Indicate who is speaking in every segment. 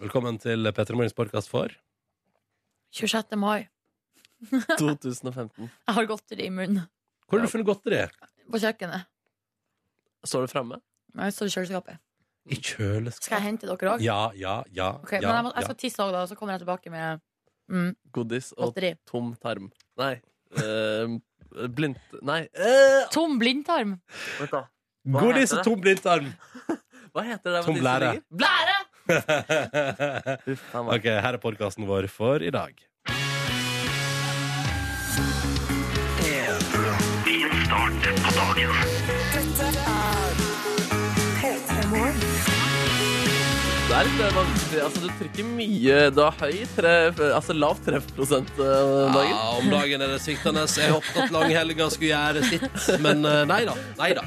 Speaker 1: Velkommen til Petter Morgens podcast for
Speaker 2: 26. mai.
Speaker 3: 2015.
Speaker 2: Jeg har godteri i munnen.
Speaker 1: Hvor har du funnet godteri?
Speaker 2: På kjøkkenet.
Speaker 3: Står det framme?
Speaker 2: Nei, det står i kjøleskapet.
Speaker 1: I kjøleskapet.
Speaker 2: Skal jeg hente dere òg?
Speaker 1: Ja, ja, ja. ja,
Speaker 2: men jeg, må, altså- jeg
Speaker 1: ja.
Speaker 2: skal tisse òg, da, og så kommer jeg tilbake med mm,
Speaker 3: Godis og
Speaker 2: godteri.
Speaker 3: tom tarm. Nei. Uh, blind... Nei. eh,
Speaker 2: Tom blindtarm.
Speaker 3: vent da. Hva
Speaker 1: Godis
Speaker 3: heter
Speaker 1: og
Speaker 3: det?
Speaker 1: tom blindtarm!
Speaker 3: Hva heter det? med
Speaker 1: Tom
Speaker 3: de som
Speaker 1: blære.
Speaker 3: ligger?
Speaker 2: Blære!
Speaker 3: Uff, faen meg.
Speaker 1: ok, her er podkasten vår for i dag.
Speaker 3: Det er litt eh, vanskelig. Altså, du trykker mye. Du har høy treff... Altså lav treffprosent eh, om dagen.
Speaker 1: Ja, om dagen er det sviktende. Jeg håpet at langhelga skulle gjøre sitt, men eh, nei da. Nei da.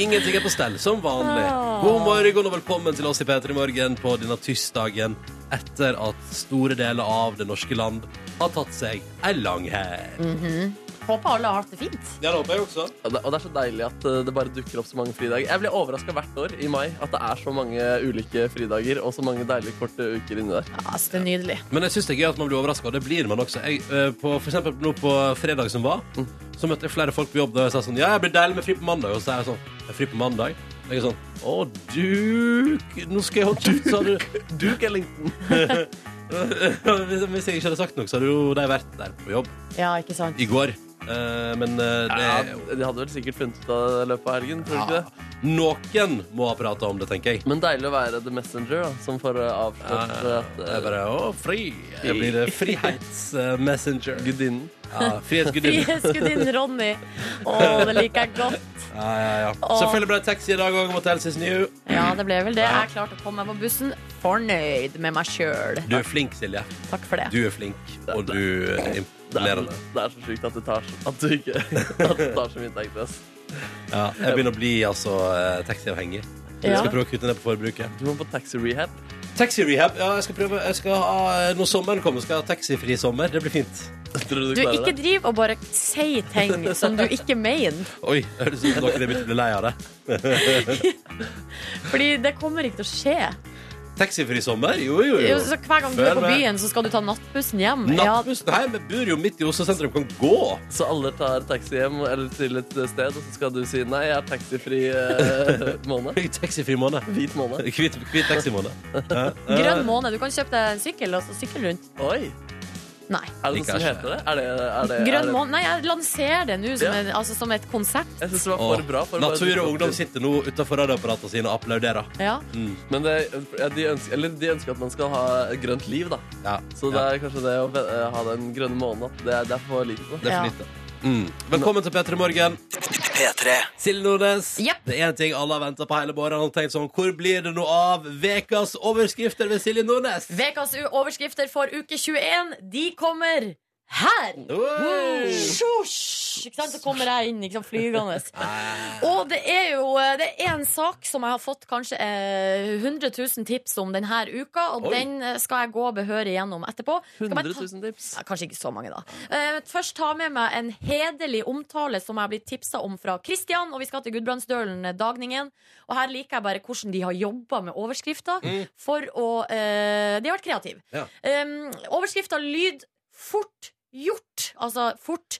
Speaker 1: Ingenting er på stell, som vanlig.
Speaker 2: Ah.
Speaker 1: God morgen og velkommen til oss i P3 Morgen på denne tirsdagen etter at store deler av det norske land har tatt seg ei lang helg.
Speaker 2: Håper alle har hatt det fint.
Speaker 1: Ja, det håper jeg også.
Speaker 3: Og det, og det er så deilig at eh, det bare dukker opp så mange fridager. Jeg blir overraska hvert år i mai at det er så mange ulike fridager og så mange deilige korte uker inni der.
Speaker 2: Ja, altså, det er nydelig.
Speaker 1: Men jeg syns det er gøy at man blir overraska, og det blir man også. Jeg, eh, på, for eksempel nå på fredag som var, så møtte jeg flere folk på jobb der jeg sa sånn Ja, jeg blir deilig med fri på mandag. Og så er jeg sånn Jeg er fri på mandag. Og Jeg er sånn Å, duk! Nå skal jeg holde kjeft, sa du.
Speaker 3: Duke Ellington.
Speaker 1: Hvis jeg ikke hadde sagt noe, så hadde jo de vært der på jobb
Speaker 2: Ja, ikke sant?
Speaker 1: i går. Eh, men eh, det
Speaker 3: Ja, de hadde vel sikkert funnet ut av det i løpet av helgen. tror du ikke
Speaker 1: ja,
Speaker 3: det?
Speaker 1: Noen må ha prata om det, tenker jeg.
Speaker 3: Men deilig å være the messenger, da, som får eh, avslørt at
Speaker 1: Det er
Speaker 3: eh,
Speaker 1: bare å, fri. Jeg blir eh, frihetsmessenger.
Speaker 3: gudinnen
Speaker 1: Ja, Frihetsgudinne.
Speaker 2: Frihetsgudinnen Ronny. Å, det liker jeg godt.
Speaker 1: Ja, ja, ja. Selvfølgelig ble det taxi i dag òg mot Elses New.
Speaker 2: Ja, det ble vel det. Jeg klarte å komme meg på bussen fornøyd med meg sjøl.
Speaker 1: Du er flink, Silje.
Speaker 2: Takk for det.
Speaker 1: Du er flink, og du eh, er
Speaker 3: Det er,
Speaker 1: imponerende.
Speaker 3: det er så sjukt at det tar, så- at du ikke, at det tar så mye tegn til oss.
Speaker 1: Ja, jeg begynner å bli altså, eh, taxiavhengig. Jeg
Speaker 2: Ja.
Speaker 1: skal prøve å kutte ned på forbruket.
Speaker 3: Du må på taxi rehab.
Speaker 1: Taxirehab. Ja, jeg skal prøve. Jeg skal ha, eh, når sommeren kommer, skal jeg ha taxifri sommer. Det blir fint.
Speaker 3: Tror du du
Speaker 2: Du,
Speaker 3: klarer
Speaker 2: ikke
Speaker 3: det?
Speaker 2: driv og bare si ting som du ikke mener.
Speaker 1: Oi, høres ut som dere er begynt å bli lei av det.
Speaker 2: Fordi det kommer ikke til å skje.
Speaker 1: Taxifri sommer? Jo, jo,
Speaker 2: Jo,
Speaker 1: jo.
Speaker 2: så hver gang du er
Speaker 1: Følg
Speaker 2: på
Speaker 1: med.
Speaker 2: byen, så skal du ta nattbussen hjem.
Speaker 1: Nattbuss? Nei, vi bor jo midt i Oslo sentrum. Kan gå.
Speaker 3: Så alle tar taxi hjem eller til et sted, og så skal du si nei, jeg er taxifri eh, måned.
Speaker 1: I Taxifri måned.
Speaker 3: Hvit måned.
Speaker 1: Hvit, hvit taximåned. Ja,
Speaker 3: Eh,
Speaker 2: Ja,
Speaker 1: ja.
Speaker 2: grønn måned. Du kan kjøpe deg en sykkel og så sykle rundt.
Speaker 3: Oi!
Speaker 2: Nei.
Speaker 3: Er det noe
Speaker 1: Ikke
Speaker 3: som
Speaker 1: er
Speaker 3: heter det? Er det, er det er
Speaker 2: Grønn
Speaker 3: det-
Speaker 2: måned. Nei, jeg lanserer det nå som,
Speaker 3: Ja.
Speaker 2: en- altså, som et konsept.
Speaker 3: Jeg syns det var
Speaker 1: Åh,
Speaker 3: for bra. For å bare
Speaker 1: Natur og
Speaker 3: dukke opp
Speaker 1: ungdom sitter nå utafor radioapparatene sine og applauderer. Mm.
Speaker 2: Ja.
Speaker 3: Men det, ja, de, ønsker, eller de ønsker at man skal ha et grønt liv, da.
Speaker 1: Ja,
Speaker 3: Så det er kanskje det å eh, ha den grønne måneden. at Det er, det er for lite. da.
Speaker 1: Det er for
Speaker 2: Ja.
Speaker 1: lite. Mm. Velkommen til P3 Morgen. Silje Nordnes.
Speaker 2: Jepp.
Speaker 1: Det er en ting alle har venta på hele morgenen. Og tenkt sånn, Hvor blir det noe av vekas overskrifter ved Silje Nordnes?
Speaker 2: Ukas u- overskrifter for uke 21, de kommer her!
Speaker 1: Oi.
Speaker 2: Sjosj! Ikke sant? Så kommer jeg inn ikke sant, flygende. Og det er jo eh, Det er en sak som jeg har fått kanskje eh, 100 000 tips om denne uka, og
Speaker 1: Oi.
Speaker 2: den eh, skal jeg gå behørig gjennom etterpå. Skal jeg bare
Speaker 3: 100
Speaker 2: ta-
Speaker 3: 000 tips.
Speaker 2: ja, kanskje ikke så mange, da. Eh, først ta med meg en hederlig omtale som jeg har blitt tipsa om fra Kristian. Og vi skal til Gudbrandsdølen eh, Dagningen. Og her liker jeg bare hvordan de har jobba med overskrifter.
Speaker 3: Mm.
Speaker 2: For å eh, De har vært kreative.
Speaker 1: Ja.
Speaker 2: Um, overskrifta lyd 'fort gjort'. Altså fort.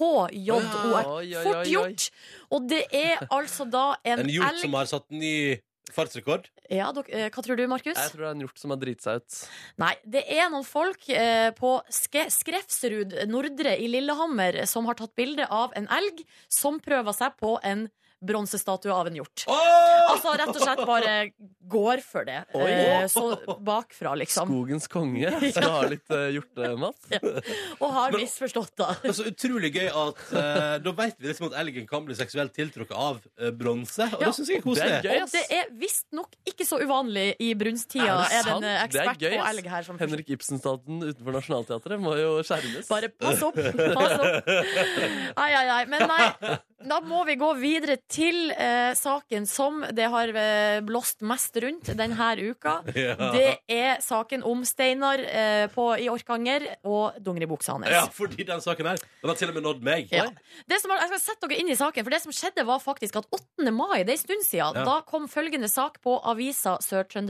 Speaker 3: Oi,
Speaker 2: H-J-O-R.
Speaker 3: oi, oi,
Speaker 2: Fort
Speaker 3: oi.
Speaker 2: gjort. Og det er altså da en,
Speaker 1: En hjort
Speaker 2: elg
Speaker 1: som har satt ny fartsrekord.
Speaker 2: ja, dok, eh, Hva tror du, Markus?
Speaker 3: Jeg tror det er en hjort som har driti seg ut.
Speaker 2: Nei, det er noen folk eh, på Ske Skrefsrud Nordre i Lillehammer som har tatt bilde av en elg som prøver seg på en bronsestatue av en hjort.
Speaker 1: Åh!
Speaker 2: Altså rett og slett bare går for det.
Speaker 3: Oi.
Speaker 2: Eh, så bakfra, liksom.
Speaker 3: Skogens konge skal ha litt uh, hjortemat.
Speaker 2: Og har misforstått, da.
Speaker 1: Men så utrolig gøy at eh, da vet vi liksom at elgen kan bli seksuelt tiltrukket av eh, bronse. Og
Speaker 2: Ja.
Speaker 1: det syns jeg er
Speaker 3: Det
Speaker 1: koselig.
Speaker 3: er gøy.
Speaker 2: Og det er visstnok ikke så uvanlig i brunsttida,
Speaker 3: Er det
Speaker 2: er det en
Speaker 3: sant?
Speaker 2: eh,
Speaker 3: Det er
Speaker 2: ekspert
Speaker 3: gøy,
Speaker 2: på
Speaker 3: ass.
Speaker 2: elg her som
Speaker 3: Henrik Ibsen-staten utenfor Nationaltheatret må jo skjermes.
Speaker 2: Bare pass opp! Pass opp. Nei, nei, nei. Men nei, Da må vi gå videre til eh, saken som det har eh, blåst mest rundt denne uka.
Speaker 1: Ja.
Speaker 2: Det er saken om Steinar eh, på, i Orkanger og dongeribuksa hans.
Speaker 1: Ja, fordi den saken her Den har til og med nådd meg.
Speaker 2: Ja. Det som, har- jeg skal sette dere inn i saken, for det som skjedde var faktisk at 8. mai, det er en stund siden,
Speaker 1: Ja.
Speaker 2: da kom følgende sak på avisa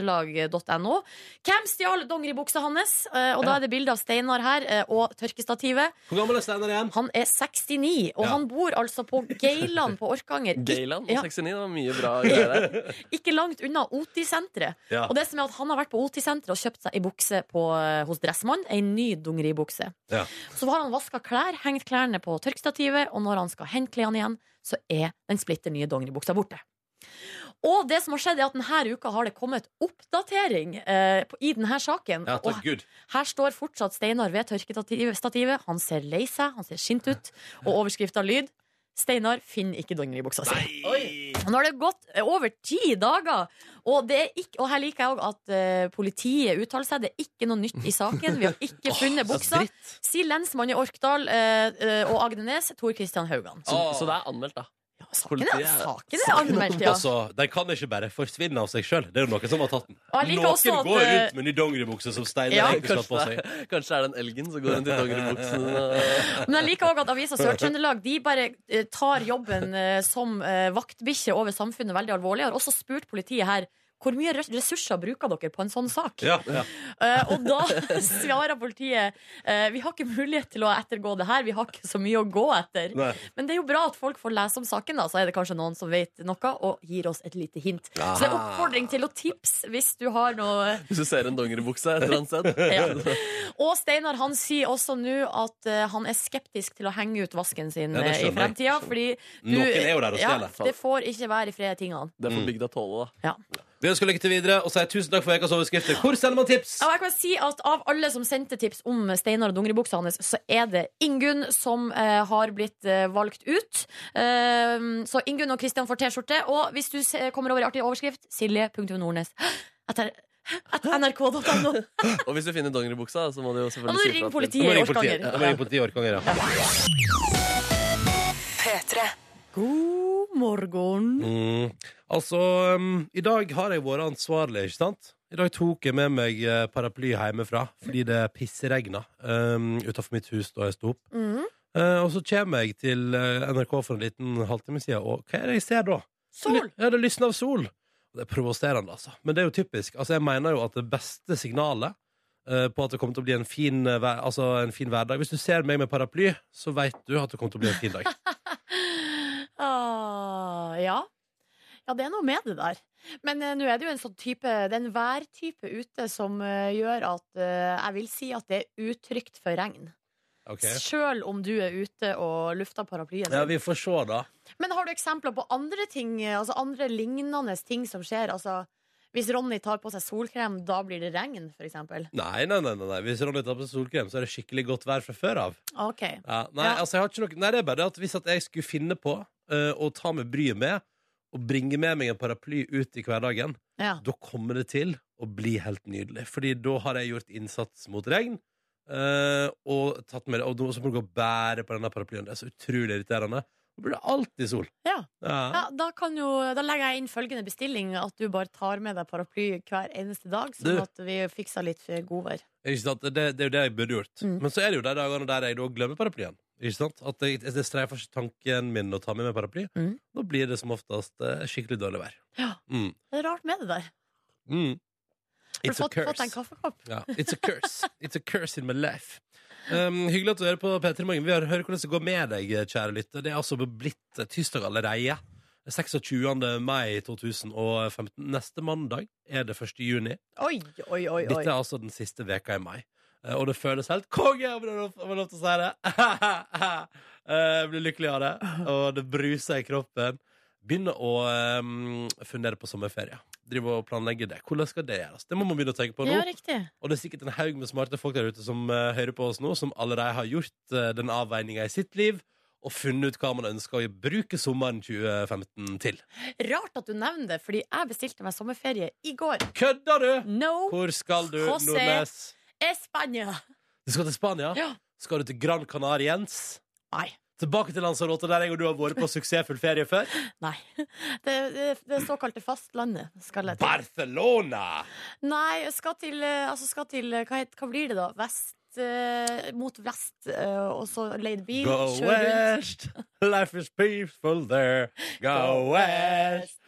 Speaker 2: sørtrøndelag.no. Hvem stjal dongeribuksa hans? Eh, Og da er det bilde av Steinar her eh, og tørkestativet.
Speaker 1: Hvor gammel er Steinar igjen?
Speaker 2: Han er 69, og
Speaker 1: Ja.
Speaker 2: han bor altså på Geiland på Orkanger.
Speaker 3: Gayland
Speaker 2: Ja.
Speaker 3: og 69, det var mye bra greier der.
Speaker 2: Ikke langt unna OT-senteret.
Speaker 1: Ja.
Speaker 2: Og det som er at Han har vært på OT-senteret og kjøpt seg ei bukse på, eh, hos Dressmann. Ei ny dungeribukse.
Speaker 1: Ja.
Speaker 2: Så har han vaska klær, hengt klærne på tørkestativet, og når han skal hente klærne igjen, så er den splitter nye dongeribuksa borte. Og det som har skjedd er at denne uka har det kommet oppdatering eh, på- i denne saken.
Speaker 1: Ja, takk
Speaker 2: og
Speaker 1: Gud.
Speaker 2: her står fortsatt Steinar ved tørkestativet. Han ser lei seg, han ser sint ut. Og overskrifta lyd Steinar finner ikke dongeribuksa si. Og Nå har det gått eh, over ti dager, og, det er ikke, og her liker jeg òg at eh, politiet uttaler seg. Det er ikke noe nytt i saken. Vi har ikke funnet buksa. Sier lensmann i Orkdal eh, eh, og Agdenes, Tor Christian Haugan.
Speaker 3: Så, så det er anmeldt, da.
Speaker 2: Saken er,
Speaker 3: Politiet-
Speaker 2: saken er anmeldt, ja.
Speaker 1: Altså, Den kan ikke bare forsvinne av seg sjøl. Det er jo noen som har tatt den.
Speaker 2: Og jeg liker
Speaker 1: Noen
Speaker 2: også at,
Speaker 1: går
Speaker 2: eh,
Speaker 1: rundt med ny dongeribukse som Steinar
Speaker 2: Ja.
Speaker 1: egentlig skulle hatt på
Speaker 3: Kanskje, det
Speaker 1: seg.
Speaker 3: er- kanskje det er den elgen som går rundt i dongeribuksen. eh,
Speaker 2: Men jeg liker òg at avisa Sør-Trøndelag De bare eh, tar jobben eh, som eh, vaktbikkje over samfunnet veldig alvorlig. Jeg har også spurt politiet her hvor mye res- ressurser bruker dere på en sånn sak.
Speaker 1: Ja, ja.
Speaker 2: Eh, og da svarer politiet eh, vi har ikke mulighet til å ettergå det her. Vi har ikke så mye å gå etter.
Speaker 1: Nei.
Speaker 2: Men det er jo bra at folk får lese om saken, da. Så er det kanskje noen som vet noe og gir oss et lite hint. Så det er oppfordring til å tipse hvis du har noe
Speaker 3: Hvis du ser en dongeribukse et eller annet sted.
Speaker 2: ja. Og Steinar han sier også nå at eh, han er skeptisk til å henge ut vasken sin
Speaker 1: Ja, det
Speaker 2: eh, i
Speaker 1: skjønner jeg.
Speaker 2: fremtida. Fordi du,
Speaker 1: Noen er jo der og
Speaker 2: ja,
Speaker 1: stjeler.
Speaker 2: det får ikke være i fred, tingene.
Speaker 3: Det får bygda tåle, da.
Speaker 2: Ja.
Speaker 1: Vi ønsker lykke til videre og sier tusen takk for ukas overskrifter. Hvor sender man tips?
Speaker 2: Ja, og jeg kan si at Av alle som sendte tips om Steinar og dongeribuksa hans, så er det Ingunn som eh, har blitt eh, valgt ut. Ehm, så Ingunn og Kristian får T-skjorte. Og hvis du se- kommer over i artig overskrift, silje.nordnes. Etter nrk.no.
Speaker 3: Og hvis du finner dongeribuksa, så må du jo
Speaker 2: Da må
Speaker 3: selvfølgelig
Speaker 2: du
Speaker 3: si
Speaker 2: ringe
Speaker 3: ifra til-
Speaker 1: Da må
Speaker 2: politiet i
Speaker 1: jeg ringe politiet.
Speaker 2: Orkanger.
Speaker 1: Da må jeg ringe politiet i Orkanger, ja.
Speaker 2: God morgen.
Speaker 1: Mm. Altså, um, i dag har jeg vært ansvarlig, ikke sant? I dag tok jeg med meg eh, paraply hjemmefra fordi det pissregna um, utafor mitt hus da jeg sto opp.
Speaker 2: Mm.
Speaker 1: Eh, og så kommer jeg til eh, NRK for en liten halvtime siden, og hva er det jeg ser da?
Speaker 2: Sol!
Speaker 1: Ja, det lysner av sol. Og Det er provoserende, altså. Men det er jo typisk. Altså, jeg mener jo at det beste signalet eh, på at det kommer til å bli en fin, eh, hver, altså, en fin hverdag Hvis du ser meg med paraply, så veit du at det kommer til å bli en fin dag.
Speaker 2: Ah, ja. ja, det er noe med det der. Men eh, nå er det jo en sånn type Det er en værtype ute som eh, gjør at eh, jeg vil si at det er utrygt for regn.
Speaker 1: Ok?
Speaker 2: Sjøl om du er ute og lufter paraplyen.
Speaker 1: Ja, vi får se, da.
Speaker 2: Men har du eksempler på andre ting eh, Altså andre lignende ting som skjer? Altså, hvis Ronny tar på seg solkrem, da blir det regn, f.eks.?
Speaker 1: Nei, nei, nei, nei, nei. Hvis Ronny tar på seg solkrem, så er det skikkelig godt vær fra før av.
Speaker 2: OK.
Speaker 1: Ja, nei,
Speaker 2: Ja.
Speaker 1: altså, jeg har ikke noe... nei, det er bare det at hvis at jeg skulle finne på eh, å ta med bryet med, og bringe med meg en paraply ut i hverdagen,
Speaker 2: Ja.
Speaker 1: da kommer det til å bli helt nydelig. Fordi da har jeg gjort innsats mot regn. eh, og tatt med det Og nå så må du gå og bære på denne paraplyen. Det er så utrolig irriterende. Da blir det alltid sol.
Speaker 2: Ja.
Speaker 1: Ja.
Speaker 2: Ja, da, kan jo, da legger jeg inn følgende bestilling, at du bare tar med deg paraply hver eneste dag,
Speaker 1: Du.
Speaker 2: sånn at vi fikser litt for godvær.
Speaker 1: Ikke sant? Det, det er jo det jeg burde gjort.
Speaker 2: Mm.
Speaker 1: Men så er det jo de dagene der jeg da glemmer paraplyen. Ikke sant? At det, det streifer ikke tanken min å ta med meg paraply.
Speaker 2: Mm.
Speaker 1: Da blir det som oftest eh, skikkelig dårlig vær.
Speaker 2: Ja.
Speaker 1: Mm.
Speaker 2: Det er rart med det der.
Speaker 1: Mm.
Speaker 2: Har du
Speaker 1: It's a
Speaker 2: fått, fått
Speaker 1: curse.
Speaker 2: deg en kaffekopp?
Speaker 1: Ja, it's a curse. It's a curse in my life. Um, hyggelig at du hører på P3 Morgen. Vi har hørt hvordan det går med deg, kjære lytter. Det er altså blitt eh, tirsdag allerede. 26. mai 2015. Neste mandag er det 1. juni.
Speaker 2: Oi, oi, oi. oi.
Speaker 1: Dette er altså den siste veka i mai. Eh, Og det føles helt konge, om jeg lov- om jeg har lov til å si det. Eh, Jeg blir lykkelig av det, og det bruser i kroppen. Begynner å um, fundere på sommerferie. Driver og planlegger det. Hvordan skal det gjøres? Det må man begynne å tenke på nå.
Speaker 2: Ja, riktig.
Speaker 1: Og det er sikkert en haug med smarte folk der ute som eh, hører på oss nå, som allerede har gjort eh, den avveininga i sitt liv, og funnet ut hva man ønsker å bruke sommeren 2015 til.
Speaker 2: Rart at du nevner det, fordi jeg bestilte meg sommerferie i går.
Speaker 1: Kødder du?!
Speaker 2: No
Speaker 1: Hvor skal du,
Speaker 2: José.
Speaker 1: Nordnes?
Speaker 2: España!
Speaker 1: Du skal til Spania?
Speaker 2: Ja.
Speaker 1: Skal du til Gran Canariens?
Speaker 2: Nei.
Speaker 1: Tilbake til Lanzarote, der jeg og du har vært på suksessfull ferie før.
Speaker 2: Nei. Det, det, det såkalte fastlandet skal jeg til.
Speaker 1: Barcelona!
Speaker 2: Nei, jeg skal til, eh, altså skal til eh, hva, het, hva blir det, da? Vest? eh, mot vest, eh, og så leid bil.
Speaker 1: Go
Speaker 2: kjøre rundt.
Speaker 1: west, life is peaceful there. Go west.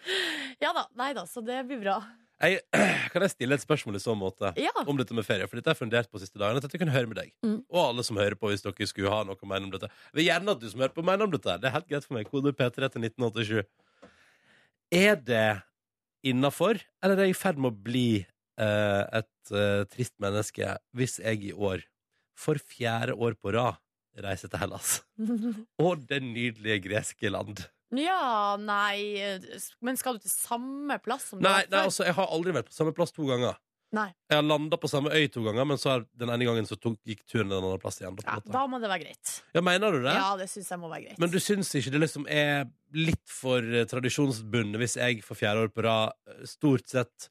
Speaker 2: Ja da. Nei da, så det blir bra.
Speaker 1: Jeg, kan jeg stille et spørsmål i så måte?
Speaker 2: Ja.
Speaker 1: om dette med ferie, for dette har jeg fundert på siste dagen. At jeg kunne høre med deg
Speaker 2: Mm.
Speaker 1: og alle som hører på, hvis dere skulle ha noe å mene om dette. Jeg vil gjerne at du som hører på, mener om dette. Det er helt greit for meg. Kode P3 til 1987. Er det innafor, eller er jeg i ferd med å bli eh, et eh, trist menneske hvis jeg i år, for fjerde år på rad, reiser til Hellas og det nydelige greske land?
Speaker 2: Ja, nei eh, Men skal du til samme plass som du
Speaker 1: Nei,
Speaker 2: var
Speaker 1: nei,
Speaker 2: før?
Speaker 1: altså, jeg har aldri vært på samme plass to ganger.
Speaker 2: Nei.
Speaker 1: Jeg har landa på samme øy to ganger, men så har den ene gangen så tok, gikk turen en annen plass igjen. Da, på
Speaker 2: ja,
Speaker 1: en måte.
Speaker 2: Da må det være greit.
Speaker 1: Ja, mener du det?
Speaker 2: Ja, det syns jeg må være greit.
Speaker 1: Men du syns ikke det liksom er litt for eh, tradisjonsbundet hvis jeg for fjerde år på rad eh, stort sett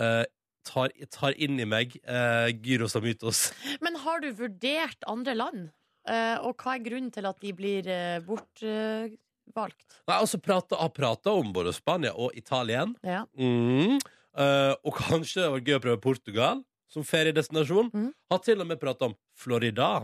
Speaker 1: eh, tar, tar inn i meg uh, gyros og mytos?
Speaker 2: Men har du vurdert andre land? Eh, og hva er grunnen til at de blir uh, bortvalgt?
Speaker 1: Nei, altså prata har prata om både Spania og Italia.
Speaker 2: ja.
Speaker 1: Mm. Eh, og kanskje det var gøy å prøve Portugal som feriedestinasjon.
Speaker 2: Mm.
Speaker 1: Har til og med prata om Florida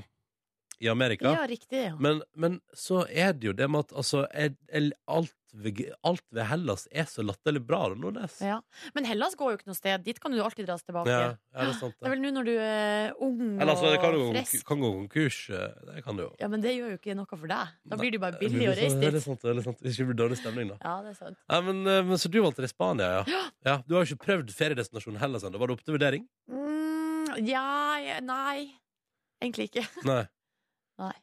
Speaker 1: i Amerika.
Speaker 2: ja, riktig. Ja.
Speaker 1: Men, men så er det jo det med at altså, jeg, jeg, alt, ved, alt ved Hellas er så latterlig bra. Nordnes.
Speaker 2: Ja. Men Hellas går jo ikke noe sted. Dit kan du alltid dras tilbake.
Speaker 1: Ja, ja, det er sant.
Speaker 2: Det er vel nå når du er ung
Speaker 1: Eller altså, det kan
Speaker 2: og
Speaker 1: jo gå,
Speaker 2: frisk.
Speaker 1: kan gå konkurs. eh, Det kan det jo.
Speaker 2: Ja, Men det gjør jo ikke noe for deg. Da
Speaker 1: Nei,
Speaker 2: blir det jo bare
Speaker 1: Det blir
Speaker 2: billig å
Speaker 1: sånn-
Speaker 2: reise
Speaker 1: det er
Speaker 2: dit.
Speaker 1: sant, det er sant. Hvis det blir dårlig stemning, da.
Speaker 2: Ja, det er sant.
Speaker 1: Nei, men, eh, men Så du valgte det Spania, ja. ja. Du har jo ikke prøvd feriedestinasjonen Hellas ennå. Var det oppe til vurdering?
Speaker 2: Mm, ja, ja Nei. Egentlig ikke.
Speaker 1: Nei.
Speaker 2: Nei.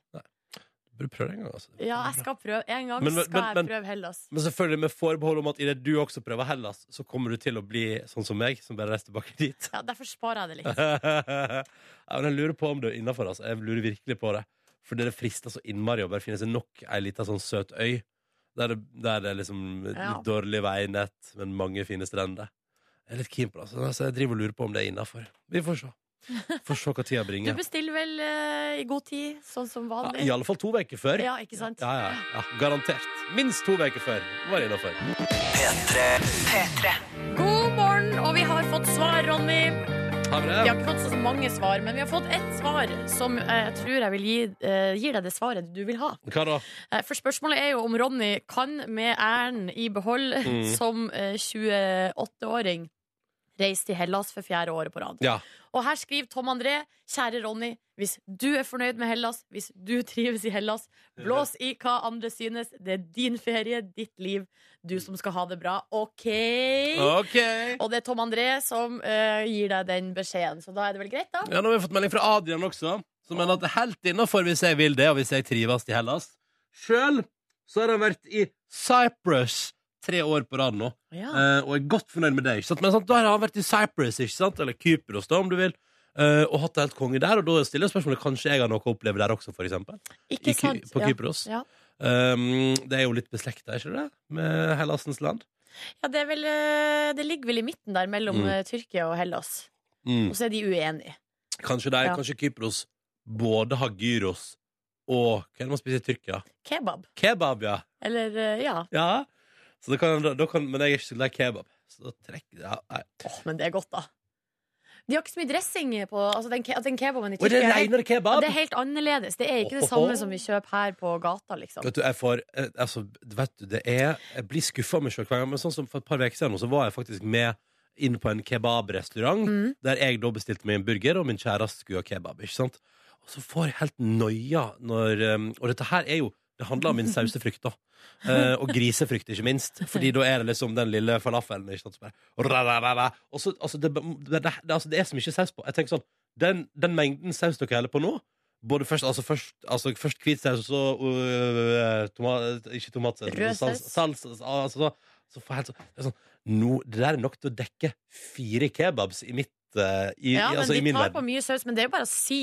Speaker 1: Du burde prøve det en gang, altså.
Speaker 2: Ja, jeg skal prøve. En gang
Speaker 1: Men- men-
Speaker 2: skal jeg
Speaker 1: men-
Speaker 2: prøve Hellas.
Speaker 1: Men selvfølgelig med forbehold om at idet du også prøver Hellas, så kommer du til å bli sånn som meg, som bare reiser tilbake dit.
Speaker 2: Ja, Derfor sparer jeg det litt.
Speaker 1: ja, men jeg lurer på om det er innafor. Altså. Jeg lurer virkelig på det. For det frister så innmari å bare finne seg nok ei lita sånn søt øy. Der det, der det er liksom litt
Speaker 2: Ja.
Speaker 1: dårlig veinett, men mange fine strender. Jeg er litt keen på det, altså. så jeg driver og lurer på om det er innafor. Vi får se. Får se hva tida
Speaker 2: Du
Speaker 1: bringer.
Speaker 2: bestiller vel eh, i god tid, sånn som
Speaker 1: Ja,
Speaker 2: vanlig?
Speaker 1: I alle fall to uker før.
Speaker 2: Ja, ikke sant?
Speaker 1: Ja, ja, ja. Garantert. Minst to uker før. Var innafor.
Speaker 2: God morgen, og vi har fått svar, Ronny.
Speaker 1: Har vi
Speaker 2: Vi
Speaker 1: det?
Speaker 2: har ikke fått så mange svar, men vi har fått ett svar som eh, jeg tror jeg vil gi, eh, gir deg det svaret du vil ha.
Speaker 1: Hva da?
Speaker 2: Eh, For spørsmålet er jo om Ronny kan med æren i behold
Speaker 1: Mm.
Speaker 2: som eh, 28-åring reise til Hellas for fjerde året på rad.
Speaker 1: Ja.
Speaker 2: Og her skriver Tom André, kjære Ronny, hvis du er fornøyd med Hellas, hvis du trives i Hellas, blås i hva andre synes. Det er din ferie, ditt liv, du som skal ha det bra. OK?
Speaker 1: OK.
Speaker 2: Og det er Tom André som eh, gir deg den beskjeden, så da er det vel greit, da?
Speaker 1: Ja, nå har vi fått melding fra Adrian også, som mener at det er helt innafor hvis jeg vil det, og hvis jeg trives i Hellas. Sjøl så har han vært i Cyprus tre år på rad nå,
Speaker 2: Ja.
Speaker 1: eh, og er godt fornøyd med det. ikke sant? Men sant, da har han vært i Cyprus, ikke sant? eller Kypros, da, om du vil. eh, og hatt det helt konge der, og da stiller jeg spørsmålet kanskje jeg har noe å oppleve der også, for eksempel. I
Speaker 2: Ikke
Speaker 1: Ky-
Speaker 2: sant?
Speaker 1: på
Speaker 2: ja.
Speaker 1: Kypros.
Speaker 2: Ja.
Speaker 1: Um, det er jo litt beslekta, ikke det? Med Hellasens land.
Speaker 2: Ja, det, er vel, eh, det ligger vel i midten der mellom
Speaker 1: Mm.
Speaker 2: eh, Tyrkia og Hellas.
Speaker 1: Mm.
Speaker 2: Og så er de uenige.
Speaker 1: Kanskje, det er,
Speaker 2: Ja.
Speaker 1: kanskje Kypros både har gyros og Hva er det man spiser i Tyrkia?
Speaker 2: Kebab.
Speaker 1: Kebab, ja!
Speaker 2: Eller eh, ja.
Speaker 1: Ja så det kan, da kan, Men jeg er ikke så glad i kebab Så da trekker ja, nei.
Speaker 2: Åh, men det er godt, da. De har ikke så mye dressing på altså den, ke- den kebaben i
Speaker 1: Og det
Speaker 2: Tyrkia. er helt-
Speaker 1: regner
Speaker 2: Ja,
Speaker 1: kebab
Speaker 2: det er helt annerledes. Det er ikke det
Speaker 1: Ohoho.
Speaker 2: samme som vi kjøper her på gata, liksom.
Speaker 1: Vet du, jeg får eh, altså, Vet du, det er Jeg blir skuffet av meg selv hver gang Men sånn som for et par veker siden nå, Så var jeg faktisk med inn på en kebabrestaurant
Speaker 2: Mm.
Speaker 1: Der jeg da bestilte meg en burger Og min kjæreste skulle ha kebab, ikke sant? Og så får jeg helt nøya når, eh, Og dette her er jo det handler om min sausefrykt da eh, Og grisefrykt ikke minst Fordi da er det liksom den lille falafelen Ikke sant, som bare rararara. Og så, altså, det, det, det, det, altså, det er så mye saus på Jeg tenker sånn, den, den mengden saus dere heller på nå både først, altså først, altså først hvit saus, og så øh, toma, Ikke tomatsaus,
Speaker 2: Rød
Speaker 1: men sals-
Speaker 2: saus.
Speaker 1: salsa. altså, så, så får jeg helt sånn, det er sånn nå, Det der er nok til å dekke fire kebabs i mitt eh, i,
Speaker 2: Ja,
Speaker 1: i,
Speaker 2: men
Speaker 1: altså, i
Speaker 2: de
Speaker 1: min
Speaker 2: tar på
Speaker 1: verden.
Speaker 2: mye saus. Men det er jo bare å si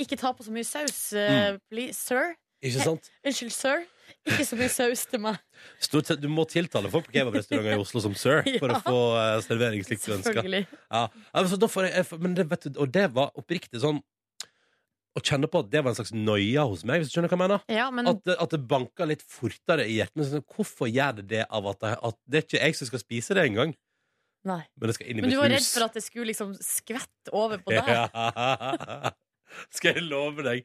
Speaker 2: ikke ta på så mye saus, eh,
Speaker 1: Mm.
Speaker 2: please, sir.
Speaker 1: Ikke sant?
Speaker 2: Unnskyld, sir. Ikke så mye saus til meg.
Speaker 1: Stort sett, du må tiltale folk på kebabrestauranter i Oslo som sir for
Speaker 2: Ja.
Speaker 1: å få eh, servering slik du ønsker.
Speaker 2: Selvfølgelig.
Speaker 1: Ja, altså, da får jeg, jeg får- men det, vet du, og det var oppriktig sånn og kjenner på at det var en slags noia hos meg, hvis du skjønner hva jeg mener.
Speaker 2: Ja, men
Speaker 1: At, det- at det banker litt fortere i hjertet. Men sånn, hvorfor gjør det det av at, jeg, at det er ikke jeg som skal spise det engang,
Speaker 2: nei.
Speaker 1: men det skal inn i
Speaker 2: Men
Speaker 1: mitt
Speaker 2: du
Speaker 1: hus?
Speaker 2: var redd for at det skulle liksom skvette over på deg?
Speaker 1: Ja. Skal jeg love deg.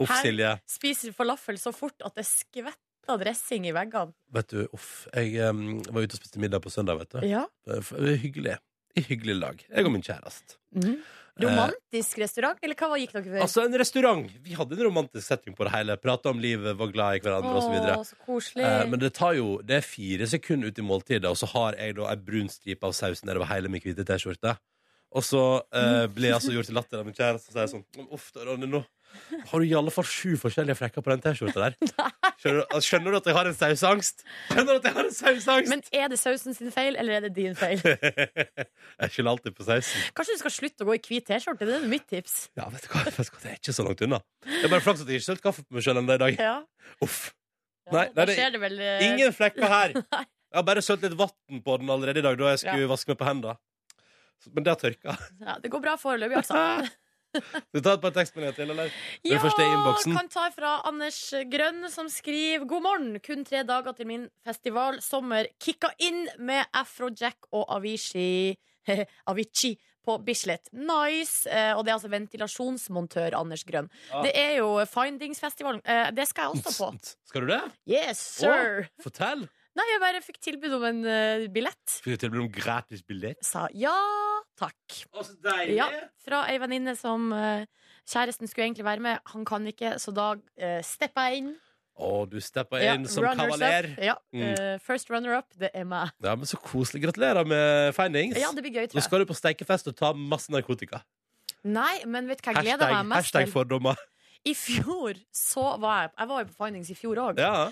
Speaker 1: Uff,
Speaker 2: Her-
Speaker 1: Silje.
Speaker 2: Spiser falafel så fort at det skvetter dressing i veggene.
Speaker 1: Vet du, uff. Jeg em, var ute og spiste middag på søndag, vet du. Eh,
Speaker 2: Ja.
Speaker 1: F- Hyggelig. I hyggelig lag. Jeg og min kjæreste.
Speaker 2: Mhm. Romantisk restaurant, eller hva gikk dere for?
Speaker 1: Eh. Altså en restaurant. Vi hadde en romantisk setting på det hele. Prata om livet, var glad i hverandre og så videre
Speaker 2: Å, så koselig.
Speaker 1: Eh, men det tar jo Det er fire sekunder ut i måltidet, og så har jeg da ei brun stripe av saus nedover hele min hvite T-skjorte. Og så eh,
Speaker 2: Mm.
Speaker 1: blir jeg altså gjort til latter av min kjæreste, og så sier jeg sånn Uff da, Ronny, nå har du i alle fall sju forskjellige flekker på den T-skjorta der. Skjønner, du- Altså, skjønner du at jeg har en sausangst? Skjønner du at jeg har en sausangst?
Speaker 2: Men er det sausen sin feil, eller er det din feil?
Speaker 1: jeg skylder alltid på sausen.
Speaker 2: Kanskje du skal slutte å gå i hvit T-skjorte? Det er mitt tips.
Speaker 1: Ja, vet du hva, vet du hva, det er ikke så langt unna. Det er bare flaks at jeg ikke sølte kaffe på meg sjøl ennå i dag.
Speaker 2: Ja.
Speaker 1: Uff. Nei, nei,
Speaker 2: da
Speaker 1: det-
Speaker 2: skjer det vel eh,
Speaker 1: Ingen flekker her. Jeg har bare sølt litt vann på den allerede i dag da jeg skulle vaske meg på hendene. Så- Men det har tørka.
Speaker 2: ja, Det går bra foreløpig, altså.
Speaker 1: Skal vi ta et par tekstmeldinger til, eller? Den
Speaker 2: Ja,
Speaker 1: første i innboksen.
Speaker 2: kan ta fra Anders Grønn, som skriver God morgen, kun tre dager til min festival. Sommer kicka inn med Afrojack og Avicii, Avicii på Bislett. Nice! Eh, Og det er altså ventilasjonsmontør Anders Grønn.
Speaker 1: Ja.
Speaker 2: Det er jo Findingsfestivalen. Eh, Det skal jeg også på.
Speaker 1: Skal du det?
Speaker 2: Yes, sir!
Speaker 1: Fortell.
Speaker 2: Nei, jeg bare fikk tilbud om en eh, billett.
Speaker 1: Fikk du tilbud om gratis billett?
Speaker 2: Sa ja takk.
Speaker 1: Å, så deilig!
Speaker 2: Ja, fra ei venninne som eh, kjæresten skulle egentlig være med. Han kan ikke, så da uh, steppa jeg inn.
Speaker 1: Å, du steppa
Speaker 2: Ja,
Speaker 1: inn som
Speaker 2: runners
Speaker 1: kavaler.
Speaker 2: up. Ja,
Speaker 1: Mm.
Speaker 2: eh, first runner up, det er meg.
Speaker 1: Ja, men Så koselig. Gratulerer med findings.
Speaker 2: Ja, det blir gøy,
Speaker 1: Nå
Speaker 2: tror jeg.
Speaker 1: skal du på steikefest og ta masse narkotika.
Speaker 2: Nei, men vet du hva jeg gleder meg
Speaker 1: Hashtag,
Speaker 2: mest
Speaker 1: hashtag
Speaker 2: til?
Speaker 1: fordommer.
Speaker 2: I fjor så var jeg Jeg var jo på Findings i fjor òg.
Speaker 1: Ja.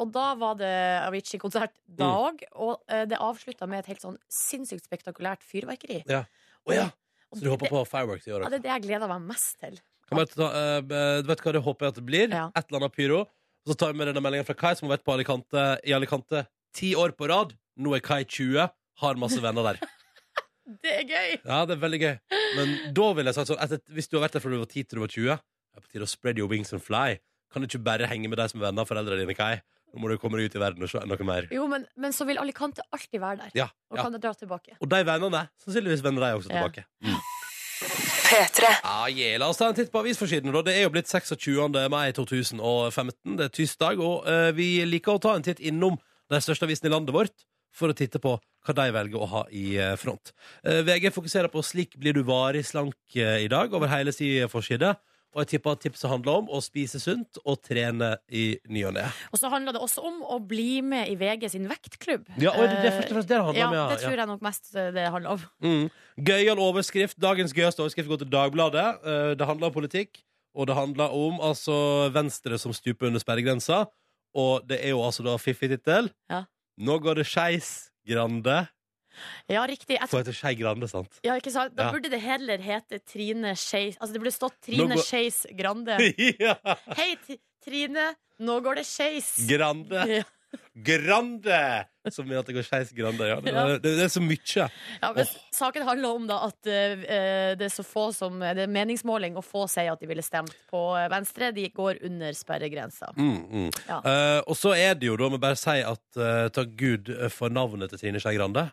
Speaker 2: og da var det Avicii-konsert da
Speaker 1: Mm.
Speaker 2: òg. Og eh, det avslutta med et helt sånn sinnssykt spektakulært fyrverkeri.
Speaker 1: Å ja.
Speaker 2: Og
Speaker 1: Så du håper
Speaker 2: det,
Speaker 1: på fireworks i år?
Speaker 2: ja,
Speaker 1: altså?
Speaker 2: det er det jeg gleder meg mest til.
Speaker 1: Kan bare ta, eh, eh, du vet hva det håper jeg at det blir?
Speaker 2: Ja.
Speaker 1: Et eller annet pyro. Og så tar vi med denne meldingen fra Kai, som har vært på Alicante i Alicante ti år på rad. Nå er Kai 20, har masse venner der.
Speaker 2: Det er gøy!
Speaker 1: Ja, det er veldig gøy. Men da vil jeg sagt sånn, etter, hvis du har vært der fra du var 10 til du var 20, er det på tide å spread your wings and fly. Kan du ikke bare henge med de som er venner av foreldrene dine, Kai? Nå må du komme deg ut i verden og se noe mer.
Speaker 2: Jo, men, men så vil Alicante alltid være der.
Speaker 1: Ja,
Speaker 2: Og
Speaker 1: ja.
Speaker 2: kan dra tilbake.
Speaker 1: Og de vennene sannsynligvis vender de også
Speaker 2: Ja.
Speaker 1: tilbake. Mm. Ah, yeah. La oss ta en titt på avisforsiden. da. Det er jo blitt 26. mai 2015. Det er tirsdag, og eh, vi liker å ta en titt innom de største avisene i landet vårt for å titte på hva de velger å ha i eh, front. Eh, VG fokuserer på 'Slik blir du varig slank' eh, i dag over hele sin forside. Og jeg tipper at tipset handler om å spise sunt og trene i ny og ne.
Speaker 2: Og så handler det også om å bli med i VG sin vektklubb.
Speaker 1: Ja, og er det, det, er først og fremst det det handler
Speaker 2: Eh, ja,
Speaker 1: om, ja.
Speaker 2: det
Speaker 1: ja.
Speaker 2: tror jeg nok mest eh, det handler om.
Speaker 1: Mm. Gøyal overskrift. Dagens gøyeste overskrift går til Dagbladet. Eh, Det handler om politikk, og det handler om altså, Venstre som stuper under sperregrensa. Og det er jo altså da fiffig tittel.
Speaker 2: Ja.
Speaker 1: Nå går det skeis, Grande.
Speaker 2: Ja, riktig. Jeg
Speaker 1: For heter Skei Grande, sant?
Speaker 2: Ja, ikke sant? Da
Speaker 1: Ja.
Speaker 2: burde det heller hete Trine Skeis Altså, det burde stått
Speaker 1: Nå
Speaker 2: Trine
Speaker 1: går-
Speaker 2: Skeis Grande.
Speaker 1: ja.
Speaker 2: Hei, T- Trine, nå går det skeis.
Speaker 1: Grande.
Speaker 2: Ja,
Speaker 1: Grande! Som gjør at det går skeis, Grande. Ja, det,
Speaker 2: Ja.
Speaker 1: det, det er så mye.
Speaker 2: Ja, men
Speaker 1: Åh.
Speaker 2: Saken handler om da at eh, eh, det er så få som Det er meningsmåling, og få sier at de ville stemt på eh, Venstre. De går under sperregrensa.
Speaker 1: Mm, mm.
Speaker 2: Ja.
Speaker 1: Eh, og så er det jo, da må jeg bare si at eh, takk Gud eh, for navnet til Trine Skei Grande.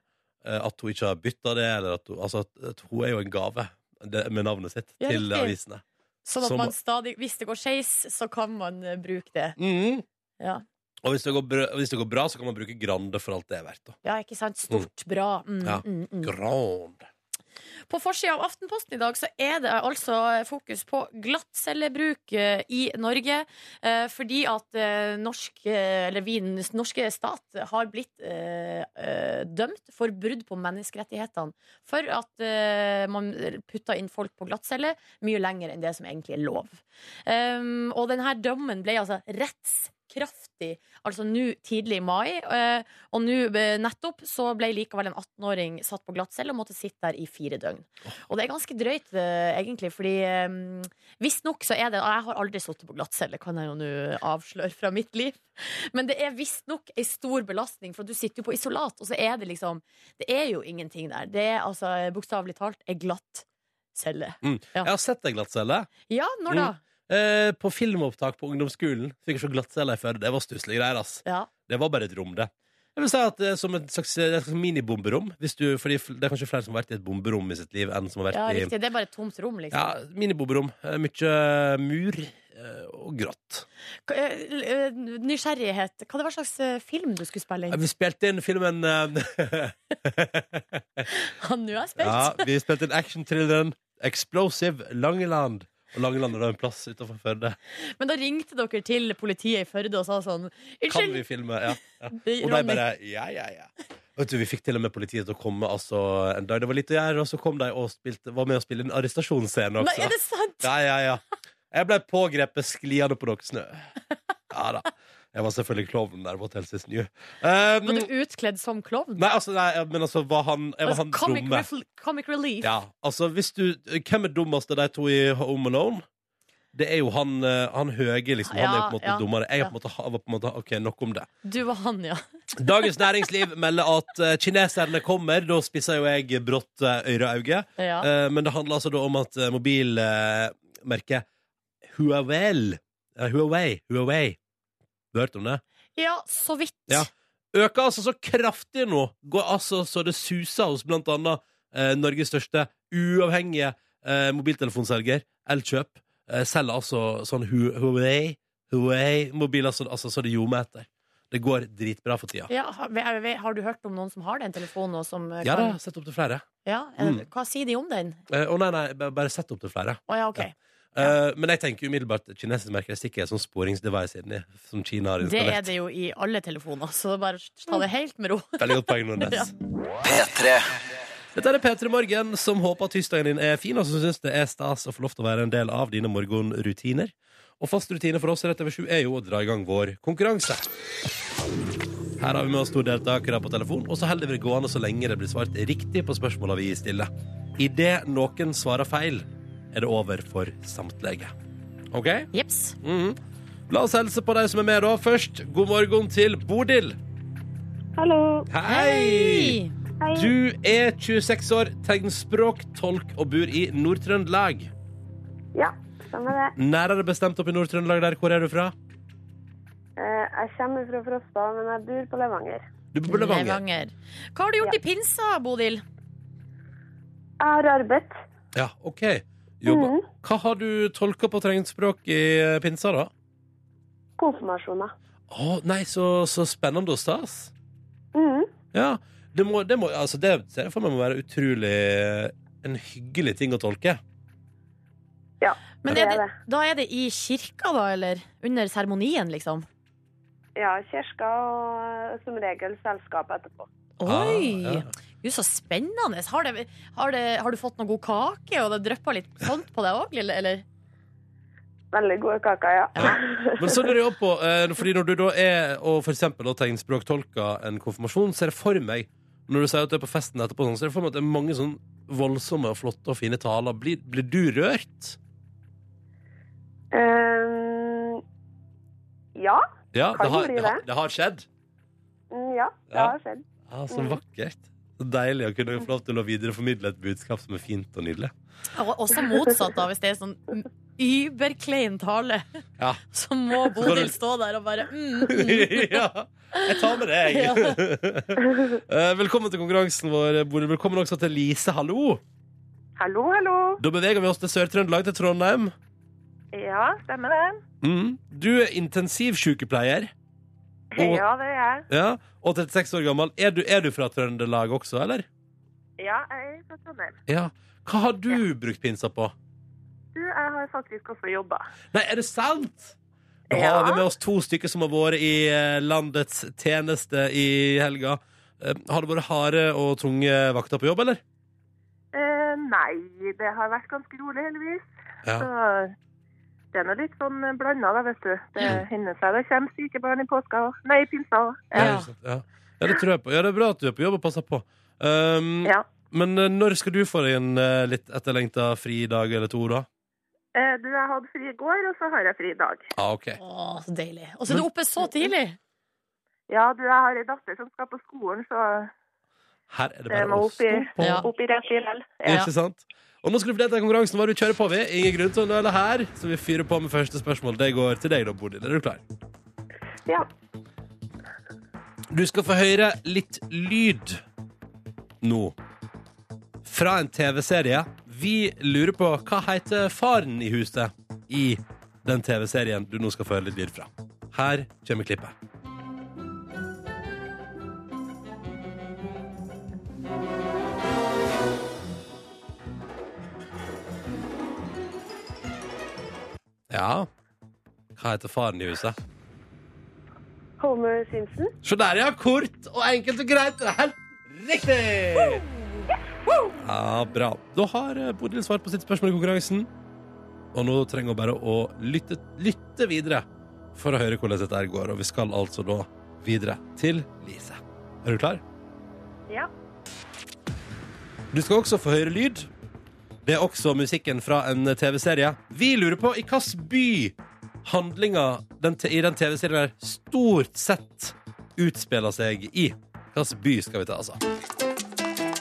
Speaker 1: eh, at hun ikke har bytta det, eller at hun, altså, at, at hun er jo en gave det, med navnet sitt
Speaker 2: Ja,
Speaker 1: til
Speaker 2: riktig.
Speaker 1: avisene.
Speaker 2: Sånn at
Speaker 1: Som-
Speaker 2: man stadig Hvis det går skeis, så kan man eh, bruke det.
Speaker 1: Mhm.
Speaker 2: Ja.
Speaker 1: Og hvis det, går bra, hvis det går bra, så kan man bruke Grande for alt det er verdt. Da.
Speaker 2: Ja, ikke sant? Stort, bra. Mm,
Speaker 1: Ja.
Speaker 2: mm, mm.
Speaker 1: Grande.
Speaker 2: På forsida av Aftenposten i dag så er det altså fokus på glattcellebruk eh, i Norge. eh, Fordi at eh, norsk, eh, eller vi, den norske stat har blitt eh, eh, dømt for brudd på menneskerettighetene. For at eh, man putta inn folk på glattcelle mye lenger enn det som egentlig er lov. Um, og denne dommen ble altså rettskraftig, altså nå tidlig i mai. eh, og nå eh, nettopp så ble likevel en 18-åring satt på glattcelle og måtte sitte der i fire døgn. Og det er ganske drøyt, eh, egentlig, fordi um, visstnok så er det og Jeg har aldri sittet på glattcelle, kan jeg jo nå avsløre fra mitt liv. Men det er visstnok ei stor belastning, for du sitter jo på isolat, og så er det liksom Det er jo ingenting der. Det er altså eh, bokstavelig talt ei glatt celle.
Speaker 1: Jeg har sett deg glattcelle.
Speaker 2: Ja, når da?
Speaker 1: eh, på filmopptak på ungdomsskolen. Fikk jeg se glattcelle i Førde. Det var stusslige greier, ass.
Speaker 2: Ja.
Speaker 1: Det var bare et rom, det. Jeg vil si at det er som et slags, det er et slags minibomberom. Hvis du, fordi fl- det er kanskje flere som har vært i et bomberom i sitt liv enn som har vært
Speaker 2: ja,
Speaker 1: i
Speaker 2: riktig. Det er bare et tomt rom, liksom.
Speaker 1: ja, minibomberom. Eh, Mye mur eh, og grått.
Speaker 2: K- eh, l- eh, Nysgjerrighet. Hva det var slags eh, film du skulle
Speaker 1: Eh,
Speaker 2: spille inn?
Speaker 1: Vi spilte inn filmen eh,
Speaker 2: Han nå er jeg spent.
Speaker 1: Ja, vi spilte inn actionthrilleren Explosive Langeland. Og Langeland er da en plass utenfor Førde.
Speaker 2: Men da ringte dere til politiet i Førde og sa sånn
Speaker 1: Kan vi
Speaker 2: Unnskyld,
Speaker 1: filme? Ja. Og de
Speaker 2: Ronny.
Speaker 1: bare ja, ja, ja. Vet du, Vi fikk til og med politiet til å komme altså, en dag. Det var litt å gjøre, og så kom de og spilte, var med og spilte en arrestasjonsscene
Speaker 2: Nei,
Speaker 1: også.
Speaker 2: er det sant?
Speaker 1: Ja, ja, ja. Jeg ble pågrepet skliende på noe snø. Ja da. Jeg var selvfølgelig klovnen der på Hotel Sisnyu. Um,
Speaker 2: Var du utkledd som klovn?
Speaker 1: nei, altså, nei, men altså, var han, jeg var
Speaker 2: Altså,
Speaker 1: han
Speaker 2: comic,
Speaker 1: dumme?
Speaker 2: ref- comic relief.
Speaker 1: Ja, altså hvis du Hvem er dummest av de to i Home Alone? Det er jo han, eh, han høye, liksom. Han er jo på en måte
Speaker 2: Ja, ja,
Speaker 1: dummere. Jeg er på en
Speaker 2: ja.
Speaker 1: måte, ha- var på en måte OK, nok om det.
Speaker 2: Du var han, ja.
Speaker 1: Dagens Næringsliv melder at eh, kineserne kommer. Da spisser jo jeg brått eh, øreauget.
Speaker 2: ja.
Speaker 1: Eh, men det handler altså da om at eh, mobilmerket Huawei, eh, Huawei Huawei Du har hørt om det?
Speaker 2: Ja, så vidt.
Speaker 1: Ja. Øker altså så kraftig nå. Går altså så det suser hos blant annet eh, Norges største uavhengige eh, mobiltelefonselger, Elkjøp. Eh, selger altså sånn Hu- Huawei Huawei-mobiler så, altså, så det ljomer etter. Det går dritbra for tida.
Speaker 2: Ja, har, jeg vet- har du hørt om noen som har den telefonen? Og som eh,
Speaker 1: Ja da,
Speaker 2: kan,
Speaker 1: sett opp til flere.
Speaker 2: ja, eh,
Speaker 1: Mm.
Speaker 2: Hva sier de om den?
Speaker 1: Eh, å nei, nei, b- bare sett opp til flere.
Speaker 2: Å ja, OK.
Speaker 1: Eh, men jeg tenker umiddelbart at kinesisk merker det sikkert er sånn sporingsdevice inni, som Kina har
Speaker 2: Det er
Speaker 1: installert.
Speaker 2: det jo i alle telefoner, så bare ta det helt med ro.
Speaker 1: Veldig godt poeng, Nordnes.
Speaker 2: Ja.
Speaker 1: Dette er P3 Morgen, som håper at tirsdagen din er fin, og som syns det er stas å få lov til å være en del av dine morgenrutiner. Og fast rutine for oss rett over sju er jo å dra i gang vår konkurranse. Her har vi med oss to deltakere på telefon, og så holder vi det gående så lenge det blir svart riktig på spørsmåla vi stiller. Idet noen svarer feil, er det over for samtlige. OK?
Speaker 2: Jeps.
Speaker 1: Mhm. La oss helse på de som er med, da. Først, god morgen til Bodil.
Speaker 4: Hallo.
Speaker 1: Hei!
Speaker 4: Hei.
Speaker 1: Du er 26 år, tegnspråk, tolk og bor i Nord-Trøndelag.
Speaker 4: Ja, stemmer det.
Speaker 1: Nærere bestemt opp i Nord-Trøndelag der. Hvor er du fra?
Speaker 4: Eh, jeg kommer fra Frosta, men jeg bor på Levanger.
Speaker 1: Du bor på Levanger.
Speaker 2: Levanger. Hva har du gjort i pinsa, Bodil?
Speaker 4: Jeg har Mm. arbeid.
Speaker 1: Ja, OK.
Speaker 4: Mhm.
Speaker 1: Jobba. Hva har du tolka på tegnspråk i eh, pinsa, da?
Speaker 4: Konfirmasjoner.
Speaker 1: Å, nei, så, så spennende og stas.
Speaker 4: Mhm.
Speaker 1: Ja. Det må, det må altså, det ser jeg for meg må være utrolig eh, en hyggelig ting å tolke.
Speaker 2: Men
Speaker 4: Det
Speaker 2: er
Speaker 4: er
Speaker 2: det,
Speaker 4: det.
Speaker 2: da er det i kirka, da, eller? Under seremonien, liksom?
Speaker 4: Ja, kirka og eh, som regel selskap etterpå.
Speaker 2: Oi!
Speaker 1: Ah, ja.
Speaker 2: Gud, så spennende. Har, det, har, det, har du fått noe god kake, og det dryppa litt sånt på deg òg, eller?
Speaker 4: Veldig gode kaker, ja.
Speaker 1: Men så lurer jeg også på, eh, fordi når du da er og for eksempel da tegnspråktolker en konfirmasjon, så er det for meg, når du sier at du er på festen etterpå, sånn, så er det for meg at det er mange sånn voldsomme og flotte og fine taler. Blir, blir du rørt?
Speaker 4: Eh, ja.
Speaker 1: Ja,
Speaker 4: Kan
Speaker 1: det har,
Speaker 4: bli
Speaker 1: det har,
Speaker 4: det.
Speaker 1: det har skjedd.
Speaker 4: Mm, ja, det
Speaker 1: Ja.
Speaker 4: har skjedd.
Speaker 1: Ja, Ah, så vakkert. Så deilig å kunne få lov til å videreformidle et budskap som er fint og nydelig.
Speaker 2: Og også motsatt, da, hvis det er sånn überklein tale.
Speaker 1: Ja.
Speaker 2: Så må Bodil stå der og bare mm, mm.
Speaker 1: ja, jeg tar med deg. Eh, Velkommen til konkurransen vår, Bodil. Velkommen også til Lise. Hallo.
Speaker 4: Hallo, hallo.
Speaker 1: Da beveger vi oss til Sør-Trøndelag, til Trondheim.
Speaker 4: Ja, stemmer det.
Speaker 1: Mm. Du er intensivsykepleier. Og-
Speaker 4: Ja, det er jeg.
Speaker 1: Ja, og 36 år gammel. Er du, er du fra Trøndelag også, eller?
Speaker 4: Ja, jeg er fra Trondheim.
Speaker 1: Ja. Hva har du brukt pinsa på?
Speaker 4: Du, jeg har faktisk også jobba.
Speaker 1: Nei, er det sant? Da
Speaker 4: Ja.
Speaker 1: har vi med oss to stykker som har vært i eh, landets tjeneste i helga. Eh, Har det vært harde og tunge vakter på jobb, eller?
Speaker 4: Eh, nei, det har vært ganske rolig, heldigvis. Så
Speaker 1: Ja.
Speaker 4: det er nå litt sånn blanda, da, vet du. Det hender seg det kommer syke barn i påska òg. Nei, i pinsa òg.
Speaker 1: Mm. Ja.
Speaker 4: Ja.
Speaker 1: ikke sant? ja. ja, det tror jeg på. Ja, det er bra at du er på jobb og passer på. Um,
Speaker 4: Ja.
Speaker 1: Men eh, når skal du få deg en eh, litt etterlengta fridag eller to, da?
Speaker 4: Eh, Du, jeg hadde fri i går, og så har jeg fri i dag.
Speaker 1: Ah, ok.
Speaker 2: Å, så deilig. Og så er du oppe så tidlig!
Speaker 4: Ja, du, jeg har ei datter som skal på skolen, så
Speaker 1: Her er det
Speaker 4: det
Speaker 1: bare
Speaker 4: må
Speaker 1: å
Speaker 4: opp i,
Speaker 1: stå på.
Speaker 2: Ja.
Speaker 4: opp i rett i lell.
Speaker 1: Ikke sant? Og nå skal du få delta i konkurransen hva du kjører på ved. Ingen grunn til å nøle her, så vi fyrer på med første spørsmål. Det går til deg, da, Bodil. Er du klar?
Speaker 4: Ja.
Speaker 1: Du skal få høre litt lyd nå. Fra en TV-serie. Vi lurer på hva heter faren i huset i den TV-serien du nå skal få høre litt lyd fra. Her kommer klippet. Ja Hva heter faren i huset?
Speaker 4: Homer Simpson.
Speaker 1: Så der, ja. Kort og enkelt og greit. Det er helt riktig! Ja, bra. Da har eh, Bodil svart på sitt spørsmål i konkurransen. Og nå trenger hun bare å lytte, lytte videre for å høre hvordan dette her går. Og vi skal altså da videre til Lise. Er du klar?
Speaker 4: Ja.
Speaker 1: Du skal også få høre lyd. Det er også musikken fra en TV-serie. Vi lurer på i hvilken by handlinga den te- i den TV-serien her stort sett utspiller seg i. Hvilken by skal vi ta, altså?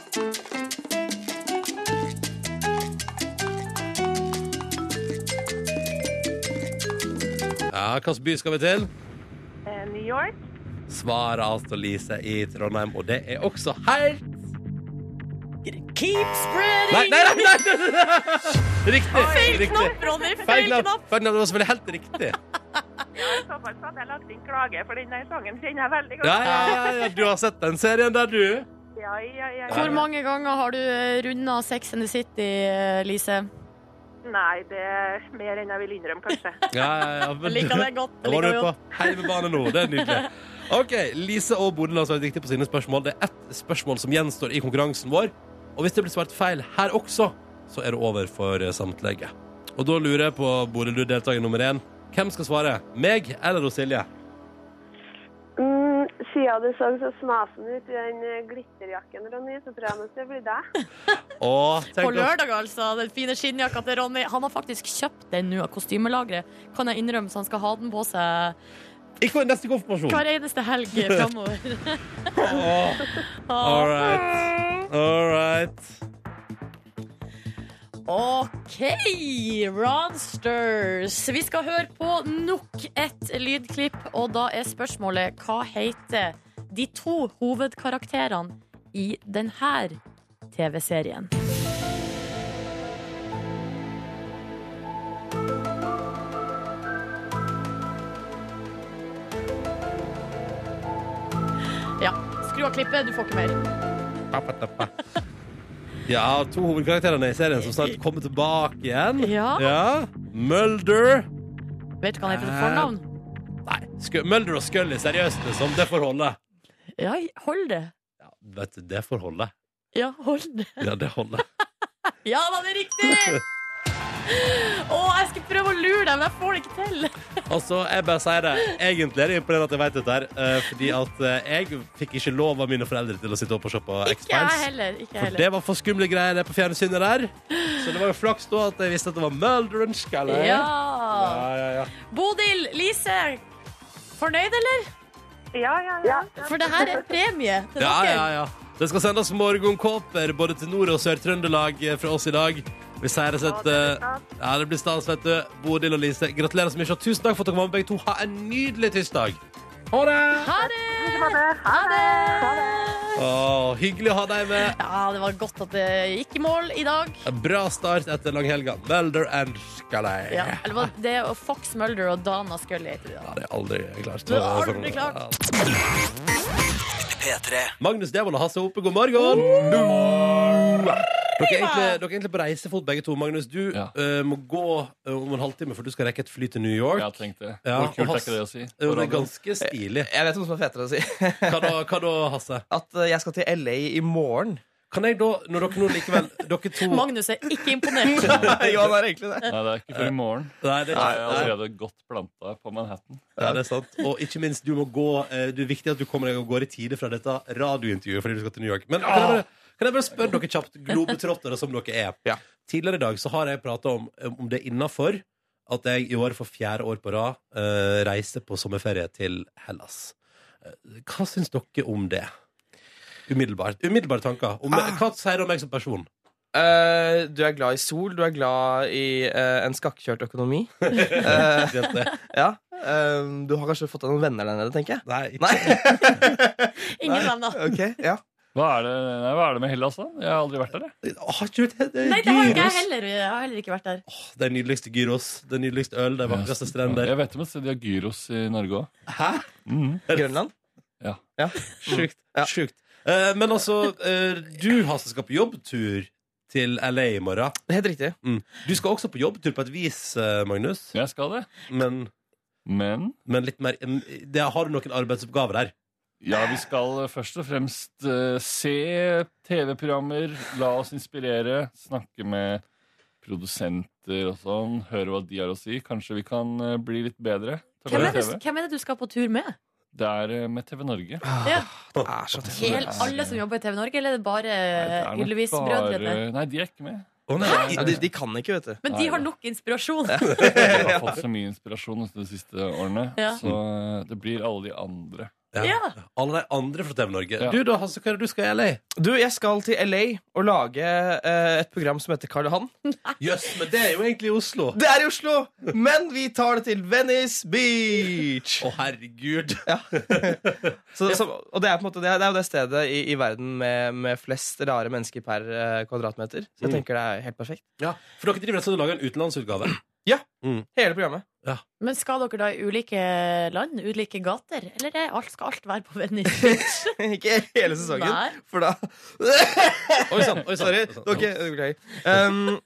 Speaker 1: Ja, hvilken by skal vi til?
Speaker 4: Eh, New York.
Speaker 1: Svarer altså Lise i Trondheim, og det er også helt
Speaker 2: Keep spreading!
Speaker 1: Nei, nei, nei! nei, nei, nei. Riktig.
Speaker 2: Feil
Speaker 1: riktig.
Speaker 2: knapp, Ronny!
Speaker 1: Feil
Speaker 2: Feil
Speaker 1: knapp.
Speaker 2: knapp!
Speaker 1: Feil knapp. Det var selvfølgelig helt riktig.
Speaker 4: I så fall så hadde jeg lagt inn klage, for den der sangen kjenner jeg veldig godt.
Speaker 1: Ja, ja, ja, ja. Du har sett den serien der, du.
Speaker 4: Ja, ja, ja, ja.
Speaker 2: Hvor mange ganger har du runda Sex and the City, eh, Lise?
Speaker 4: Nei, det er mer enn jeg vil innrømme, kanskje.
Speaker 1: Ja, ja, ja.
Speaker 2: Jeg
Speaker 1: Men,
Speaker 2: liker det godt.
Speaker 1: Da
Speaker 2: Jeg
Speaker 1: var
Speaker 2: liker
Speaker 1: du
Speaker 2: det
Speaker 1: på
Speaker 2: godt.
Speaker 1: heimebane nå. Det er nydelig. Ok, Lise og Bodil har svart riktig på sine spørsmål. Det er ett spørsmål som gjenstår i konkurransen vår. Og hvis det blir svart feil her også, så er det over for eh, samtlige. Og da lurer jeg på, Bodil, du er deltaker nummer én. Hvem skal svare? Meg eller hos Silje?
Speaker 5: Mm, siden du så så snasen ut i den eh, glitterjakken, Ronny, så tror jeg nok det blir deg.
Speaker 1: Å,
Speaker 2: På
Speaker 1: tenk oss.
Speaker 2: lørdag, altså. Den fine skinnjakka til Ronny. Han har faktisk kjøpt den nå av kostymelageret, kan jeg innrømme, så han skal ha den på seg
Speaker 1: Ikke neste konfirmasjon.
Speaker 2: hver eneste helg framover.
Speaker 1: Åh. All right. All right.
Speaker 2: OK, Ronsters. Vi skal høre på nok et lydklipp, og da er spørsmålet hva heter de to hovedkarakterene i denne TV-serien? Ja, skru av klippet, du får ikke mer.
Speaker 1: Ja, to hovedkarakterene i serien som snart kommer tilbake igjen.
Speaker 2: Ja.
Speaker 1: Mulder
Speaker 2: Vet du hva han heter til fornavn?
Speaker 1: Nei, Scu- Mulder og Scully, seriøst, liksom. Det får holde.
Speaker 2: Ja, hold det.
Speaker 1: Ja, vet du, det får holde.
Speaker 2: Ja, hold det.
Speaker 1: Ja, det holder.
Speaker 2: Ja da, det er riktig! Å, jeg skal prøve å lure deg, men jeg får det ikke til.
Speaker 1: Altså, jeg bare sier det. Egentlig er det imponerende at jeg vet dette her, eh, fordi at eh, jeg fikk ikke lov av mine foreldre til å sitte opp og se på
Speaker 2: Ikke jeg
Speaker 1: X-Files.
Speaker 2: heller. Ikke jeg
Speaker 1: For
Speaker 2: heller.
Speaker 1: det var for skumle greier det på fjernsynet der. Så det var jo flaks da at jeg visste at det var Mulder og Scully.
Speaker 2: Ja.
Speaker 1: Ja, ja, ja.
Speaker 2: Bodil, Lise, fornøyd, eller?
Speaker 4: Ja, ja, ja.
Speaker 2: For det her er premie til
Speaker 1: Ja,
Speaker 2: dere.
Speaker 1: ja, ja. Det skal sendes morgenkåper både til Nord- og Sør-Trøndelag eh, fra oss i dag. Vi sier det sett eh, Ja, det blir stas, vet du. Bodil og Lise, gratulerer så mye. Og tusen takk for at dere var med, begge to. Ha en nydelig tirsdag. Ha det!
Speaker 2: Ha det!
Speaker 4: Ha det.
Speaker 2: Ha det!
Speaker 1: Å, hyggelig å ha deg med.
Speaker 2: Ja, det var godt at det gikk i mål i dag.
Speaker 1: En Bra start etter langhelga. Mulder and Scully.
Speaker 2: Ja, eller var det og Fox Mulder og Dana Scully heter de da.
Speaker 1: Ja, det er sånn- aldri klart.
Speaker 2: Det er aldri klart.
Speaker 1: Magnus Devold og Hasse Hope, god morgen! Dere er, egentlig, dere er egentlig på reisefot begge to. Magnus, du
Speaker 6: Ja.
Speaker 1: eh, må gå eh, om en halvtime, for du skal rekke et fly til New York.
Speaker 6: Jeg har tenkt det.
Speaker 1: Ja,
Speaker 6: Hvor kult
Speaker 1: og
Speaker 6: er ikke det å si?
Speaker 1: Eh, og det er
Speaker 6: Radio.
Speaker 1: ganske stilig.
Speaker 7: Jeg vet noe som er fetere å si.
Speaker 1: Hva da, hva da, Hasse?
Speaker 7: At eh, jeg skal til LA i morgen.
Speaker 1: Kan jeg da, når dere nå likevel Dere to
Speaker 2: Magnus er ikke imponert.
Speaker 7: ja, det er egentlig det.
Speaker 6: Nei, det er ikke før i morgen.
Speaker 1: Nei, altså, det,
Speaker 6: Jeg er
Speaker 1: nei,
Speaker 6: allerede godt planta på Manhattan.
Speaker 1: ja, det er sant. Og ikke minst, du må gå eh, Det er viktig at du kommer deg og går i tide fra dette radiointervjuet fordi du skal til New York. Men kan jeg bare, kan jeg bare spørre dere kjapt, globetrottere som dere er.
Speaker 7: Ja.
Speaker 1: Tidligere i dag så har jeg prata om eh, om det er innafor at jeg i år for fjerde år på rad eh, reiser på sommerferie til Hellas. Eh, Hva Ah. syns dere om det? Umiddelbart. Umiddelbare tanker. Om, Hva sier det om meg som person?
Speaker 7: Eh, du er glad i sol, du er glad i eh, en skakkjørt økonomi. Eh,
Speaker 1: Vet det.
Speaker 7: ja. Eh, du har kanskje fått deg noen venner der nede, tenker jeg.
Speaker 1: Nei, ikke.
Speaker 7: Nei?
Speaker 2: Ingen venner.
Speaker 7: Ok, ja.
Speaker 6: Hva er det, nei, hva er det med Hellas, da? Jeg har aldri vært der. jeg.
Speaker 1: Har ikke du det? Det
Speaker 2: Nei,
Speaker 1: er
Speaker 2: det har ikke jeg
Speaker 1: gyros.
Speaker 2: heller. Jeg har heller ikke vært der.
Speaker 1: Det er nydeligste gyros. Det er nydeligste øl. Det er vakreste strender.
Speaker 6: Jeg vet om et sted de har gyros i Norge òg.
Speaker 1: Hæ?
Speaker 7: Grønland?
Speaker 1: Sjukt.
Speaker 7: Ja.
Speaker 1: Sjukt. Eh, men altså, eh, du Hasse, skal på jobbtur til LA i morgen.
Speaker 7: Mm. Helt riktig.
Speaker 1: Du skal også på jobbtur på et vis, eh, Magnus.
Speaker 6: Jeg skal det.
Speaker 1: Men,
Speaker 6: Men
Speaker 1: men litt mer em, det, Har du noen arbeidsoppgaver der?
Speaker 6: ja, vi skal først og fremst eh, se TV-programmer, la oss inspirere, snakke med produsenter og sånn, høre hva de har å si. Kanskje vi kan eh, bli litt bedre. til å
Speaker 2: Hvem
Speaker 6: lage
Speaker 2: er, det,
Speaker 6: TV.
Speaker 2: hvem er det du skal på tur med?
Speaker 6: Det er eh, med TV Norge.
Speaker 2: Ja.
Speaker 7: Det er så tøft.
Speaker 2: Hel, alle som jobber i TV Norge, eller er det bare
Speaker 6: Nei, det er nok
Speaker 2: Ylvis-brødrene?
Speaker 6: bare- Nei, de er ikke med.
Speaker 1: Å nei,
Speaker 7: Ja, de, de kan ikke, vet du.
Speaker 2: Men de har nok inspirasjon.
Speaker 6: Jeg har fått så mye inspirasjon de siste årene,
Speaker 2: Ja.
Speaker 6: så eh, det blir alle de andre.
Speaker 2: Ja.
Speaker 1: Alle de andre fra TV Norge.
Speaker 6: Ja.
Speaker 1: Du da, Hasse, hva er det du skal i LA?
Speaker 7: Du, jeg skal til LA og lage eh, et program som heter Karl Johan.
Speaker 2: Ah.
Speaker 1: Jøss, men det er jo egentlig i Oslo. Å,
Speaker 7: Det er i Oslo, men vi tar det til Venice Beach!
Speaker 1: herregud.
Speaker 7: Så, så, og det er, på en måte, det er, det er jo det stedet i, i verden med, med flest rare mennesker per eh, kvadratmeter. Så jeg
Speaker 1: Mm.
Speaker 7: tenker det er helt perfekt.
Speaker 1: Ja, For dere driver rett og slett og lager en utenlandsutgave?
Speaker 7: Hele programmet.
Speaker 2: Men skal dere da i ulike land, ulike gater, eller er alt, skal alt være på Venice?
Speaker 7: ikke hele sesongen,
Speaker 2: Nei.
Speaker 7: for da
Speaker 1: Oi sann. oi sann.
Speaker 7: Sorry. det var ikke- Beklager. Um,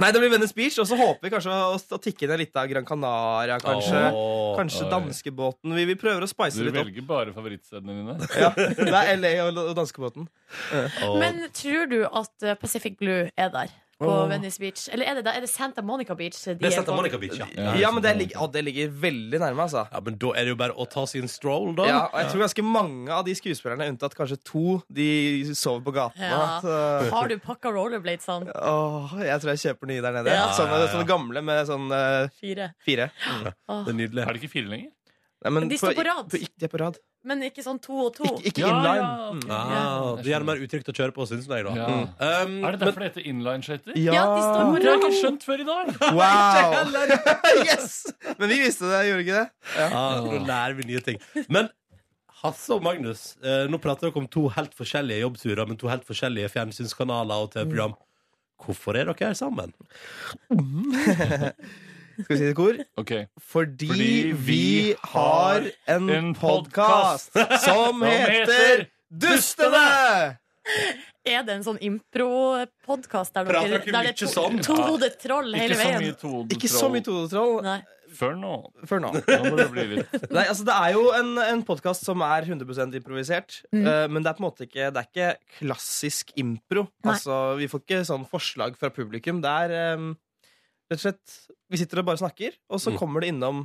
Speaker 7: nei, det blir Venice Beach, og så håper vi kanskje å, å tikke inn litt av Gran Canaria, kanskje.
Speaker 1: Åh.
Speaker 7: Kanskje
Speaker 6: oi.
Speaker 7: danskebåten. Vi, vi prøver å spice
Speaker 6: Du
Speaker 7: litt opp.
Speaker 6: velger bare favorittstedene dine.
Speaker 7: Ja, det er LA og, og danskebåten.
Speaker 1: Åh.
Speaker 2: Men tror du at eh, Pacific Blue er der? På
Speaker 1: Åh.
Speaker 2: Venice Beach? Eller er det, da, er det Santa Monica Beach? de
Speaker 1: Det er
Speaker 2: er
Speaker 1: Santa
Speaker 2: på?
Speaker 1: Monica Beach, ja.
Speaker 6: Ja.
Speaker 7: Ja, men det ligger, å, det ligger veldig nærme, altså.
Speaker 1: Ja, Men da er det jo bare å ta sin stroll, da.
Speaker 7: Ja, og jeg tror ganske mange av de skuespillerne, unntatt kanskje to, de sover på gatene.
Speaker 2: Ja.
Speaker 7: Så-
Speaker 2: Har du pakka rollerbladesene?
Speaker 7: Åh, jeg tror jeg kjøper nye der nede.
Speaker 2: Ja.
Speaker 7: Sånne, sånne gamle med sånn eh,
Speaker 2: Fire.
Speaker 7: fire.
Speaker 1: Det er nydelig.
Speaker 6: Er det ikke fire lenger?
Speaker 7: Nei, men
Speaker 2: De står på rad.
Speaker 7: På, de er på rad.
Speaker 2: Men ikke sånn to og to.
Speaker 7: Ikke, ikke
Speaker 6: Ja,
Speaker 7: inline.
Speaker 6: ja.
Speaker 7: Mm.
Speaker 1: Ah, det gjør det mer utrygt å kjøre på, syns jeg, da.
Speaker 6: Ja.
Speaker 1: Um,
Speaker 6: Er det derfor det heter inlineskøyter?
Speaker 2: Ja, de står på
Speaker 6: Det har jeg ikke
Speaker 2: rad.
Speaker 6: skjønt før i dag!
Speaker 7: Wow! yes! Men vi visste det, gjorde vi ikke det?
Speaker 1: Ja, nå lærer vi nye ting. Men Hasse og Magnus, eh, nå prater dere om to helt forskjellige jobbturer, men to helt forskjellige fjernsynskanaler og TV-program.
Speaker 6: Mm.
Speaker 1: Hvorfor er dere her sammen?
Speaker 7: Skal vi si det i kor?
Speaker 6: Ok,
Speaker 7: Fordi,
Speaker 6: Fordi
Speaker 7: vi har en,
Speaker 6: en
Speaker 7: podkast som heter
Speaker 6: heter
Speaker 7: Dustene!
Speaker 2: Er det en sånn impro-podkast der,
Speaker 1: Prater
Speaker 2: dere-
Speaker 1: dere
Speaker 2: der
Speaker 1: mye
Speaker 2: det er
Speaker 1: sånn?
Speaker 2: to- tohodet troll hele
Speaker 6: Ikke så
Speaker 2: veien?
Speaker 6: mye todetroll
Speaker 7: Ikke så mye todetroll
Speaker 2: Nei.
Speaker 6: før nå.
Speaker 7: før nå.
Speaker 6: Nå må det bli litt
Speaker 7: Nei, altså Det er jo en, en podkast som er 100 improvisert.
Speaker 2: Mm.
Speaker 7: eh, men det er på en måte ikke Det er ikke klassisk impro.
Speaker 2: Nei.
Speaker 7: Altså Vi får ikke sånn forslag fra publikum. Det er eh, rett og slett Vi sitter og bare snakker, og så
Speaker 1: Mm.
Speaker 7: kommer det innom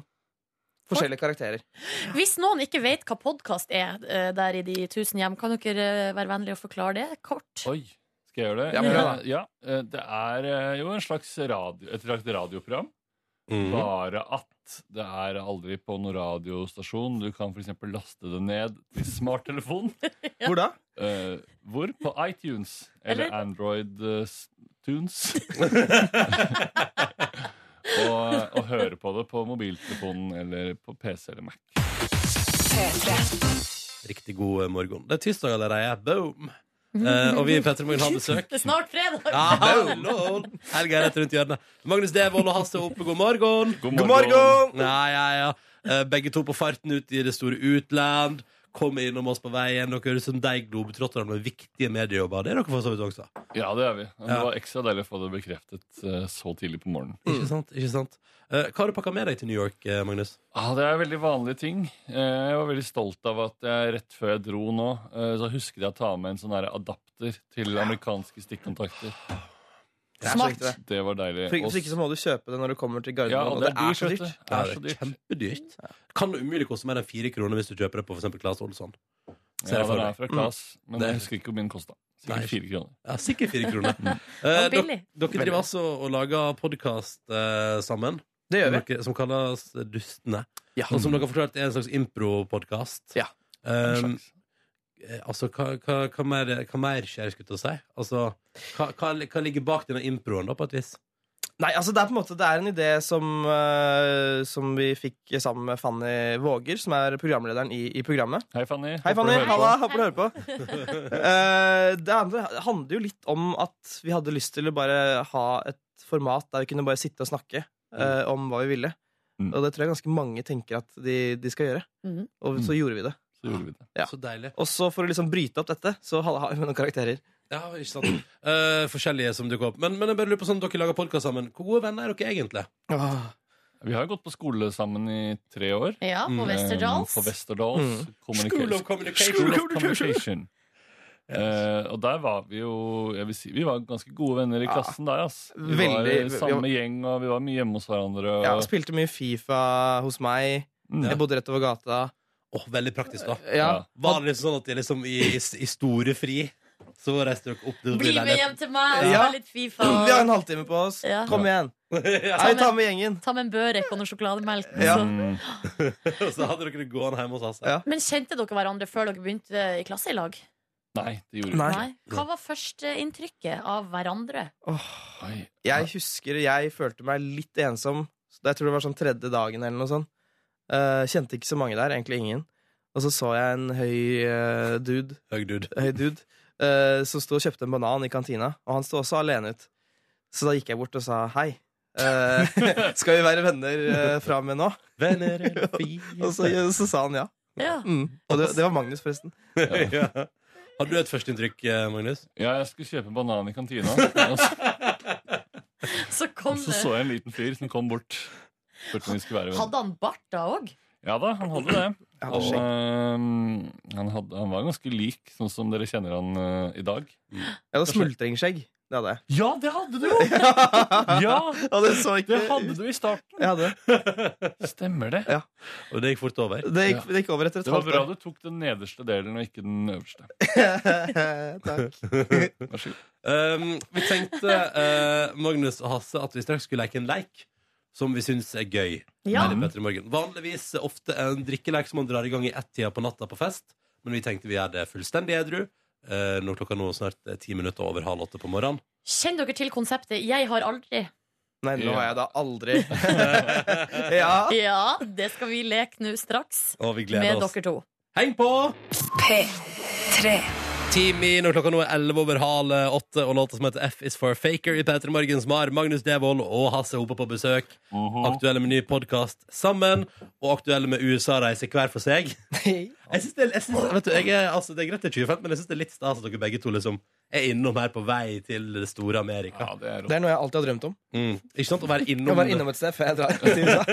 Speaker 7: forskjellige karakterer.
Speaker 2: Hvis noen ikke vet hva podkast er eh, der i de tusen hjem, kan dere eh, være vennlige og forklare det kort?
Speaker 6: Oi, skal jeg gjøre det?
Speaker 7: Ja, prøv da.
Speaker 6: Eh, ja, eh, det er eh, jo en slags radio, et slags radioprogram, Mhm.
Speaker 1: Mm.
Speaker 6: bare at det er aldri på noen radiostasjon. Du kan f.eks. laste det ned til smarttelefon.
Speaker 7: Hvor da?
Speaker 6: Eh, hvor? På iTunes. Eller
Speaker 2: Eller-
Speaker 6: Android eh, s- Tunes. og, og høre på det på mobiltelefonen eller på PC eller Mac.
Speaker 1: Riktig god eh, morgen. Det er tirsdag allerede. Boom! Eh, og vi i Petter Morgen har besøk.
Speaker 2: Det er snart fredag!
Speaker 1: Ja, hallo! Helga er rett rundt hjørnet. Magnus Devold og Hasse Hope, god morgen!
Speaker 7: God morgen!
Speaker 1: Ja, ja, ja. Eh, Begge to på farten ut i det store utland. Kom innom oss på veien. Dere er som deg globetrotterne med viktige mediejobber. Det er dere for så vidt også.
Speaker 6: Ja, det gjør vi. Men
Speaker 1: Ja.
Speaker 6: Det var ekstra deilig å få det bekreftet eh, så tidlig på morgenen.
Speaker 1: Ikke sant? ikke sant Eh, Hva har du pakka med deg til New York, eh, Magnus?
Speaker 6: Ah, det er veldig vanlige ting. Eh, Jeg var veldig stolt av at jeg rett før jeg dro nå, eh, så husket jeg å ta med en sånn her adapter til amerikanske stikkontakter.
Speaker 7: Det er så
Speaker 2: Smart.
Speaker 7: viktig, det.
Speaker 6: Det var deilig.
Speaker 7: For,
Speaker 6: Og
Speaker 7: for ikke så må du kjøpe det når du kommer til
Speaker 6: ja,
Speaker 7: Gardermoen. og
Speaker 6: og det er dyrt, vet du. Det er
Speaker 1: Ja,
Speaker 6: så dyrt.
Speaker 1: Kjempedyrt. Kan umulig koste mer enn fire kroner hvis du kjøper det på for eksempel Claes Olsson. Ser
Speaker 6: Ja,
Speaker 1: jeg for
Speaker 6: den
Speaker 1: meg.
Speaker 6: er fra Klas, men
Speaker 1: Det-
Speaker 6: jeg husker ikke hvor min kosta.
Speaker 1: Nei.
Speaker 6: Sikkert fire kroner.
Speaker 1: Ja, sikkert fire kroner. Eh,
Speaker 2: Og
Speaker 1: dere,
Speaker 2: billig.
Speaker 1: dere driver altså og lager podkast eh, sammen,
Speaker 7: Det
Speaker 6: Mm.
Speaker 7: gjør vi.
Speaker 1: dere, som kalles Dustene.
Speaker 7: Ja.
Speaker 1: Og som dere har forklart, er en slags impro-podkast.
Speaker 7: Ja.
Speaker 1: Um,
Speaker 6: Slags.
Speaker 1: eh, Altså, hva, hva, hva mer, hva mer skjer, skulle jeg til å si? Altså, hva, hva, hva ligger bak denne improen, da, på et vis?
Speaker 7: Nei, altså det er på en måte Det er en idé som, eh, som vi fikk sammen med Fanny Våger, som er programlederen i, i programmet.
Speaker 6: Hei, Fanny.
Speaker 7: Hei, Fanny. Halla. Håper du
Speaker 2: Hei.
Speaker 7: hører på. Eh, det andre handler jo litt om at vi hadde lyst til å bare ha et format der vi kunne bare sitte og snakke eh, om hva vi ville.
Speaker 6: Mm.
Speaker 7: Og det tror jeg ganske mange tenker at de, de skal gjøre.
Speaker 2: Mhm.
Speaker 7: Og så gjorde vi det.
Speaker 6: Så gjorde vi det.
Speaker 7: Ja.
Speaker 1: Så deilig.
Speaker 7: Og så for å liksom bryte opp dette, så har har vi noen karakterer.
Speaker 1: Ja, ikke sant? Eh, forskjellige som dukker opp. Men, men jeg bare lurer på sånn, dere lager podkast sammen. Hvor gode venner er dere egentlig?
Speaker 6: Vi har jo gått på skole sammen i tre år. Eh,
Speaker 2: Ja, på
Speaker 1: Mm.
Speaker 2: Westerdals.
Speaker 6: På Westerdals.
Speaker 7: Mm.
Speaker 1: School
Speaker 6: Communication.
Speaker 1: of Communication.
Speaker 6: School of Communication. Eh, og der var vi jo jeg vil si, Vi var ganske gode venner i
Speaker 7: Ja.
Speaker 6: klassen der. ass Vi
Speaker 7: Veldig-
Speaker 6: var samme gjeng, og vi var mye hjemme hos hverandre. Og,
Speaker 7: Ja, spilte mye Fifa hos meg.
Speaker 6: Mm.
Speaker 7: Jeg bodde rett over gata.
Speaker 1: Åh, veldig praktisk, da.
Speaker 7: Ja,
Speaker 6: Ja.
Speaker 1: Var det liksom sånn at jeg liksom i, i store fri så reiste dere opp til
Speaker 2: Bli med hjem til meg,
Speaker 7: Ja.
Speaker 2: ta litt Fifa.
Speaker 7: Vi har en halvtime på oss.
Speaker 2: Ja.
Speaker 7: Kom igjen.
Speaker 1: ja,
Speaker 7: Hei, ta med gjengen.
Speaker 2: Ta med en børek og noe sjokolademelk.
Speaker 7: Ja.
Speaker 2: så-
Speaker 6: Mm.
Speaker 1: og så hadde dere det gående hjemme hos oss.
Speaker 7: Ja.
Speaker 2: Men kjente dere hverandre før dere begynte i klasse i lag?
Speaker 6: Nei, det gjorde vi
Speaker 7: Nei.
Speaker 6: ikke.
Speaker 2: Nei. Hva var førsteinntrykket av hverandre?
Speaker 7: Åh.
Speaker 6: Oi.
Speaker 7: Jeg husker jeg følte meg litt ensom. Så Jeg tror det var sånn tredje dagen eller noe sånt. Eh, kjente ikke så mange der, egentlig ingen. Og så så jeg en høy eh, dude,
Speaker 1: Høy dude.
Speaker 7: høy dude eh, som sto og kjøpte en banan i kantina. Og han sto også alene ut. Så da gikk jeg bort og sa hei. eh, skal vi være venner eh, fra og med nå?
Speaker 1: Venner eller
Speaker 7: Og så,
Speaker 1: fiender?
Speaker 7: så sa han ja.
Speaker 2: Ja.
Speaker 7: Mm. Og det, det var Magnus, forresten.
Speaker 1: ja. Har du et førsteinntrykk, eh, Magnus?
Speaker 6: Ja, jeg skulle kjøpe en banan i kantina, og så,
Speaker 2: Så kom
Speaker 6: og så
Speaker 2: det
Speaker 6: så jeg en liten fyr som kom bort. Spurte om vi skulle være venner.
Speaker 2: Hadde han bart da òg?
Speaker 6: Ja da, han hadde det.
Speaker 7: Ja,
Speaker 6: Og,
Speaker 7: skjegg.
Speaker 6: eh, han, hadde, han var ganske lik, sånn som dere kjenner han eh, i dag.
Speaker 7: Jeg hadde smultringskjegg. Det hadde jeg.
Speaker 6: Ja, det hadde du jo! Ja,
Speaker 7: Ja, det så
Speaker 6: det
Speaker 7: ikke
Speaker 6: hadde du i starten.
Speaker 7: Jeg hadde det.
Speaker 6: Stemmer det.
Speaker 1: Og det gikk fort over.
Speaker 7: Det gikk, det gikk over etter et
Speaker 6: Det var
Speaker 7: halvt
Speaker 6: bra
Speaker 7: år.
Speaker 6: du tok den nederste delen og ikke den øverste.
Speaker 7: Takk.
Speaker 6: Vær så god.
Speaker 1: Um, vi tenkte, eh, Magnus og Hasse, at vi straks skulle leke en leik som vi syns er gøy.
Speaker 2: Ja.
Speaker 1: Her i Petter i morgen. Vanligvis er ofte en drikkeleik som man drar i gang i ett-tida på natta på fest, men vi tenkte vi gjør det fullstendig edru. eh, når klokka nå snart er ti minutter over halv åtte på morgenen.
Speaker 2: Kjenner dere til konseptet 'Jeg har aldri'?
Speaker 7: Nei, nå
Speaker 6: Ja.
Speaker 7: har jeg da aldri Ja.
Speaker 2: Ja, det skal vi leke nå straks.
Speaker 1: Og vi gleder
Speaker 2: Med
Speaker 1: oss.
Speaker 2: dere to.
Speaker 1: Heng på! Time når klokka nå er 11 over halv åtte, og låta som heter F is for a faker i P3 Morgens Mar. Magnus Devold og Hasse Hope på besøk. Aktuelle med ny podkast sammen, og aktuelle med USA-reise hver for seg. Jeg synes det, jeg synes, vet du, jeg er, altså, det er greit til 25, men jeg syns det er litt stas at dere begge to liksom er innom her på vei til det store
Speaker 6: Ja,
Speaker 1: Amerika.
Speaker 6: det er
Speaker 7: Det
Speaker 6: rått.
Speaker 7: er noe jeg alltid har drømt om.
Speaker 1: Mm. Ikke sant? Å være
Speaker 7: Jeg
Speaker 1: innom,
Speaker 7: var innom et sted før jeg drar. til USA.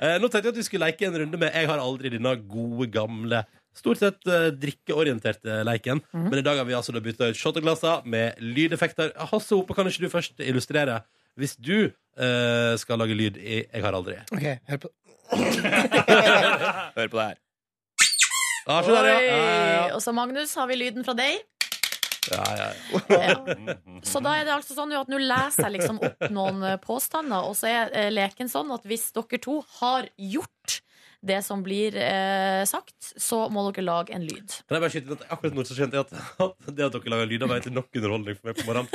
Speaker 1: Eh, Nå tenkte jeg at vi skulle leke en runde med Jeg har aldri denne gode, gamle Stort sett eh, drikkeorienterte leiken.
Speaker 7: Mhm.
Speaker 1: Men i dag har vi altså da bytta ut shotteglasser med lydeffekter. Hasse Hope, kan ikke du først illustrere hvis du eh, skal lage lyd i Jeg har aldri?
Speaker 7: Ok, hør på
Speaker 1: Hør på det her. Ah, se der, ja. Ja, ja,
Speaker 2: Oi. Og så Magnus, har vi lyden fra deg?
Speaker 1: ja. ja, ja.
Speaker 2: Ja. Så da er det altså sånn jo at nå leser jeg liksom opp noen eh, påstander, og så er eh, leken sånn at hvis dere to har gjort det som blir eh, sagt, så må dere lage en lyd.
Speaker 1: Kan jeg bare skyte inn at akkurat nå så kjente jeg at, at det at dere lager lyd av meg, til nok underholdning for meg på morgenen.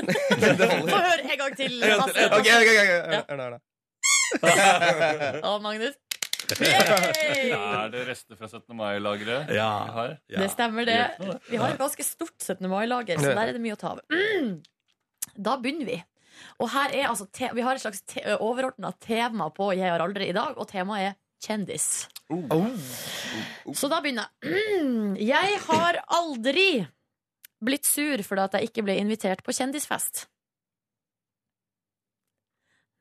Speaker 2: Få høre en gang til,
Speaker 1: En gang til,
Speaker 2: Hasse.
Speaker 7: Ok, ok, ok, ok. Hør- hør nå, hør nå.
Speaker 2: Og Magnus. Yay!
Speaker 6: Er det rester fra 17. mai-lageret?
Speaker 1: Ja.
Speaker 6: vi har?
Speaker 1: Ja.
Speaker 2: Det stemmer, det. Vi har et ganske stort 17. mai-lager, så
Speaker 7: Ja.
Speaker 2: der er det mye å ta av. Mm. Da begynner vi. Og her er altså te Vi har et slags te overordna tema på Jeg har aldri i dag, og temaet er kjendis. Så da begynner jeg. Mm. Jeg har aldri blitt sur fordi at jeg ikke ble invitert på kjendisfest.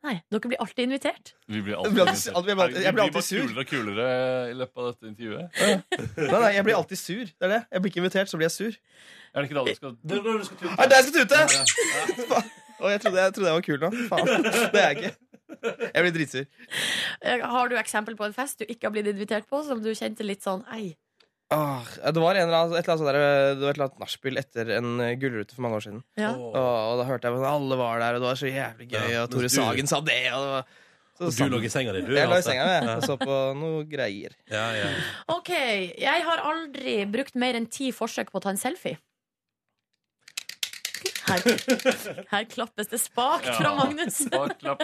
Speaker 2: Nei, dere blir alltid invitert.
Speaker 6: Vi blir
Speaker 7: Jeg
Speaker 6: alltid
Speaker 7: blir alltid-
Speaker 6: invitert.
Speaker 7: jeg blir alltid- jeg blir
Speaker 6: Vi
Speaker 7: alltid sur.
Speaker 6: kulere og kulere i løpet av dette intervjuet.
Speaker 7: Nei, nei, jeg blir alltid sur. Det er det. Jeg blir ikke invitert, så blir jeg sur.
Speaker 6: Er det ikke da du skal
Speaker 1: Det er da du skal tute.
Speaker 7: Er det jeg skal tute?! Faen. Å, jeg trodde jeg, trodde jeg var kul nå. Faen. Det er jeg ikke. Jeg blir dritsur.
Speaker 2: Eh, Har du eksempel på en fest du ikke har blitt invitert på, som du kjente litt sånn ei?
Speaker 7: Åh, Ah, det var en eller annen, et eller annet, sånt der, det var et eller annet nachspiel etter en eh, gullrute for mange år siden.
Speaker 2: Ja.
Speaker 7: Og, og da hørte jeg at alle var der, og det var så jævlig gøy,
Speaker 1: Ja,
Speaker 7: og Tore
Speaker 1: mens du-
Speaker 7: Sagen sa det, og det var Så
Speaker 1: Og du lå i altså. senga di, du?
Speaker 7: Jeg lå i
Speaker 1: Hasse.
Speaker 7: senga jeg, og så på noe greier.
Speaker 1: Ja, ja.
Speaker 2: OK. Jeg har aldri brukt mer enn ti forsøk på å ta en selfie. Her, her klappes det spakt fra
Speaker 6: Ja.
Speaker 2: Magnus.
Speaker 6: Bak lapp.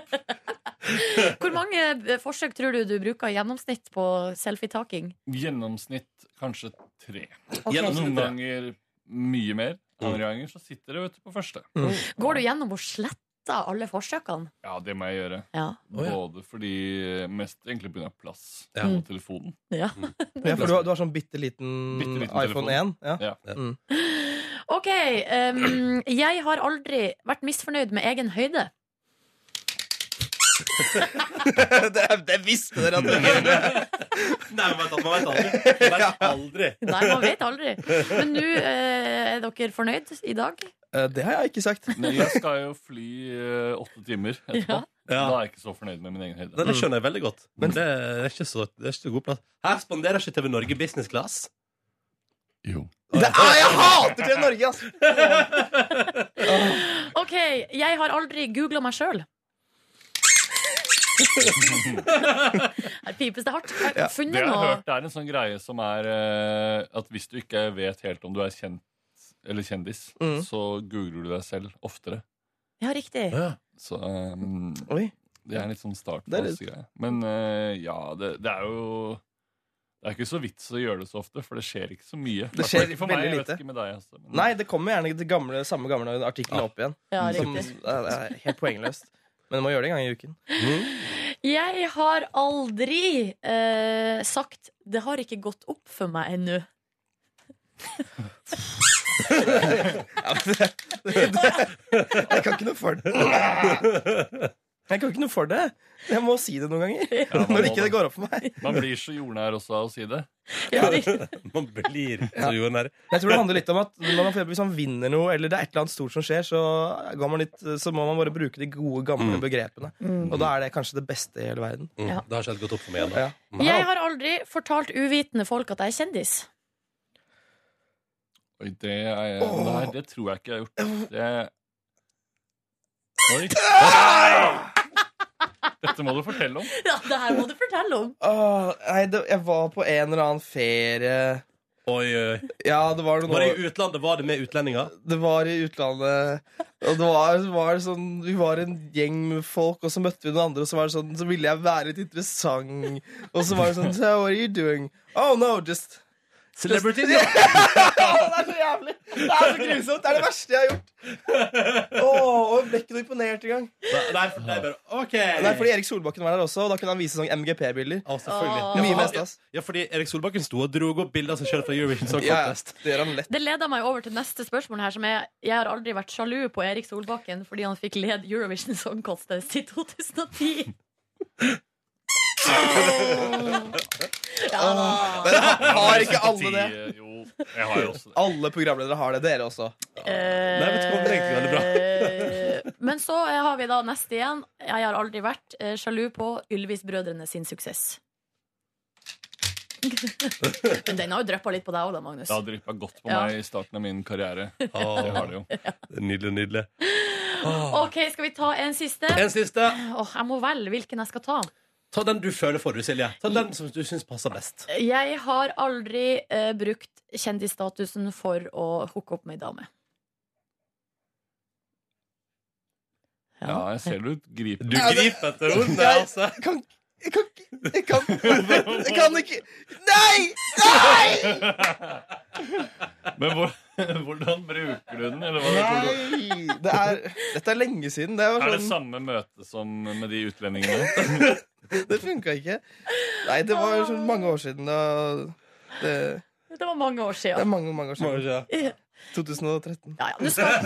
Speaker 2: Hvor mange eh, forsøk tror du du bruker i gjennomsnitt på selfietaking?
Speaker 6: Gjennomsnitt kanskje tre.
Speaker 2: Ok.
Speaker 6: Noen
Speaker 1: Gjennomsnitt tre.
Speaker 6: ganger mye mer. Andre ganger så sitter det vet du, på første.
Speaker 2: Går du gjennom og sletter alle forsøkene?
Speaker 6: Ja, det må jeg gjøre.
Speaker 2: Ja.
Speaker 1: Å, ja.
Speaker 6: Både fordi Mest egentlig pga. plass
Speaker 1: Ja.
Speaker 6: på telefonen.
Speaker 2: ja.
Speaker 7: Ja, for du har, du har sånn bitte liten
Speaker 6: Bitte liten
Speaker 7: iPhone 1? Ja.
Speaker 6: Ja.
Speaker 2: OK. ehm, jeg har aldri vært misfornøyd med egen høyde.
Speaker 7: det, det visste dere at dere gjorde!
Speaker 1: Nei, man vet, man vet aldri. Man vet aldri.
Speaker 2: Nei, man vet aldri. Men nå eh, er dere fornøyd i dag?
Speaker 7: Eh, Det har jeg ikke sagt.
Speaker 6: Men jeg skal jo fly eh, åtte timer etterpå.
Speaker 2: Ja.
Speaker 1: Ja.
Speaker 6: Da er jeg ikke så fornøyd med min egen
Speaker 1: Nei,
Speaker 6: høyde.
Speaker 7: Mm.
Speaker 1: det skjønner jeg veldig godt. Men det er ikke så, det er ikke så god plass. Her spanderer ikke TV Norge business class.
Speaker 6: Jo.
Speaker 7: Det er, jeg hater det Norge, ass!
Speaker 2: OK. Jeg har aldri googla meg sjøl. Her pipes det hardt. Jeg har
Speaker 6: Det
Speaker 2: funnet
Speaker 6: jeg har
Speaker 2: noe
Speaker 6: hørt, det er en sånn greie som er eh, at hvis du ikke vet helt om du er kjent eller kjendis,
Speaker 7: Mm.
Speaker 6: så googler du deg selv oftere.
Speaker 2: Ja, riktig.
Speaker 6: Så um,
Speaker 7: Oi.
Speaker 6: det er litt sånn
Speaker 7: Det er litt-
Speaker 6: startfase-greie. Men eh, ja, det, det er jo det er ikke så vits å gjøre det så ofte, for det skjer ikke så mye.
Speaker 7: Det
Speaker 6: I hvert fall
Speaker 7: skjer
Speaker 6: ikke for meg,
Speaker 7: veldig
Speaker 6: jeg vet
Speaker 7: lite.
Speaker 6: ikke med deg, altså. Men-
Speaker 7: Nei, det kommer gjerne det gamle, samme gamle artikkelen opp igjen.
Speaker 2: Ja,
Speaker 7: Som,
Speaker 2: riktig.
Speaker 7: det er helt poengløst. Men du må gjøre det en gang i uken.
Speaker 2: Jeg har aldri eh, sagt 'det har ikke gått opp for meg ennå'.
Speaker 7: Ja, men det, det, det, jeg kan ikke noe for det. Jeg kan ikke noe for det. Jeg må si det noen ganger.
Speaker 6: man må
Speaker 7: Når ikke det går opp for meg.
Speaker 6: Man blir så jordnær også av å si det.
Speaker 2: Ja, riktig.
Speaker 1: Man blir så jordnær.
Speaker 7: Men Jeg tror det handler litt om at når man, for eksempel hvis man vinner noe, eller det er et eller annet stort som skjer, så, går man litt, så må man bare bruke de gode, gamle begrepene. Og da er det kanskje det beste i hele verden.
Speaker 1: Mm,
Speaker 2: Ja.
Speaker 1: Det har ikke helt gått opp for meg ennå.
Speaker 7: Ja.
Speaker 2: Jeg har aldri fortalt uvitende folk at jeg er kjendis.
Speaker 6: Oi, det er jeg
Speaker 7: Åh.
Speaker 6: Nei, det tror jeg ikke jeg har gjort. Det Oi. Dette må du fortelle om.
Speaker 2: Ja, det her må du fortelle om.
Speaker 7: Åh, nei, det, jeg var på en eller annen ferie
Speaker 1: Oi, oi.
Speaker 7: Ja, det var noen
Speaker 1: Var det i utlandet? Var det med utlendinger?
Speaker 7: Det var i utlandet. Og det var, det var sånn, Vi var en gjeng med folk, og så møtte vi noen andre, og så var det sånn, så ville jeg være litt interessant. Og så var det sånn so, What are you doing? Oh no, just
Speaker 1: Celebrity?
Speaker 7: Ja, Det er så jævlig! Det er så grusomt! Det er det verste jeg har gjort. Åh, og jeg ble ikke noe imponert engang.
Speaker 1: Nei, for det er bare OK.
Speaker 7: Ah. Nei, fordi Erik Solbakken var der også, og da kunne han vise sånn MGP-bilder.
Speaker 1: Å, selvfølgelig.
Speaker 2: Åh.
Speaker 1: Ja,
Speaker 7: Mye
Speaker 1: for-
Speaker 7: mest, ass.
Speaker 1: Ja, fordi Erik Solbakken sto og dro opp bilder av seg selv fra Eurovision Song
Speaker 7: Ja, ja,
Speaker 1: Contest.
Speaker 7: det gjør han lett.
Speaker 2: Det leder meg over til neste spørsmål her, som er Jeg har aldri vært sjalu på Erik Solbakken fordi han fikk led Eurovision Song Contest i 2010. Ja da.
Speaker 7: Har ikke alle det?
Speaker 6: eh, Jo, jeg har jo også det.
Speaker 7: Alle programledere har det. Dere også.
Speaker 1: Nei, vet du hva, det er egentlig veldig bra.
Speaker 2: Eh, Men så eh, har vi da neste igjen. Jeg har aldri vært eh, sjalu på Ylvis-brødrene sin suksess. Men den har jo dryppa litt på deg òg, da, Magnus.
Speaker 6: Det har dryppa godt på
Speaker 2: Ja.
Speaker 6: meg i starten av min karriere. Det
Speaker 1: Åh,
Speaker 6: har det jo.
Speaker 1: nydelig, nydelig.
Speaker 2: OK, skal vi ta en siste?
Speaker 1: En siste.
Speaker 2: Åh, jeg må velge hvilken jeg skal ta.
Speaker 1: Ta den du føler for, du, Silje. Ta den som du syns passer best.
Speaker 2: Jeg har aldri eh, brukt kjendisstatusen for å hooke opp med ei dame.
Speaker 6: Ja, jeg ser du griper
Speaker 1: Du griper etter ordene,
Speaker 7: Jeg-
Speaker 1: altså.
Speaker 7: Jeg kan Jeg kan Jeg kan, jeg kan ikke Nei! Nei!
Speaker 6: Men hvor, hvordan bruker du den? Eller hva Hvordan-
Speaker 7: Nei! Det er, dette er lenge siden. Det,
Speaker 6: Er
Speaker 7: var
Speaker 6: det
Speaker 7: sånn,
Speaker 6: samme møte som med de utlendingene?
Speaker 7: det funka ikke. Nei, det var sånn mange år siden. Og det,
Speaker 2: Det var mange år
Speaker 7: det
Speaker 2: siden.
Speaker 7: er mange, mange år
Speaker 1: Må
Speaker 7: siden.
Speaker 1: vi se.
Speaker 7: 2013.
Speaker 2: Ja, ja, du skal,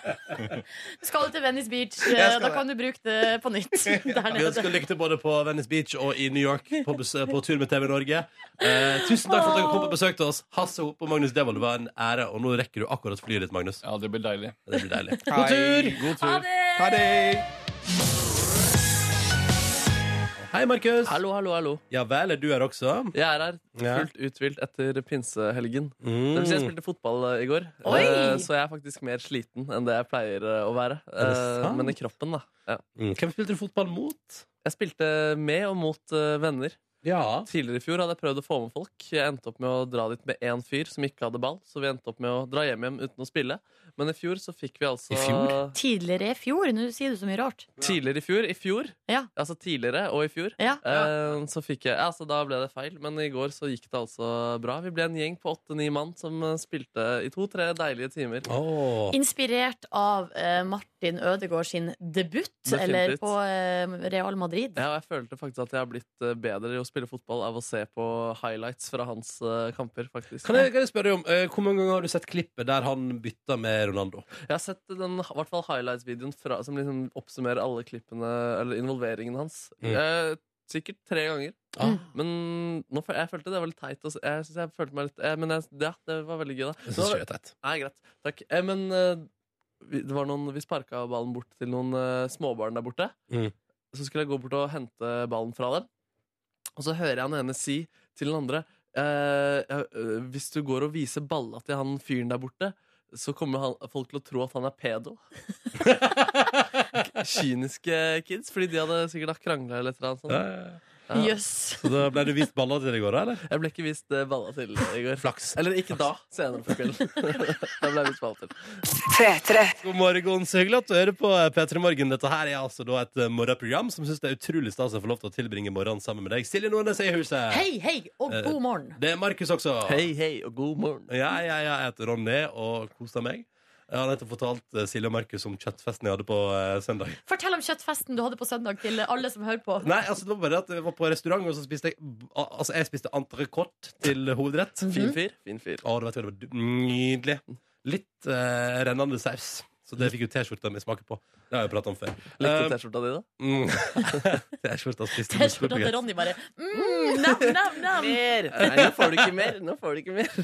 Speaker 2: du skal til Venice Beach. eh,
Speaker 7: Jeg skal
Speaker 2: Da
Speaker 7: det.
Speaker 2: kan du bruke det på nytt. Der
Speaker 1: Vi ønsker
Speaker 2: nede.
Speaker 1: lykke til både på Venice Beach og i New York på, bes på tur med TV Norge. Eh, tusen takk for at dere kom og besøkte oss. Hasse Hope og Magnus Devold, det var en ære. Og nå rekker du akkurat flyet ditt, Magnus.
Speaker 6: Ja, det blir deilig.
Speaker 1: Det blir deilig.
Speaker 7: God tur!
Speaker 6: God
Speaker 2: Ha
Speaker 6: tur.
Speaker 2: det!
Speaker 7: Ha det!
Speaker 1: Hei, Markus.
Speaker 3: Hallo, hallo, hallo.
Speaker 1: Ja vel, er du her også?
Speaker 3: Jeg er her
Speaker 1: Ja.
Speaker 3: fullt uthvilt etter pinsehelgen. Det vil si, jeg
Speaker 1: Mm.
Speaker 3: spilte fotball eh, i går,
Speaker 2: Oi!
Speaker 3: eh, så jeg er faktisk mer sliten enn det jeg pleier eh, å være.
Speaker 1: det
Speaker 3: Eh,
Speaker 1: sant?
Speaker 3: Men i kroppen, da. Ja.
Speaker 1: Mm. Hvem spilte du fotball mot?
Speaker 3: Jeg spilte med og mot eh, venner.
Speaker 1: Ja.
Speaker 3: Tidligere i fjor hadde jeg prøvd å få med folk. Jeg endte opp med å dra dit med én fyr som ikke hadde ball, så vi endte opp med å dra hjem igjen uten å spille. Men i fjor så fikk vi altså
Speaker 1: I fjor?
Speaker 2: Tidligere i fjor. Nå sier du så mye rart.
Speaker 3: Tidligere i fjor, i fjor,
Speaker 2: Ja.
Speaker 3: altså tidligere og i fjor,
Speaker 2: Ja.
Speaker 3: eh, så fikk jeg Altså, da ble det feil, men i går så gikk det altså bra. Vi ble en gjeng på åtte-ni mann som eh, spilte i to-tre deilige timer.
Speaker 1: Åh.
Speaker 2: Inspirert av eh, Martin Ødegaard sin debut,
Speaker 3: Definitivt.
Speaker 2: eller på eh, Real Madrid.
Speaker 3: Ja, og jeg følte faktisk at jeg har blitt eh, bedre i å spille fotball av å se på highlights fra hans eh, kamper, faktisk.
Speaker 1: Kan jeg, kan jeg spørre deg om eh, Hvor mange ganger har du sett klippet der han bytta med Ronaldo?
Speaker 3: Jeg har sett den i hvert fall highlights-videoen fra- som liksom oppsummerer alle klippene Eller involveringen hans.
Speaker 1: Mm.
Speaker 3: Eh, sikkert tre ganger.
Speaker 1: Ah.
Speaker 3: Men nå, føl- jeg følte det var litt teit. å se- jeg, synes jeg følte meg litt eh, Men jeg, ja, det var veldig gøy, da.
Speaker 1: Jeg
Speaker 3: Nå-
Speaker 1: synes ikke det er teit.
Speaker 3: Nei, greit. Takk. Eh, men eh, vi, det var noen, vi sparka ballen bort til noen eh, småbarn der borte.
Speaker 1: Mm.
Speaker 3: Så skulle jeg gå bort og hente ballen fra dem. Og så hører jeg han ene si til den andre eh, ja, eh, Hvis du går og viser balla til han fyren der borte, så kommer han, folk til å tro at han er pedo. Kyniske kids, fordi de hadde sikkert krangla eller et eller annet sånt.
Speaker 2: Jøss.
Speaker 3: Ja.
Speaker 1: Så da ble du vist baller til i går, da, eller?
Speaker 3: Jeg ble ikke vist eh, balla til i går.
Speaker 1: Flaks.
Speaker 3: Eller ikke da, senere på kvelden. da ble jeg vist balla til.
Speaker 1: God morgen, så hyggelig at du hører på eh, P3 Morgen. Dette her er altså da et eh, morgenprogram som syns det er utrolig stas å få lov til å tilbringe morgenen sammen med deg. Silje Nordnes er i huset.
Speaker 2: Hei, hei, og
Speaker 1: Eh,
Speaker 2: god morgen.
Speaker 1: Det er Markus også.
Speaker 3: Hei, hei, og god morgen.
Speaker 1: Ja, ja, ja, jeg heter Ronny og koser meg. Jeg har nettopp fortalt eh, Silje og Markus om kjøttfesten jeg hadde på eh, søndag.
Speaker 2: Fortell om kjøttfesten du hadde på søndag til alle som hører på.
Speaker 1: Nei, altså det var bare at jeg var på restaurant, og så spiste jeg al- Altså, jeg spiste entrecôte til hovedrett.
Speaker 3: Fin fyr. Fin fyr.
Speaker 1: Å, du vet hva, det var d- nydelig. Litt eh, rennende saus. Så det fikk jo T-skjorta mi smake på. Det har jeg prata om før.
Speaker 3: Likte
Speaker 1: Eh,
Speaker 3: T-skjorta di, da?
Speaker 1: mm. T-skjorta spiste
Speaker 2: Jeg skjønte at
Speaker 1: muskelbaguett.
Speaker 2: Ronny bare mm, nam, nam, nam.
Speaker 3: Mer! Nei, nå får du ikke mer. Nå får du ikke mer.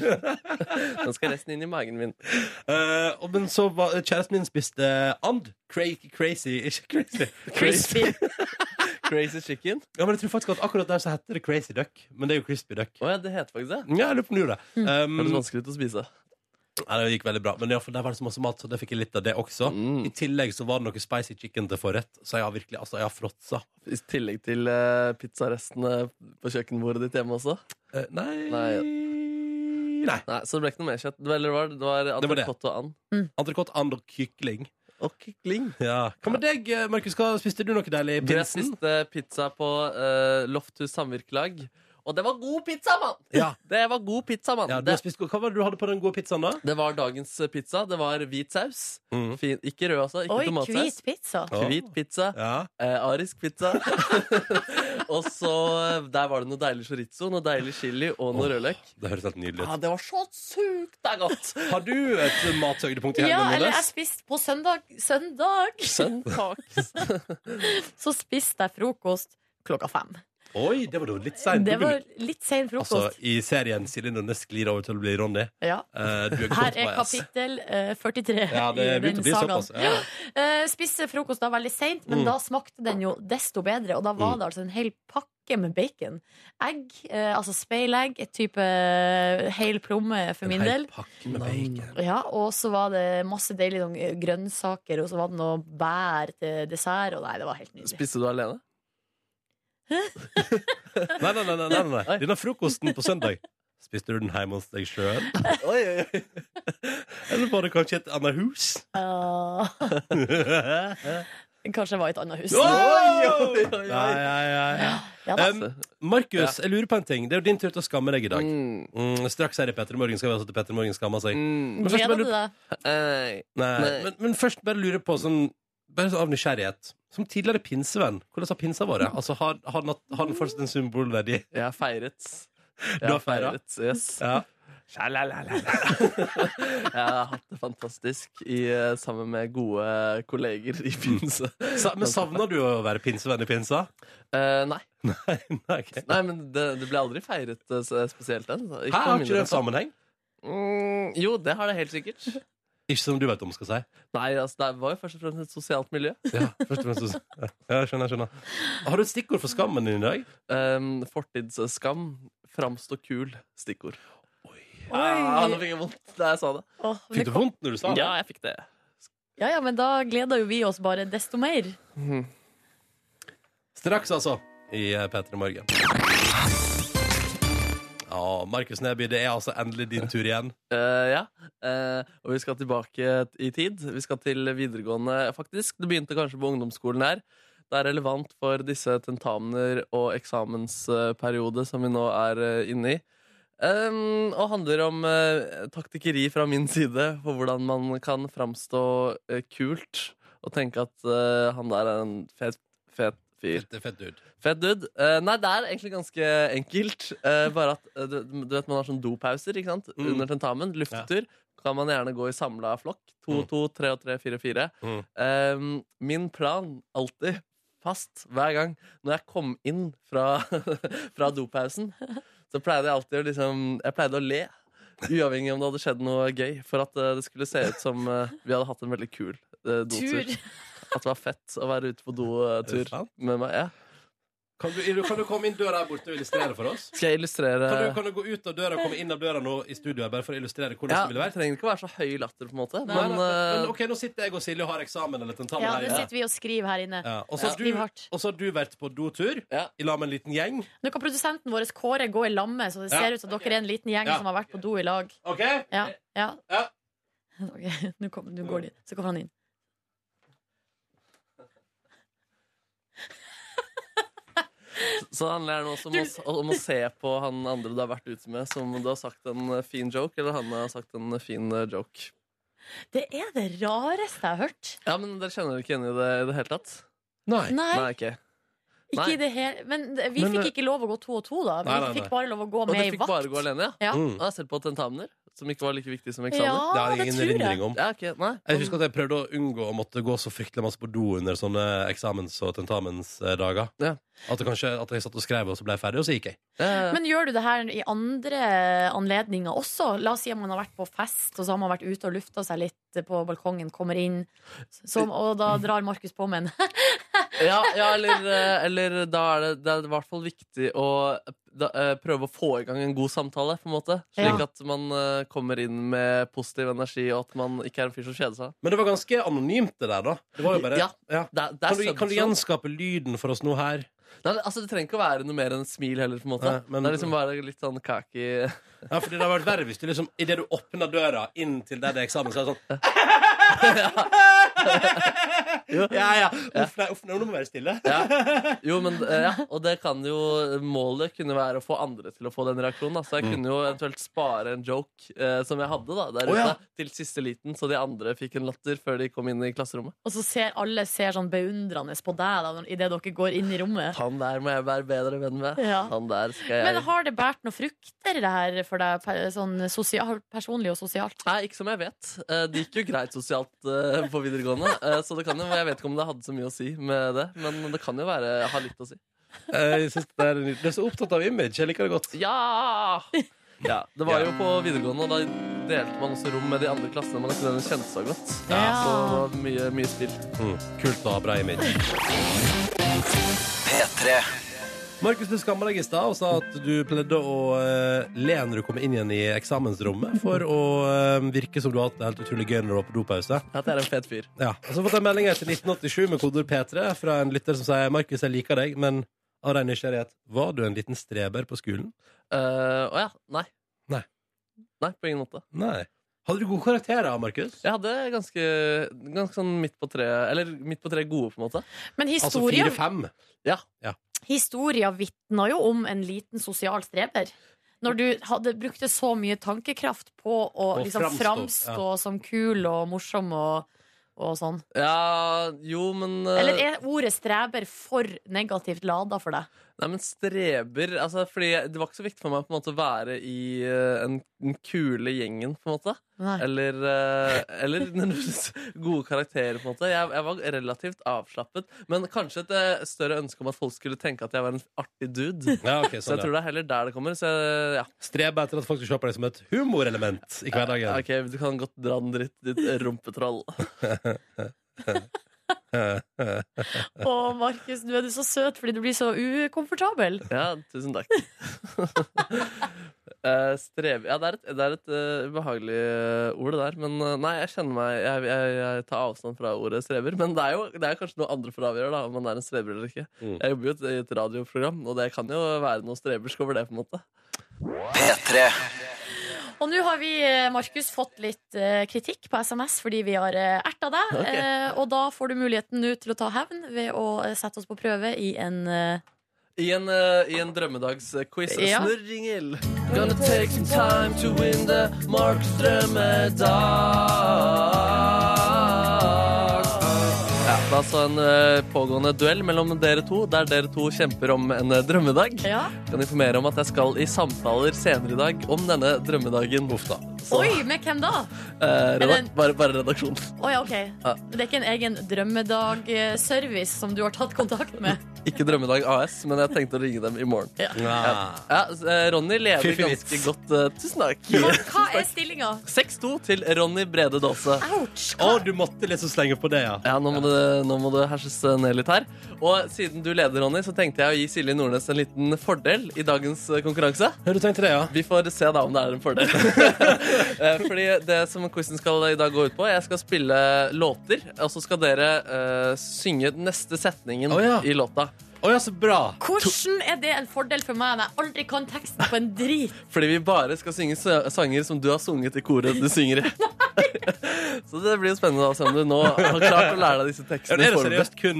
Speaker 3: Nå skal resten inn i magen min.
Speaker 1: Eh, og- men så var kjæresten min spiste and. Cra crazy, ikke crazy.
Speaker 2: Crispy.
Speaker 3: Crazy chicken.
Speaker 1: Ja, men jeg tror faktisk at akkurat der så heter det crazy duck, men det er jo crispy duck.
Speaker 3: Å ja, det heter faktisk det.
Speaker 1: Ja, jeg lurer på om du gjorde det. Um,
Speaker 3: Høres vanskelig ut å spise.
Speaker 1: Nei, det gikk veldig bra. Men i alle fall, der var det så masse mat, så det fikk jeg litt av det også.
Speaker 3: Mm.
Speaker 1: I tillegg så var det noe spicy chicken til forrett, så jeg har virkelig altså, jeg har fråtsa.
Speaker 3: I tillegg til eh, pizzarestene på kjøkkenbordet ditt hjemme også.
Speaker 1: Eh, nei
Speaker 3: Nei.
Speaker 1: Nei.
Speaker 3: Nei, Så det ble ikke noe mer kjøtt. Det var- Eller var det, det var
Speaker 1: Det var det.
Speaker 3: entrecôte og and.
Speaker 1: Entrecôte, and og kykling.
Speaker 3: Og kykling.
Speaker 1: Ja. Hva med deg, eh, Markus? Hva Spiste du noe deilig i
Speaker 3: Jeg
Speaker 1: pinsen?
Speaker 3: spiste pizza på eh, Lofthus Samvirkelag. Og det var god pizza, mann!
Speaker 1: Ja.
Speaker 3: Det var god pizza, mann.
Speaker 1: Ja, du
Speaker 3: det,
Speaker 1: har spist, hva var det du hadde på den gode pizzaen, da?
Speaker 3: det var dagens eh, pizza. Det var hvit saus.
Speaker 1: Mm.
Speaker 3: Fin, ikke rød, altså. Ikke
Speaker 2: Oi,
Speaker 3: tomatsaus.
Speaker 2: hvit pizza.
Speaker 1: Ja.
Speaker 3: Hvit pizza.
Speaker 1: Ja.
Speaker 3: Eh, arisk pizza. og så eh, der var det noe deilig chorizo, noe deilig chili og noe rødløk.
Speaker 1: Det høres helt nydelig
Speaker 3: Ja,
Speaker 1: ut.
Speaker 3: det var så sykt det er godt!
Speaker 1: Har du et mathøydepunkt i
Speaker 2: Ja,
Speaker 1: helgen?
Speaker 2: eller
Speaker 1: Nordnes?
Speaker 2: jeg spiste på søndag Søndag
Speaker 3: Søndags.
Speaker 2: så spiste jeg frokost klokka fem.
Speaker 1: Oi, det var da litt seint.
Speaker 2: Det var litt sen frokost.
Speaker 1: Altså, I serien Silje Nordnes sklir over til å bli Ronny.
Speaker 2: ja.
Speaker 1: Eh, du er godt
Speaker 2: Her
Speaker 1: på
Speaker 2: er
Speaker 1: vei, ass.
Speaker 2: kapittel eh, 43
Speaker 1: Ja, det
Speaker 2: i
Speaker 1: er begynt å
Speaker 2: den
Speaker 1: bli
Speaker 2: sagaen.
Speaker 1: såpass. Ja.
Speaker 2: Eh, spiste frokost da veldig seint, men
Speaker 1: Mm.
Speaker 2: da smakte den jo desto bedre. Og da var det altså en hel pakke med bacon. Egg, eh, altså speilegg, et type eh, hel plomme for min
Speaker 1: En hel
Speaker 2: del.
Speaker 1: pakke med bacon.
Speaker 2: Ja, og så var det masse deilige sånn, grønnsaker, og så var det noe bær til dessert, og nei, det var helt nydelig.
Speaker 3: Spiste du alene?
Speaker 1: Nei, nei, nei, nei, nei, nei.
Speaker 3: Oi.
Speaker 1: Denne frokosten på søndag Spiste du den hjemme hos deg sjøl?
Speaker 3: Oi, oi, oi.
Speaker 1: Eller var det kanskje et annet hus?
Speaker 2: Uh,
Speaker 1: nei,
Speaker 2: kanskje det var i et annet hus.
Speaker 3: oi, oi, oi.
Speaker 1: nei, nei.
Speaker 2: Ja da.
Speaker 1: Um, Markus, jeg lurer på en ting. Det er jo din tur til å skamme deg i dag.
Speaker 3: Mm,
Speaker 1: Mm, straks her i Petter Morgen skal vi altså til Petter Morgen skammer seg. men
Speaker 3: mm. Eh,
Speaker 1: først
Speaker 2: Gleder
Speaker 1: bare
Speaker 2: du deg?
Speaker 3: Nei.
Speaker 1: Nei,
Speaker 3: Nei.
Speaker 1: men, men først bare lurer på sånn bare så av nysgjerrighet. Som tidligere pinsevenn, hvordan har pinsa vært?
Speaker 3: Mm.
Speaker 1: Altså, har, har, den hatt- har den fortsatt en symbolverdi?
Speaker 3: Jeg har feiret. Jeg
Speaker 1: har feiret?
Speaker 3: Yes.
Speaker 1: Ja.
Speaker 3: Jeg har hatt det fantastisk i, eh, sammen med gode kolleger i pinse.
Speaker 1: Sa, men savner du å være pinsevenn i pinsa?
Speaker 3: Eh, nei.
Speaker 1: Nei, ok.
Speaker 3: nei, men det, det ble aldri feiret eh, så- spesielt den.
Speaker 1: Her
Speaker 3: Ikke på
Speaker 1: har
Speaker 3: min
Speaker 1: ikke det en
Speaker 3: del.
Speaker 1: sammenheng?
Speaker 3: Mm, jo, det har det helt sikkert.
Speaker 1: Ikke som du vet om, skal jeg si.
Speaker 3: Nei, altså, det var jo først og fremst et sosialt miljø.
Speaker 1: Ja, først og fremst ja, jeg skjønner, jeg skjønner. Har du et stikkord for skammen din i dag?
Speaker 3: Um, fortidsskam. Framstå kul. Stikkord. Ah, nå
Speaker 2: Oi.
Speaker 3: fikk jeg vondt da jeg sa det.
Speaker 2: Åh, vi
Speaker 1: Fikk du
Speaker 2: kom-
Speaker 1: vondt når du sa det?
Speaker 3: Ja, jeg fikk det.
Speaker 2: Ja ja, men da gleder jo vi oss bare desto mer.
Speaker 1: Straks, altså, i P3 Morgen. Ja, Markus Neby, det er altså endelig din tur igjen.
Speaker 3: Eh, ja. Eh, og vi skal tilbake i tid. Vi skal til videregående, faktisk. Det begynte kanskje på ungdomsskolen her. Det er relevant for disse tentamener og eksamensperiode som vi nå er eh, inne i. Eh, og handler om eh, taktikkeri fra min side for hvordan man kan framstå eh, kult og tenke at eh, han der er en fet, fet fyr.
Speaker 1: Fett, fett dude.
Speaker 3: Fett dude. Eh, nei, det er egentlig ganske enkelt. Eh, bare at eh, du, du vet man har sånn dopauser ikke sant?
Speaker 1: Mm.
Speaker 3: under tentamen. Lufttur. Kan man gjerne gå i samla flokk. To,
Speaker 1: Mm.
Speaker 3: to, tre og tre, fire, fire.
Speaker 1: Mm.
Speaker 3: Eh, min plan alltid fast hver gang når jeg kom inn fra, fra dopausen, så pleide jeg alltid å liksom Jeg pleide å le. Uavhengig om det hadde skjedd noe gøy. For at eh, det skulle se ut som eh, vi hadde hatt en veldig kul eh, dotur.
Speaker 2: Tur.
Speaker 3: At det var fett å være ute på
Speaker 1: Er det
Speaker 3: dotur
Speaker 1: sant?
Speaker 3: med meg. Ja.
Speaker 1: Kan du, kan du komme inn døra her borte og illustrere for oss?
Speaker 3: Skal jeg illustrere
Speaker 1: Kan du, kan du gå ut av døra og komme inn av døra nå i studio her, bare for å illustrere hvordan
Speaker 3: ja,
Speaker 1: det ville
Speaker 3: Det
Speaker 1: vært?
Speaker 3: trenger ikke å være så høy latter, på en måte.
Speaker 1: Nei,
Speaker 3: men,
Speaker 1: nei, men,
Speaker 3: eh,
Speaker 1: OK, nå sitter jeg og Silje og har eksamen eller tentamen
Speaker 2: Ja,
Speaker 1: her
Speaker 2: nå
Speaker 1: inne.
Speaker 2: sitter vi og skriver her inne.
Speaker 1: Ja. Og så har
Speaker 2: Skriv
Speaker 1: du,
Speaker 2: hardt.
Speaker 1: og så har du vært på dotur
Speaker 3: Ja.
Speaker 1: i lag med en liten gjeng.
Speaker 2: Nå kan produsenten vår Kåre gå i lamme, så det
Speaker 1: Ja,
Speaker 2: ser ut som dere er en liten gjeng
Speaker 1: Ja.
Speaker 2: som har vært på do i lag.
Speaker 1: OK?
Speaker 2: Ja, ja.
Speaker 1: Ja.
Speaker 2: Ok, nå, kom, nå går de. Så kommer han inn.
Speaker 3: Så det handler det også om, å, om å se på han andre du har vært ute med, som du har sagt en eh, fin joke, eller han har sagt en eh, fin eh, joke.
Speaker 2: Det er det rareste jeg har hørt.
Speaker 3: Ja, men Dere kjenner dere ikke igjen i det i det hele tatt?
Speaker 1: Nei.
Speaker 2: Nei,
Speaker 3: Nei, ok.
Speaker 2: ikke
Speaker 3: nei.
Speaker 2: i det hele Men det- vi
Speaker 1: Men,
Speaker 2: fikk
Speaker 1: eh,
Speaker 2: ikke lov å gå to og to, da. Vi
Speaker 1: Nei, nei, nei.
Speaker 2: fikk bare lov å gå
Speaker 3: Og
Speaker 2: med
Speaker 3: dere
Speaker 2: i
Speaker 3: fikk bare gå
Speaker 2: vakt.
Speaker 3: alene, ja? Ah,
Speaker 2: Ja.
Speaker 1: Mm.
Speaker 3: Jeg har sett på tentamener, som ikke var like viktig som eksamen.
Speaker 1: Det har
Speaker 2: Ja,
Speaker 1: jeg
Speaker 2: det
Speaker 1: ingen
Speaker 2: tror jeg.
Speaker 1: erindring om.
Speaker 3: Ja, ok, nei
Speaker 1: Jeg husker at jeg prøvde å unngå å måtte gå så fryktelig masse på do under sånne eksamens- og tentamensdager.
Speaker 3: Ja.
Speaker 1: At, det kanskje, at jeg satt og skrev, og så ble jeg ferdig, og så gikk jeg.
Speaker 3: Eh,
Speaker 2: Men gjør du det her i andre anledninger også? La oss si at man har vært på fest, og så har man vært ute og lufta seg litt på balkongen, kommer inn, som, og da drar Markus på med en.
Speaker 3: ja, ja eller, eh, eller da er det, det er i hvert fall viktig å eh, da, eh, prøve å få i gang en god samtale, på en måte. Slik
Speaker 2: Ja.
Speaker 3: at man eh, kommer inn med positiv energi, og at man ikke er en fyr som kjeder seg.
Speaker 1: Men det var ganske anonymt, det der, da. Det var jo bare
Speaker 3: Ja. Det, er- det er
Speaker 1: Kan, du, kan du
Speaker 3: subtle.
Speaker 1: gjenskape lyden for oss nå her?
Speaker 3: Nei, altså, det trenger ikke å være noe mer enn smil heller. på en måte
Speaker 1: Nei, men-
Speaker 3: Det er liksom bare litt sånn kaki
Speaker 1: Ja, fordi det hadde vært verre hvis du liksom Idet du åpner døra inn til der det er eksamen, så er det sånn Ja, ja. Uff, nei, uff, nei, nå må vi være stille.
Speaker 3: ja. Jo, men eh, ja, Og det kan jo målet kunne være å få andre til å få den reaksjonen. Da. Så jeg kunne jo eventuelt spare en joke eh, som jeg hadde da der
Speaker 1: Å,
Speaker 3: ute,
Speaker 1: ja.
Speaker 3: til siste liten, så de andre fikk en latter før de kom inn i klasserommet.
Speaker 2: Og så ser alle ser sånn beundrende på deg da, idet dere går inn i rommet.
Speaker 3: Han der må jeg være bedre venn med.
Speaker 2: Ja.
Speaker 3: Han der skal jeg
Speaker 2: Men har det båret noen frukter, det her, for deg per- sånn sosial, personlig og sosialt?
Speaker 3: Nei, ikke som jeg vet. Eh, Det gikk jo greit sosialt eh, på videregående. eh, Så det kan jo, jeg vet ikke om det hadde så mye å si med det, men det kan jo være, ha litt å si.
Speaker 1: Eh, Jeg synes det er, en- du er så opptatt av image. Jeg liker det godt.
Speaker 3: Ja! ja! Det var jo på videregående, og da delte man også rom med de andre klassene man ikke nødvendigvis kjente så godt.
Speaker 2: Ja.
Speaker 3: Så det var mye, mye spill.
Speaker 1: Mm. Kult å ha bra image. Markus, du skamma deg i stad og sa at du pleide å eh, le når du kom inn igjen i eksamensrommet for å eh, virke som du har hatt det helt utrolig gøy når du var på dopause.
Speaker 3: At jeg er en fet fyr.
Speaker 1: Ja. Og så har jeg fått en melding her til 1987 med kodeord P3 fra en lytter som sier Markus, jeg liker deg, men av ren nysgjerrighet, var du en liten streber på skolen?
Speaker 3: Eh, Å ja. Nei.
Speaker 1: Nei.
Speaker 3: Nei, på ingen måte.
Speaker 1: Nei. Hadde du gode karakterer, Markus?
Speaker 3: Jeg hadde ganske, ganske sånn midt på treet Eller midt på treet gode, på en måte.
Speaker 2: Men
Speaker 1: Altså
Speaker 2: historien,
Speaker 1: fire-fem?
Speaker 2: historien vitna jo om en liten sosial streber. Når du hadde, brukte så mye tankekraft på å
Speaker 1: Å
Speaker 2: liksom,
Speaker 1: framstå,
Speaker 2: framstå som kul og morsom og, og sånn.
Speaker 3: Ja, jo, men eh,
Speaker 2: Eller er ordet streber for negativt lada for deg?
Speaker 3: Nei, men streber altså, Fordi det var ikke så viktig for meg på en måte å være i eh, en, den kule gjengen, på en måte.
Speaker 2: Nei.
Speaker 3: Eller, eh, eller nødvendigvis gode karakterer, på en måte. Jeg, jeg var relativt avslappet. Men kanskje et eh, større ønske om at folk skulle tenke at jeg var en artig dude.
Speaker 1: Ja, ok, sånn,
Speaker 3: Så
Speaker 1: ja.
Speaker 3: jeg tror det er heller der det kommer. Så jeg, ja.
Speaker 1: Strebe etter at folk skal se på deg som et humorelement i hverdagen.
Speaker 3: Ok, Du kan godt dra den dritt, ditt rumpetroll.
Speaker 2: Å, Markus, nå er du så søt fordi du blir så ukomfortabel.
Speaker 3: Ja, tusen takk. Eh, streve Ja, det er et, det er et eh, ubehagelig eh, ord, det der. Men eh, nei, jeg kjenner meg jeg, jeg, jeg tar avstand fra ordet strever. Men det er jo det er kanskje noe andre får avgjøre, da, om man er en strever eller ikke.
Speaker 1: Mm.
Speaker 3: Jeg jobber jo i et- i et radioprogram, og det kan jo være noe strebersk over det, på en måte.
Speaker 2: Og nå har vi, eh, Markus, fått litt eh, kritikk på SMS fordi vi har eh, erta deg.
Speaker 3: Ok.
Speaker 2: Eh, og da får du muligheten nå til å ta hevn ved å eh, sette oss på prøve i en eh,
Speaker 3: I en, eh, i en drømmedagsquiz.
Speaker 2: Ja.
Speaker 3: Snurringel. Gonna take some time to win the Marks drømmedag. Ja, det er altså en eh, pågående duell mellom dere to, der dere to kjemper om en eh, drømmedag.
Speaker 2: Ja.
Speaker 3: Kan informere om at jeg skal i samtaler senere i dag om denne drømmedagen. Uff da. Så,
Speaker 2: Oi, med hvem da?
Speaker 3: eh,
Speaker 2: Er
Speaker 3: redak
Speaker 2: det-
Speaker 3: bare, bare redaksjonen.
Speaker 2: Å ja, OK. Det er ikke en egen drømmedag-service som du har tatt kontakt med?
Speaker 3: Ikke Drømmedag AS, men jeg tenkte å ringe dem i morgen.
Speaker 1: Ja.
Speaker 3: Ja, så, eh, Ronny leder
Speaker 1: Fiffig vits.
Speaker 3: ganske godt. eh, tusen takk.
Speaker 2: Hva, hva er stillinga?
Speaker 3: 6-2 til Ronny Brede Daase.
Speaker 2: Ouch!
Speaker 1: Å, du måtte liksom slenge på det, ja.
Speaker 3: Ja, nå må, det, nå må det herses eh, ned litt her. Og siden du leder, Ronny, så tenkte jeg å gi Silje Nordnes en liten fordel i dagens eh, konkurranse.
Speaker 1: Har du tenkt det, ja?
Speaker 3: Vi får se da om det er en fordel. Eh, Fordi det som quizen skal i dag gå ut på, jeg skal spille låter, og så skal dere eh, synge den neste setningen
Speaker 1: Å, ja.
Speaker 3: i låta.
Speaker 1: Å ja, så bra.
Speaker 2: Hvordan er det en fordel for meg når jeg aldri kan teksten på en drit?
Speaker 3: Fordi vi bare skal synge sø- sanger som du har sunget i koret du synger i. så det blir jo spennende da, å se om du nå har klart å lære deg disse
Speaker 1: Ja,
Speaker 3: tekstene.
Speaker 1: det er det
Speaker 3: foreløpig.
Speaker 1: seriøst kun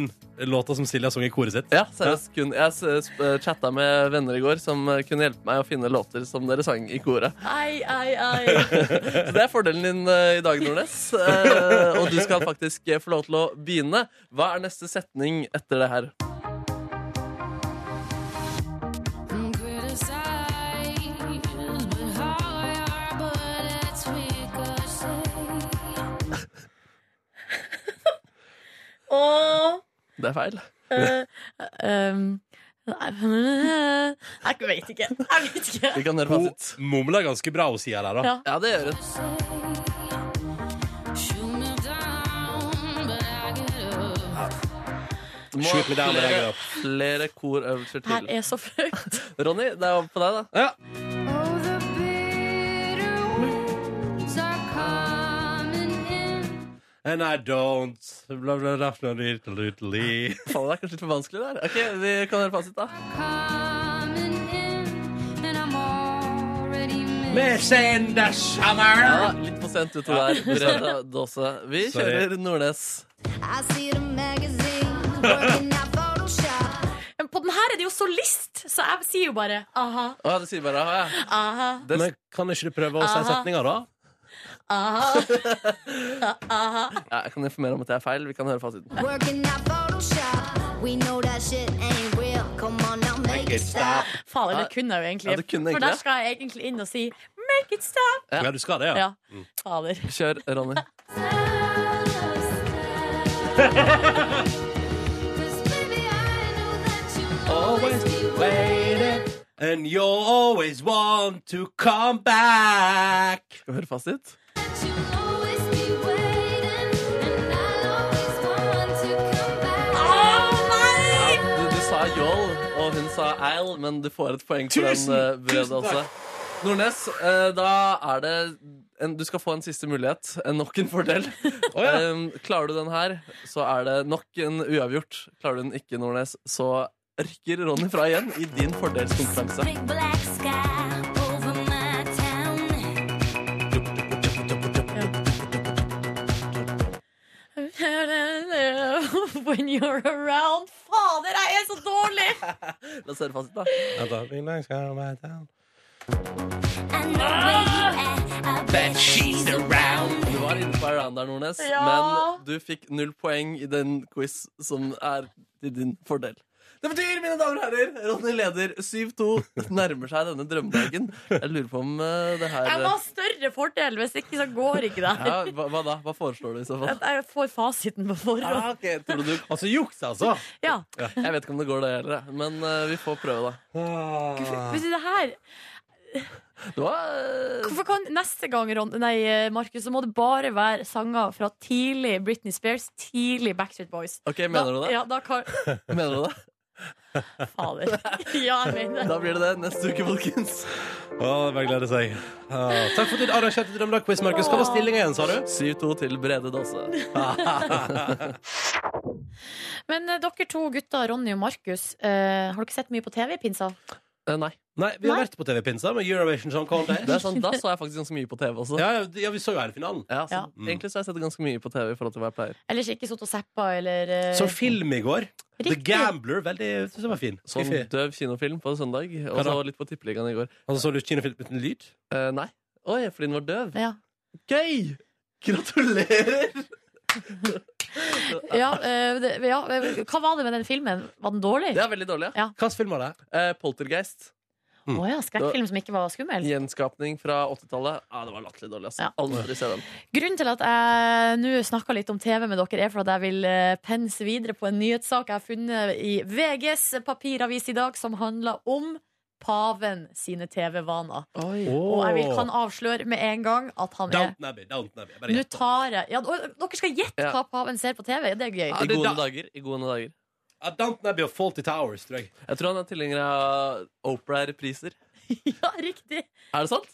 Speaker 1: låter som Silje har sunget i koret sitt?
Speaker 3: Ja, seriøst. Kun, jeg s- sp- chatta med venner i går som eh, kunne hjelpe meg å finne låter som dere sang i koret.
Speaker 2: Ei, ei, ei.
Speaker 3: Så det er fordelen din eh, i dag, Nordnes. Eh, Og du skal faktisk eh, få lov til å begynne. Hva er neste setning etter det her?
Speaker 2: Åh.
Speaker 3: Det er feil.
Speaker 2: Um, nei, jeg vet ikke. Jeg vet ikke.
Speaker 3: Vi kan høre
Speaker 1: Hun
Speaker 3: fasit.
Speaker 1: mumler ganske bra hos sida der, da.
Speaker 2: Ja.
Speaker 3: Ja, det gjør det. Det må
Speaker 1: Shoot me down, but I get
Speaker 3: flere,
Speaker 1: up.
Speaker 3: flere korøvelser
Speaker 2: Det her
Speaker 3: til.
Speaker 2: er så flaut.
Speaker 3: Ronny, det er over på deg, da.
Speaker 1: And I don't bla, bla, bla, bla, little, little, little.
Speaker 3: Faen, det er kanskje litt for vanskelig der. Ok, Vi kan høre fasit, da. Ja, litt for sent ute der. Brede Dåse. Vi
Speaker 1: Sorry.
Speaker 3: kjører Nordnes.
Speaker 2: Men på den her er det jo solist, så jeg sier jo bare aha,
Speaker 3: Å, du sier bare aha, ja.
Speaker 2: aha,
Speaker 3: Det,
Speaker 1: Men kan ikke du prøve å si
Speaker 2: Aha.
Speaker 1: setninga, da?
Speaker 2: aha. aha.
Speaker 3: ja, jeg kan informere om at det er feil. Vi kan høre fasiten.
Speaker 2: Fader, det kunne jeg jo egentlig.
Speaker 3: Ja, du kunne egentlig
Speaker 2: For der
Speaker 3: det.
Speaker 2: skal jeg egentlig inn og si make it stop.
Speaker 1: Ja, du skal det, ja.
Speaker 2: Ja.
Speaker 3: Mm.
Speaker 2: Fader.
Speaker 3: Kjør, Ronny.
Speaker 1: Oh. And you always want to come back.
Speaker 3: Skal vi høre fasit? Du, du sa jål, og hun sa eil, men du får et poeng for den,
Speaker 1: Tusen,
Speaker 3: eh, Brede
Speaker 1: tusen
Speaker 3: også.
Speaker 1: takk.
Speaker 3: Nordnes, eh, da er det en, Du skal få en siste mulighet. En nok en fordel. Em, klarer du den her, så er det nok en uavgjort. Klarer du den ikke, Nordnes, så rykker Ronny fra igjen i din fordelskonkurranse.
Speaker 2: When you're around Fader, jeg er så dårlig!
Speaker 3: La oss høre fasit, da.
Speaker 1: Vent da. Be nice, come back down.
Speaker 3: Du var inne på around der, Nordnes,
Speaker 2: Ja.
Speaker 3: men du fikk null poeng i den quiz som er til din fordel. Det betyr, mine damer og herrer, Ronny leder 7-2 nærmer seg denne drømmedagen. Jeg lurer på om eh, det her eh,
Speaker 2: Jeg må ha større fordel, hvis ikke så går ikke det
Speaker 3: ja,
Speaker 2: her.
Speaker 3: hva, hva da? Hva foreslår du i så fall?
Speaker 2: Jeg får fasiten på forhånd.
Speaker 3: Ah, ok, tror du du...
Speaker 1: Altså juks, altså.
Speaker 2: Ja.
Speaker 3: Jeg vet ikke om det går, det heller, jeg. men eh, vi får prøve, da.
Speaker 1: Ah.
Speaker 2: Hvis det her
Speaker 3: Det var eh,
Speaker 2: Hvorfor kan neste gang, Ron, nei, eh, Markus, så må det bare være sanger fra tidlig Britney Spears, tidlig Backstreet Boys?
Speaker 3: OK, mener
Speaker 2: da,
Speaker 3: du det?
Speaker 2: Ja, da kan,
Speaker 3: Mener du det?
Speaker 2: Fader. Ja, jeg mener det.
Speaker 3: Da blir det det neste uke, folkens.
Speaker 1: Å, bare glede seg. Ja. Takk for at du arrangerte Drømmedag-quiz, Markus. Hva var stillinga igjen, sa du?
Speaker 3: 7-2 til Brede Daase.
Speaker 2: Men eh, dere to gutter, Ronny og Markus, eh, har dere sett mye på TV i pinsa?
Speaker 3: Eh, nei,
Speaker 1: Nei, vi har
Speaker 2: Nei.
Speaker 1: vært på TV-pinsa med Eurovision Song Contest.
Speaker 3: det er sant. Da så jeg faktisk ganske mye på TV også.
Speaker 1: Ja, ja, ja, vi så jo hele finalen.
Speaker 3: Ja, så
Speaker 2: Ja.
Speaker 3: Egentlig så har jeg sett ganske mye på TV i forhold til hva jeg pleier.
Speaker 2: Ellers ikke sittet og zappa, eller eh,
Speaker 1: Så film i går. The
Speaker 2: riktig.
Speaker 1: Gambler. Veldig, jeg synes den var fin.
Speaker 3: Sånn
Speaker 1: Fiffig.
Speaker 3: døv kinofilm på søndag, og
Speaker 1: Hva da?
Speaker 3: så litt på Tippeligaen i går.
Speaker 1: Og så så du kinofilm uten lyd.
Speaker 3: Eh, nei. Oi, fordi den var døv.
Speaker 2: Ja.
Speaker 3: Gøy! Gratulerer!
Speaker 2: Ja, eh, det, ja, eh, hva var det med den filmen? Var den dårlig?
Speaker 3: Det er veldig dårlig. ja.
Speaker 1: Hvilken film var det?
Speaker 3: Eh, Poltergeist.
Speaker 2: Å ja, skrekkfilm som ikke var skummel?
Speaker 3: Gjenskapning fra 80-tallet. Ja, det var latterlig dårlig. Altså.
Speaker 2: Ja.
Speaker 3: Aldri se den.
Speaker 2: Grunnen til at jeg nå snakka litt om TV med dere, er for at jeg vil eh, pense videre på en nyhetssak jeg har funnet i VGs papiravis i dag, som handler om paven sine TV-vaner. Og jeg vil, kan avsløre med en gang at han er
Speaker 1: Downton Abbey. Downton Abbey. Bare
Speaker 2: Nå
Speaker 1: gjett.
Speaker 2: tar jeg ja, og Dere skal gjette
Speaker 3: Ja.
Speaker 2: hva paven ser på TV. Det er gøy.
Speaker 3: I
Speaker 1: det
Speaker 3: gode
Speaker 1: da-
Speaker 3: dager. I gode dager.
Speaker 1: Ja, Downton Abbey og Faulty Towers, tror jeg.
Speaker 3: Jeg tror han er tilhenger av Opera-repriser.
Speaker 2: Ja, riktig.
Speaker 3: Er det sant?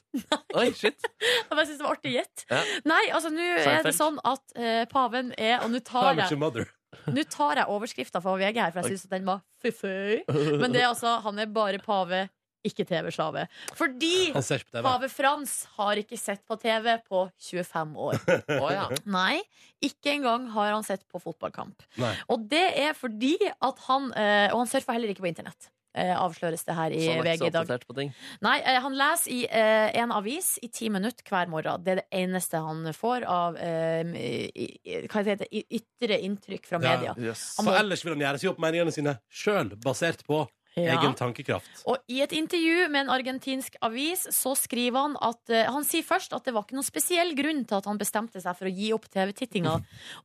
Speaker 3: Oi, shit.
Speaker 2: Jeg bare synes det var artig gjett.
Speaker 3: Ja.
Speaker 2: Nei, altså nå er det
Speaker 3: Seinfeld.
Speaker 2: sånn at eh, paven er Og nå
Speaker 1: How I
Speaker 2: tar
Speaker 1: Met
Speaker 2: jeg,
Speaker 1: Your Mother.
Speaker 2: nå tar jeg overskrifta fra VG her, for jeg syns den var fy-fy. Men det er altså Han er bare pave, ikke TV-slave. Fordi
Speaker 1: Han ser ikke på TV.
Speaker 2: pave Frans har ikke sett på TV på 25 år.
Speaker 3: Å, ja.
Speaker 2: Nei, ikke engang har han sett på fotballkamp.
Speaker 1: Nei.
Speaker 2: Og det er fordi at han eh, Og han surfer heller ikke på internett. eh, Avsløres det her i
Speaker 3: Så han Sånn er ikke
Speaker 2: VG
Speaker 3: så
Speaker 2: i dag.
Speaker 3: oppdatert på ting.
Speaker 2: Nei, eh, han leser i eh, en avis i ti minutter hver morgen. Det er det eneste han får av eh, i, i, hva heter det, I- ytre inntrykk fra
Speaker 1: Ja.
Speaker 2: media.
Speaker 3: Yes.
Speaker 2: Han
Speaker 1: For
Speaker 2: må-
Speaker 1: ellers vil han gjøre seg opp meningene sine sjøl, basert på
Speaker 2: Ja.
Speaker 1: egen tankekraft.
Speaker 2: Og i et intervju med en argentinsk avis så skriver han at eh, Han sier først at det var ikke noen spesiell grunn til at han bestemte seg for å gi opp TV-tittinga.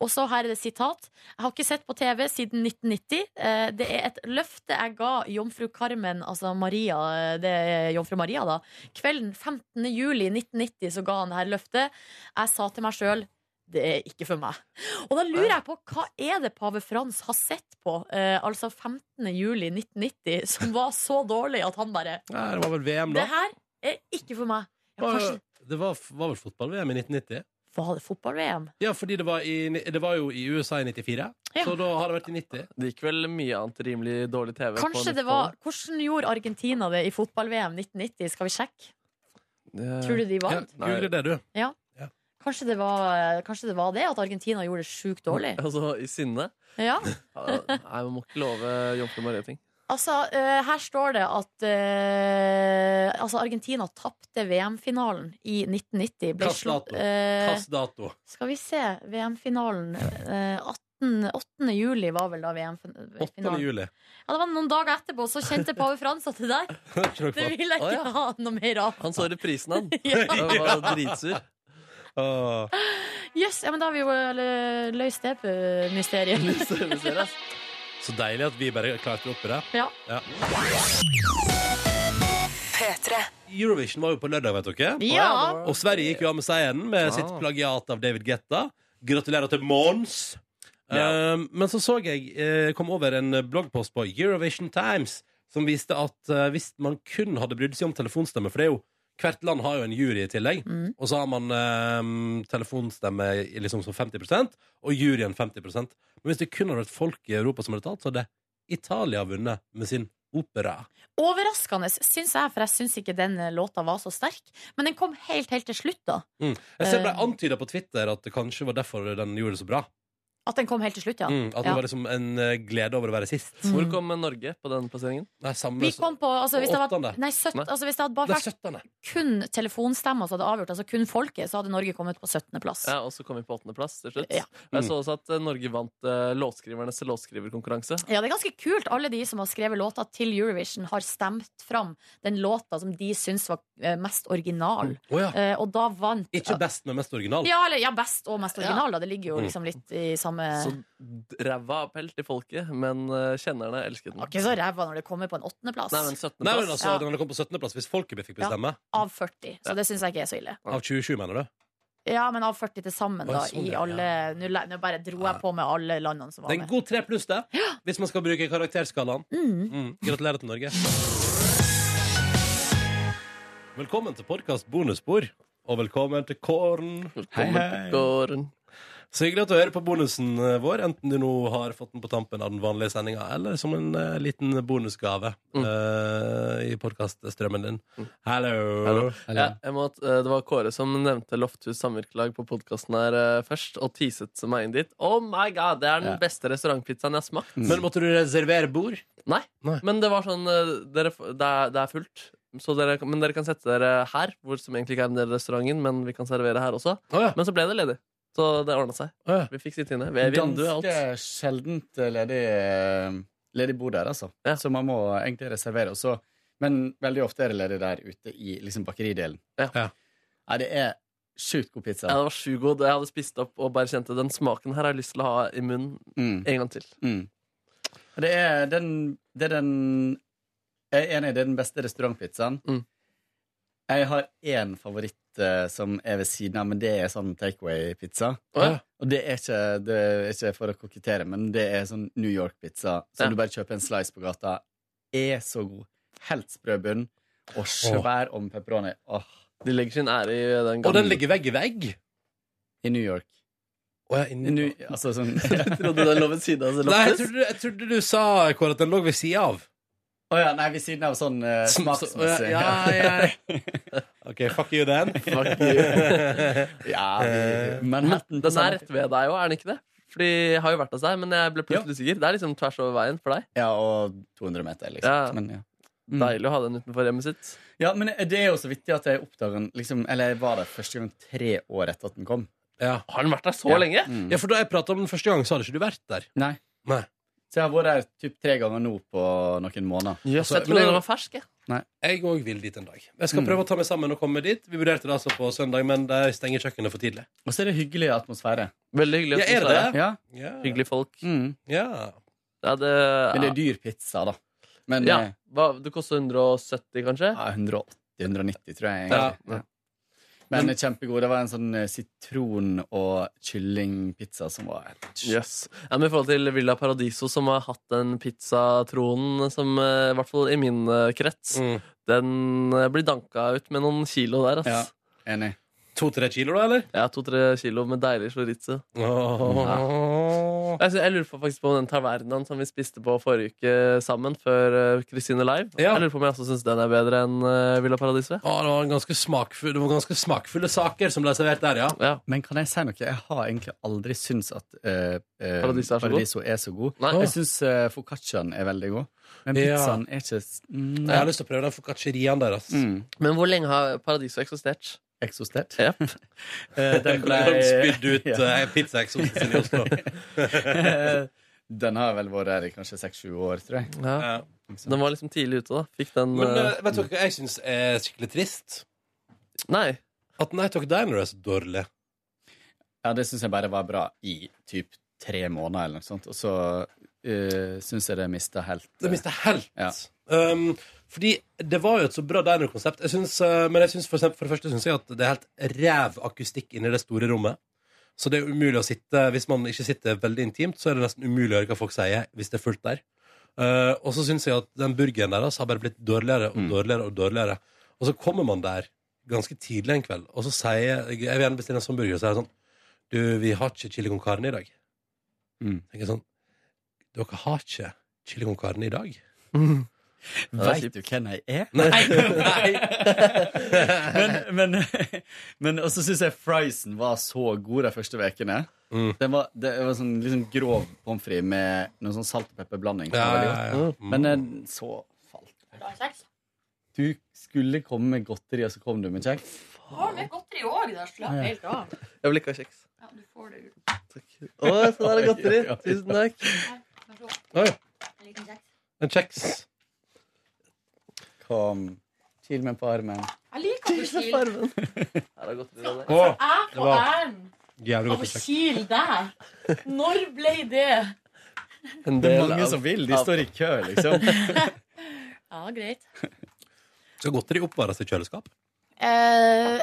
Speaker 2: Og så her er det sitat. Jeg har ikke sett på TV siden 1990. Eh, Det er et løfte jeg ga jomfru Carmen, altså Maria, eh, det er jomfru Maria, da. Kvelden 15. juli 1990 så ga han det her løftet. Jeg sa til meg sjøl det er ikke for meg. Og da lurer jeg på hva er det pave Frans har sett på, eh, altså 15. juli 1990, som var så dårlig at han bare
Speaker 1: Ja, det var vel VM,
Speaker 2: Det
Speaker 1: da.
Speaker 2: her er ikke for meg. Ja, kanskje
Speaker 1: Det var, var vel fotball-VM i 1990?
Speaker 2: var det fotball-VM?
Speaker 1: Ja, fordi det var, i, det var jo i USA i 94,
Speaker 2: Ja.
Speaker 1: så da har det vært i 90.
Speaker 3: Det gikk vel mye annet rimelig dårlig TV. på
Speaker 2: Kanskje det var Hvordan gjorde Argentina det i fotball-VM 1990? Skal vi sjekke?
Speaker 3: 90-tallet.
Speaker 2: Tror du de
Speaker 1: Ja,
Speaker 2: vant?
Speaker 3: Nei.
Speaker 1: Google det, du.
Speaker 2: Kanskje det var, kanskje det, var det at Argentina gjorde det sjukt dårlig?
Speaker 3: Altså, i sinne?
Speaker 2: Ja.
Speaker 3: Ja, Nei, man må ikke love Jomfru Maria ting.
Speaker 2: Altså, eh, her står det at eh, altså Argentina tapte VM-finalen i 1990. Ble
Speaker 1: Hvilken
Speaker 2: slått-
Speaker 1: dato?
Speaker 2: eh,
Speaker 1: Hvilken dato?
Speaker 2: Skal vi se, VM-finalen eh, 18, 8. juli var vel da
Speaker 1: 8.
Speaker 2: VM-finalen.
Speaker 1: juli.
Speaker 2: Ja, det var noen dager etterpå, så kjente pave Frans at det der
Speaker 1: Det er ikke noe
Speaker 2: Det
Speaker 1: for.
Speaker 2: vil jeg
Speaker 3: Å,
Speaker 2: ikke
Speaker 3: ja.
Speaker 2: ha noe mer av.
Speaker 3: Han så reprisen, han.
Speaker 2: Ja.
Speaker 3: Han var dritsur.
Speaker 1: Åh.
Speaker 2: Jøss, ja, men da har vi jo eh, løst det eh, mysteriet.
Speaker 3: Serviceserie, ass.
Speaker 1: Så deilig at vi bare klarte opp i det.
Speaker 2: Ja.
Speaker 1: Eurovision var jo på lørdag, vet dere.
Speaker 2: ja.
Speaker 1: Og Sverige gikk jo av med seieren med
Speaker 3: Ah.
Speaker 1: sitt plagiat av David Getta. Gratulerer til Mons.
Speaker 3: Ja.
Speaker 1: Um, men så så jeg eh, kom over en bloggpost på Eurovision Times som viste at eh, hvis man kun hadde brydd seg om telefonstemme For det er jo, hvert land har jo en jury i tillegg.
Speaker 2: Mm.
Speaker 1: Og så har man eh, telefonstemme i liksom som 50 og juryen 50 Men hvis det kun hadde vært folk i Europa som hadde talt, så hadde Italia vunnet med sin opera.
Speaker 2: Overraskende, syns jeg, for jeg syns ikke den eh, låta var så sterk. Men den kom helt, helt til slutt, da.
Speaker 1: Jeg ser det
Speaker 2: Eh.
Speaker 1: ble antyda på Twitter at det kanskje var derfor den gjorde det så bra.
Speaker 2: At den kom helt til slutt, ja.
Speaker 1: Mm, at det
Speaker 2: Ja.
Speaker 1: var liksom en eh, glede over å være sist.
Speaker 3: Hvor kom Norge på den plasseringen?
Speaker 1: Nei, samme
Speaker 2: Vi kom på altså, hvis, det hadde
Speaker 1: Åttende.
Speaker 2: vært, nei, søtt,
Speaker 3: Nei.
Speaker 2: altså, hvis det hadde bare
Speaker 1: Det er
Speaker 2: vært
Speaker 1: 17.
Speaker 2: kun telefonstemmer som hadde avgjort, altså kun folket, så hadde Norge kommet på 17. plass.
Speaker 3: Ja, og så kom vi på åttendeplass til slutt.
Speaker 2: Ja.
Speaker 3: Jeg så også at eh, Norge vant eh, låtskrivernes låtskriverkonkurranse.
Speaker 2: Ja, det er ganske kult. Alle de som har skrevet låta til Eurovision, har stemt fram den låta som de syns var eh, mest original.
Speaker 1: Å ja.
Speaker 2: Eh, Og da vant
Speaker 1: Mm. Ikke Mm. best, men mest original.
Speaker 2: ja, eller, ja, best og mest original, da. Det ligger jo liksom litt i samme
Speaker 3: Så d- ræva appell til folket, men eh, kjennerne elsket den.
Speaker 2: Var Ikke så ræva når det kommer på en åttendeplass
Speaker 3: Nei, men
Speaker 1: Nei, men
Speaker 3: 17.-plass.
Speaker 1: altså,
Speaker 2: Ja.
Speaker 1: Den hadde kommet på 17. plass hvis folket fikk
Speaker 2: Ja.
Speaker 1: bestemme.
Speaker 2: av 40, så det syns jeg ikke er så ille.
Speaker 1: Av 27, mener du?
Speaker 2: Ja, men av 40 til sammen,
Speaker 1: Oi,
Speaker 2: da.
Speaker 1: sånn,
Speaker 2: I
Speaker 1: ja.
Speaker 2: alle Nå le- nå bare dro jeg på med alle landene som
Speaker 1: Det
Speaker 2: var
Speaker 1: er en
Speaker 2: med.
Speaker 1: god tre pluss, det. Hvis man skal bruke karakterskalaen. Mm. Gratulerer til Norge. Velkommen til podkast bonusbord. Og velkommen til Kåren.
Speaker 3: Gården.
Speaker 1: Så hyggelig at du hører på bonusen eh, vår, enten du nå har fått den på tampen av den vanlige sendinga, eller som en eh, liten bonusgave eh, i podkaststrømmen din. Hallo!
Speaker 3: Hallo. Ja,
Speaker 8: Eller-
Speaker 3: jeg må, at, eh, det var Kåre som nevnte Lofthus samvirkelag på podkasten her eh, først, og teaset meg inn dit. Oh my god, Det er den
Speaker 8: Ja.
Speaker 3: beste restaurantpizzaen jeg har smakt.
Speaker 1: Men måtte du reservere bord?
Speaker 3: Nei.
Speaker 1: Nei.
Speaker 3: Men det var sånn eh, dere, f- det, er, det er fullt. Så dere, men dere kan sette dere her, hvor som egentlig ikke er en del av restauranten, men vi kan servere her også.
Speaker 1: Å ja.
Speaker 3: Men så ble det ledig. Så det ordna seg.
Speaker 1: Å ja.
Speaker 3: Vi fikk sitte inne. Ved vinduet og alt.
Speaker 8: Ganske sjeldent eh, ledig, eh, ledig bord der, altså.
Speaker 3: Ja.
Speaker 8: Så man må egentlig reservere. og så- men veldig ofte er det ledig der ute i liksom bakeridelen.
Speaker 3: Ja.
Speaker 1: Ja.
Speaker 8: Nei, det er sjukt god pizza.
Speaker 3: Ja, det var sju god. Jeg hadde spist opp og bare kjente den smaken her har jeg lyst til å ha i munnen
Speaker 8: Mm,
Speaker 3: en gang til.
Speaker 8: mm. Og Det er den, det er den Jeg er enig, det er den beste restaurantpizzaen.
Speaker 3: Mm.
Speaker 8: Jeg har én favoritt eh, som er ved siden av, men det er sånn takeaway-pizza.
Speaker 3: Å ja.
Speaker 8: Og det er, ikke, det er ikke for å kokettere, men det er sånn New York-pizza som
Speaker 3: Ja.
Speaker 8: du bare kjøper en slice på gata. Er så god. Helt sprø bunn og svær om pepperoni. Åh,
Speaker 3: De legger sin ære i den
Speaker 1: Og den
Speaker 3: gangen.
Speaker 1: ligger vegg i vegg.
Speaker 8: I New York.
Speaker 1: Å ja, inni-
Speaker 8: I New, altså sånn
Speaker 3: Trodde den lå ved siden av
Speaker 1: Nei, jeg
Speaker 3: Lofthus?
Speaker 1: trodde, jeg trodde du sa Kåre, at den lå ved sida av.
Speaker 8: Å ja, nei, ved siden av sånn eh,
Speaker 1: Som- så-
Speaker 8: smaksmessig.
Speaker 1: Ja, ja, ja. OK, fuck you, den.
Speaker 8: Fuck you. ja, vi, Manhattan på
Speaker 3: Den er
Speaker 8: samme
Speaker 3: rett ved deg òg, er den ikke det? Fordi jeg har jo vært hos deg, men jeg ble plutselig sikker. Det er liksom tvers over veien for deg.
Speaker 8: Ja, og 200 meter, liksom.
Speaker 3: Ja.
Speaker 8: Men, ja. Mm.
Speaker 3: Deilig å ha den utenfor hjemmet sitt.
Speaker 8: ja, men det er jo så vittig at jeg oppdager den liksom, Eller jeg var der første gang tre år etter at den kom.
Speaker 1: Ja.
Speaker 3: Har den vært der så
Speaker 8: Ja.
Speaker 3: lenge?
Speaker 8: Mm.
Speaker 1: ja, for da jeg prata om den første gang, så hadde ikke du vært der.
Speaker 8: Nei.
Speaker 1: Nei.
Speaker 8: Så jeg har vært her typ tre ganger nå på noen måneder.
Speaker 3: Jøss,
Speaker 1: Altså,
Speaker 3: jeg
Speaker 1: men
Speaker 3: trodde
Speaker 1: jeg-
Speaker 3: den var fersk, jeg.
Speaker 1: Jeg òg vil dit en dag. Jeg skal prøve å ta meg sammen og komme dit. Vi vurderte det altså på søndag, men de stenger kjøkkenet for tidlig.
Speaker 8: Og så er det hyggelig atmosfære.
Speaker 3: Veldig hyggelig.
Speaker 1: Ja, er det
Speaker 3: atmosfære.
Speaker 1: det?
Speaker 8: Ja.
Speaker 1: Ja.
Speaker 3: Hyggelig folk.
Speaker 8: Mm.
Speaker 1: Ja.
Speaker 3: Ja, det,
Speaker 8: Men det er dyr pizza, da. Men
Speaker 3: ja.
Speaker 8: eh,
Speaker 3: Hva, det koster 170, kanskje?
Speaker 8: ja, 180-190, tror jeg.
Speaker 1: Ja,
Speaker 8: egentlig. Ja. Men eh, kjempegod. Det var en sånn eh, sitron- og kyllingpizza som var helt
Speaker 3: Yes. Ja, men I forhold til Villa Paradiso, som har hatt den pizzatronen som eh, I hvert fall i min eh, krets.
Speaker 1: Mm.
Speaker 3: Den eh, blir danka ut med noen kilo der, ass.
Speaker 8: Ja. Enig.
Speaker 1: To-tre kilo, da, eller?
Speaker 3: Jeg har to-tre kilo med deilig chorizo.
Speaker 1: Åh.
Speaker 3: Altså, Jeg, sy- jeg lurer på faktisk på om den tavernaen som vi spiste på forrige uke sammen, før eh, Kristine Live.
Speaker 1: Ja.
Speaker 3: Jeg lurer på om jeg også syns den er bedre enn eh, Villa Paradiso.
Speaker 1: Åh, det, var en ganske smakfull, det var ganske smakfulle saker som ble servert der, ja.
Speaker 3: Ja.
Speaker 8: Men kan jeg si noe? Jeg har egentlig aldri syntes at eh, eh,
Speaker 3: Paradiso er så god.
Speaker 8: Paradiso er så god.
Speaker 3: Nei.
Speaker 8: Jeg syns foccacciaen er veldig god, men
Speaker 1: Ja.
Speaker 8: pizzaen er ikke s- mm,
Speaker 1: Jeg har lyst til å prøve den foccacciaen der. altså. ass.
Speaker 8: mm,
Speaker 3: Men hvor lenge har Paradiso eksistert?
Speaker 8: eksostert.
Speaker 3: Yep.
Speaker 8: Eh,
Speaker 1: Den ble spydd ut
Speaker 8: Ja.
Speaker 1: eh, pizzaeksosen sin i Oslo.
Speaker 8: Den har vel vært her i kanskje seks-sju år, tror jeg.
Speaker 3: Ja.
Speaker 1: Ja.
Speaker 3: Den var liksom tidlig ute, da. Fikk den
Speaker 1: Men
Speaker 3: eh,
Speaker 1: eh, vet dere hva jeg syns er skikkelig trist?
Speaker 3: Nei.
Speaker 1: At Night Talk Diner er så dårlig.
Speaker 8: Ja, det syns jeg bare var bra i typ tre måneder eller noe sånt, og så uh, syns jeg det mista helt
Speaker 1: Det mister helt.
Speaker 8: Ja.
Speaker 1: Um, fordi det var jo et så bra diner-konsept. Jeg synes, uh, men jeg synes for, eksempel, for det første syns jeg at det er helt ræv akustikk inni det store rommet. Så det er umulig å sitte Hvis man ikke sitter veldig intimt, så er det nesten umulig å høre hva folk sier hvis det er fullt der. Uh, og så syns jeg at den burgeren deres har bare blitt dårligere og
Speaker 8: Mm.
Speaker 1: dårligere og dårligere. Og så kommer man der ganske tidlig en kveld, og så sier jeg Jeg vil gjerne bestille en sånn burger, og så er det sånn Du, vi har ikke chili con carne i dag.
Speaker 8: Mm.
Speaker 1: Tenker jeg sånn Dere har ikke chili con carne i dag?
Speaker 8: Veit du hvem jeg er? men, men, men også syns jeg friesen var så god de første ukene.
Speaker 1: Mm.
Speaker 8: Den var, det var sånn liksom grov pommes frites med noe sånn salt- og pepperblanding. som
Speaker 1: Ja,
Speaker 8: var veldig
Speaker 1: ja, ja.
Speaker 8: godt. Men eh, så falt
Speaker 2: Kjeks.
Speaker 8: Du skulle komme med godteri, og så kom du med kjeks.
Speaker 2: Har du med godteri òg? Det slapp helt av.
Speaker 3: Jeg vil ikke ha kjeks.
Speaker 2: Ja, du får det ut.
Speaker 3: Takk. Å, sånn er det godteri.
Speaker 8: Oi, oi, oi.
Speaker 3: Tusen takk.
Speaker 2: Vær så god.
Speaker 1: Oi,
Speaker 2: En liten kjeks.
Speaker 1: en kjeks.
Speaker 8: Kom. Kil meg på armen.
Speaker 2: Jeg liker å få kil.
Speaker 3: Her er godteri, Ronny.
Speaker 1: Å,
Speaker 2: Jeg
Speaker 1: Det
Speaker 2: får
Speaker 1: var-
Speaker 2: æren
Speaker 1: jævlig
Speaker 2: av
Speaker 1: godt
Speaker 2: å
Speaker 1: med kjeks.
Speaker 2: kile deg. Når ble det?
Speaker 3: En
Speaker 8: Det er
Speaker 3: del
Speaker 8: mange
Speaker 3: av-
Speaker 8: som vil. De
Speaker 3: av-
Speaker 8: står i kø, liksom.
Speaker 2: Ja, greit.
Speaker 1: Skal godteri oppvares i kjøleskap?
Speaker 2: Eh,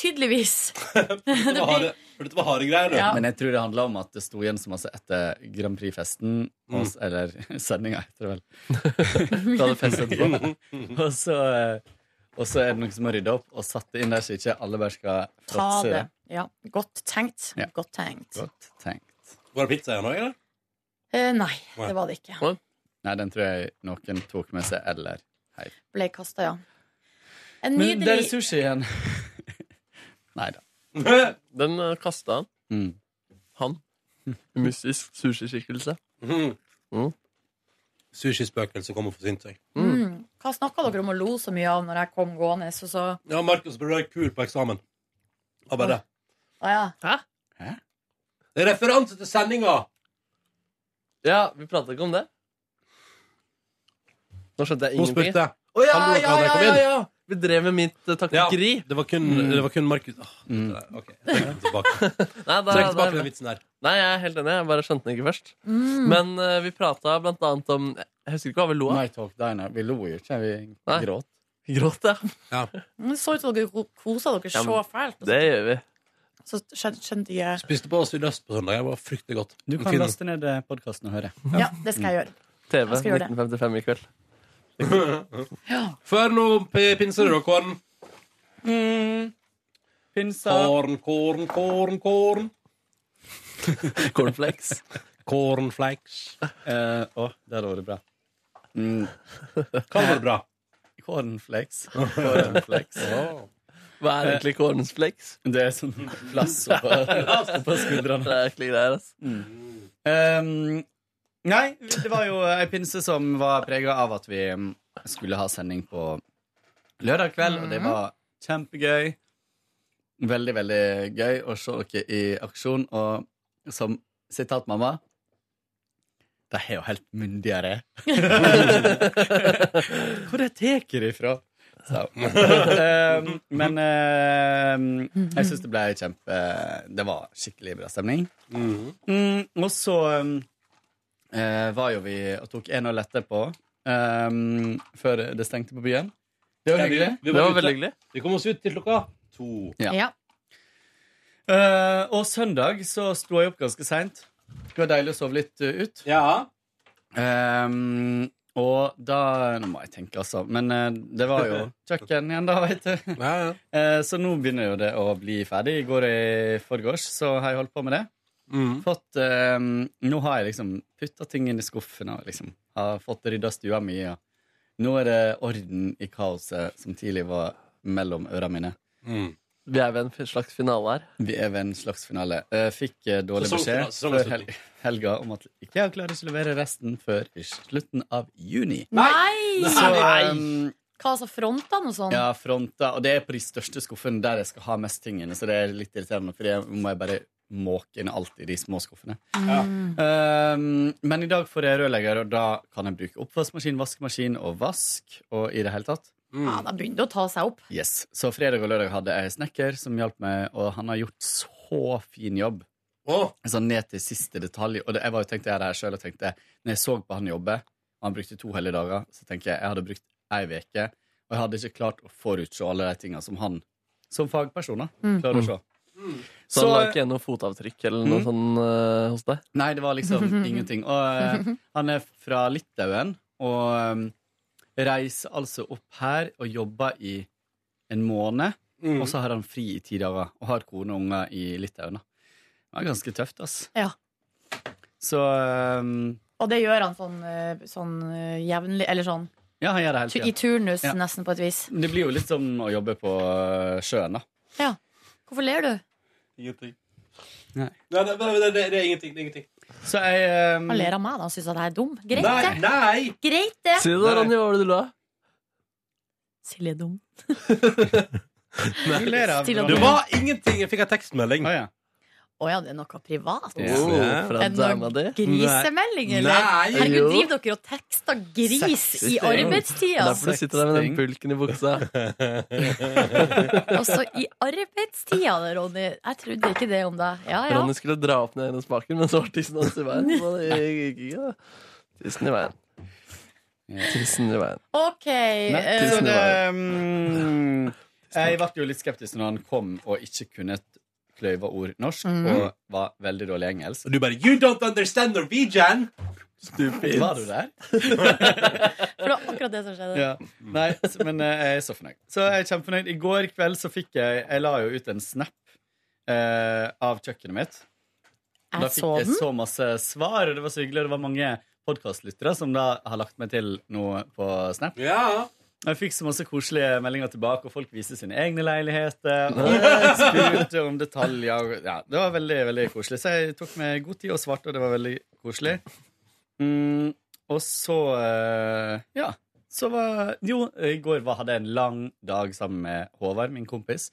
Speaker 2: Tydeligvis.
Speaker 1: For dette var harde- for dette var harde greier, du.
Speaker 2: Ja.
Speaker 8: Men jeg tror det handla om at det sto igjen så masse etter Grand Prix-festen. og s- Eller sendinga etter, vel. da hadde fest etterpå. og, så, eh, og så er det noen som har rydda opp og satt det inn der, så ikke alle bare skal
Speaker 2: Ta
Speaker 8: fråtse
Speaker 2: det. Ja. Godt tenkt.
Speaker 8: Ja.
Speaker 2: Godt tenkt.
Speaker 8: Godt tenkt.
Speaker 1: Var det pizza igjen òg, eller?
Speaker 2: Eh, nei,
Speaker 1: Nei.
Speaker 2: det var det ikke.
Speaker 8: Nei, den tror jeg noen tok med seg, eller
Speaker 2: Ble kasta, ja. En
Speaker 8: Men det er
Speaker 2: nydelig
Speaker 8: sushi igjen! Nei da.
Speaker 1: Mm.
Speaker 3: Den uh, kasta han.
Speaker 8: Mm.
Speaker 3: Han. Mystisk sushiskikkelse.
Speaker 1: Mhm.
Speaker 3: Mm.
Speaker 1: Sushispøkelset kom og forsynte seg.
Speaker 2: mm. Hva snakka dere om og lo så mye av når jeg kom gående? Så så
Speaker 1: Ja, Markus burde være kul på eksamen. Ja, bare det.
Speaker 2: Å ja.
Speaker 1: Det er referanse til sendinga!
Speaker 3: Ja, vi prata ikke om det. Nå skjønte jeg
Speaker 1: Hun
Speaker 3: ingenting.
Speaker 1: spurte.
Speaker 3: Å ja,
Speaker 1: Han lurte
Speaker 3: ja,
Speaker 1: han da jeg
Speaker 3: ja,
Speaker 1: kom
Speaker 3: ja,
Speaker 1: inn.
Speaker 3: ja! Vi drev med mitt uh, taktikkeri.
Speaker 1: Det var kun, det var kun Markus Åh,
Speaker 8: Mm.
Speaker 1: OK. Trekk den tilbake.
Speaker 3: Nei, da-
Speaker 1: Trekk tilbake
Speaker 3: da-
Speaker 1: den vitsen der.
Speaker 3: nei, jeg er helt enig. Jeg bare skjønte den ikke først.
Speaker 2: Mm.
Speaker 3: Men uh, vi prata blant annet om Jeg husker ikke hva vi lo av.
Speaker 8: My Talk Diner. Vi lo jo ikke, vi
Speaker 3: Nei.
Speaker 8: gråt.
Speaker 3: Gråt, ja.
Speaker 2: Det Mm, så ut som dere ko- kosa dere
Speaker 3: Ja, men-
Speaker 2: så fælt. og
Speaker 3: Det gjør vi.
Speaker 2: Så så skjønte, skjønte jeg
Speaker 1: Spiste på sydøst på søndag. Det var fryktelig godt.
Speaker 8: Du kan
Speaker 1: Fin.
Speaker 8: laste ned podkasten og høre.
Speaker 2: Ja, det skal jeg gjøre.
Speaker 8: Mm.
Speaker 3: TV
Speaker 2: Jeg skal gjøre det.
Speaker 3: 1955 i kveld.
Speaker 1: Før nå p- pinser du, da, korn.
Speaker 2: Mm.
Speaker 8: Pinsa.
Speaker 1: Korn, korn, korn, korn.
Speaker 3: Cornflakes.
Speaker 1: Cornflakes.
Speaker 8: Eh, Å, der var det bra. Mm.
Speaker 1: Kan være bra.
Speaker 8: Cornflakes. Cornflakes.
Speaker 3: Hva er egentlig cornflakes?
Speaker 8: Det er sånn plass oppå oppå skuldrene.
Speaker 3: Det er ekle greier, altså. ass.
Speaker 8: Ehm, nei, det var jo ei pinse som var prega av at vi mm, skulle ha sending på lørdag kveld, og det var kjempegøy. Veldig, veldig gøy å se dere i aksjon, og som sitat mamma De er jo helt myndigere. Hvor de tar de ifra? Så. Ehm, men ehm, jeg syns det ble kjempe Det var skikkelig bra stemning. Mm, og så um, eh, var jo vi og tok en øl etterpå, um, før det stengte på byen. Det var
Speaker 1: Ja, vi-
Speaker 8: hyggelig.
Speaker 1: vi
Speaker 3: Det
Speaker 1: var
Speaker 3: var
Speaker 1: ute.
Speaker 3: veldig hyggelig.
Speaker 1: Vi kom oss ut til klokka to.
Speaker 8: Ja.
Speaker 2: Ja.
Speaker 8: Eh, og søndag så sto jeg opp ganske seint. Det var deilig å sove litt eh, ut.
Speaker 1: Ja.
Speaker 8: Um, og da Nå må jeg tenke, altså. Men eh, det var jo kjøkken igjen, da, veit du.
Speaker 1: ja, ja.
Speaker 8: Eh, så nå begynner jo det å bli ferdig. I går i forgårs så har jeg holdt på med det.
Speaker 1: Mm.
Speaker 8: fått eh, Nå har jeg liksom putta ting inn i skuffen og liksom har fått rydda stua mi. Og nå er det orden i kaoset som tidlig var mellom øra mine.
Speaker 1: Mm.
Speaker 3: Vi er ved en slags finale her.
Speaker 8: Vi er ved en slags finale. Jeg fikk eh, dårlig
Speaker 1: Sesongfinale-
Speaker 8: beskjed før
Speaker 1: sesongavslutning.
Speaker 8: hel helga om at ikke jeg klarer å levere resten før i slutten av juni.
Speaker 2: Nei!
Speaker 8: Så eh,
Speaker 2: Hva altså, frontene og sånn?
Speaker 8: ja, fronta Og det er på de største skuffene der jeg skal ha mest tingene, så det er litt irriterende, for jeg må jeg bare måke inn alt i de små skuffene. Um, men i dag får jeg rørlegger, og da kan jeg bruke oppvaskmaskin, vaskemaskin og vask. Og i det hele tatt
Speaker 1: Mm.
Speaker 2: Ja, da begynner det å ta seg opp.
Speaker 8: Yes, Så fredag og lørdag hadde jeg snekker som hjalp meg, og han har gjort så fin jobb.
Speaker 1: Å,
Speaker 8: Sånn ned til siste detalj. Og det, jeg var jo tenkte jeg det her selv, og tenkte Når jeg så på han jobbe, og han brukte to hele dager, så tenker jeg jeg hadde brukt ei uke, og jeg hadde ikke klart å forutse alle de tinga som han, som fagperson, da, klarer å se.
Speaker 3: Så, han la Sånn, ikke igjen noe fotavtrykk eller noe
Speaker 8: Mm.
Speaker 3: sånn eh, hos deg?
Speaker 8: Nei, det var liksom ingenting. Og eh, han er fra Litauen og eh, reiser altså opp her og jobber i en måned.
Speaker 1: Mm.
Speaker 2: Mm.
Speaker 8: Og så har han fri i ti dager og har kone og unger i Litauen. da. Det er ganske tøft, ass.
Speaker 2: Ja.
Speaker 8: Så eh,
Speaker 2: Og det gjør han sånn, eh, sånn eh, jevnlig, eller sånn
Speaker 8: ja, han gjør det
Speaker 2: tu-
Speaker 8: hele
Speaker 2: i
Speaker 8: tida.
Speaker 2: turnus,
Speaker 8: Ja.
Speaker 2: nesten på et vis.
Speaker 8: Det blir jo litt som å jobbe på eh, sjøen, da.
Speaker 2: Hvorfor ler du?
Speaker 1: Ingenting.
Speaker 8: Nei.
Speaker 1: Nei, det, det, det, det er ingenting. Det er ingenting.
Speaker 8: Så jeg eh,
Speaker 2: Han ler av meg, da. Han syns at jeg er dum. Greit,
Speaker 1: Nei,
Speaker 2: det.
Speaker 1: nei!
Speaker 2: Greit, det.
Speaker 3: Si det, da, Ronny. Hva var det du la?
Speaker 2: Silje er dum.
Speaker 8: jeg ler av
Speaker 2: Stille og
Speaker 1: Det var ingenting. Jeg fikk en tekstmelding.
Speaker 8: Å, ja.
Speaker 2: Å ja, det er noe privat?
Speaker 8: Ja.
Speaker 3: Oh, fra
Speaker 2: Er det
Speaker 3: dama di?
Speaker 2: noe grisemelding, eller?
Speaker 1: Nei!
Speaker 2: Herregud,
Speaker 3: Jo.
Speaker 2: driver dere og tekster gris i
Speaker 8: Sexisting.
Speaker 2: arbeidstida?
Speaker 3: Derfor du sitter der med den bulken i buksa.
Speaker 2: Altså, i arbeidstida, Ronny. Jeg trodde ikke det om deg. Ja, ja.
Speaker 3: Ronny skulle dra opp ned gjennom spaken, men så var tissen hans i veien. Så det gikk ikke, da. Tissen i veien. Tissen i veien.
Speaker 2: OK.
Speaker 8: Nei,
Speaker 2: eh,
Speaker 8: så
Speaker 3: tusen
Speaker 8: det, mm, Jeg ble jo litt skeptisk når han kom og ikke kunne et kløyva ord norsk,
Speaker 2: Mm.
Speaker 8: og var veldig dårlig engelsk.
Speaker 1: Og du bare You don't understand Norwegian!
Speaker 8: Var du der?
Speaker 2: For det var akkurat det som skjedde.
Speaker 8: Ja. Nei, s- men eh, jeg er så fornøyd. Så jeg er kjempefornøyd. I går kveld så fikk jeg Jeg la jo ut en snap eh, av kjøkkenet mitt. Og Da
Speaker 2: Jeg
Speaker 8: fikk
Speaker 2: så
Speaker 8: jeg
Speaker 2: den.
Speaker 8: så masse svar, og det var så hyggelig. Og det var mange podkastlyttere som da har lagt meg til noe på Snap.
Speaker 1: Ja.
Speaker 8: Og Jeg fikk så masse koselige meldinger tilbake, og folk viste sine egne leiligheter. Og spurte om detaljer. og- Ja, det var veldig veldig koselig. Så jeg tok meg god tid og svarte, og det var veldig koselig. Mm, og så eh, Ja. Så var Jo, i går var, hadde jeg en lang dag sammen med Håvard, min kompis.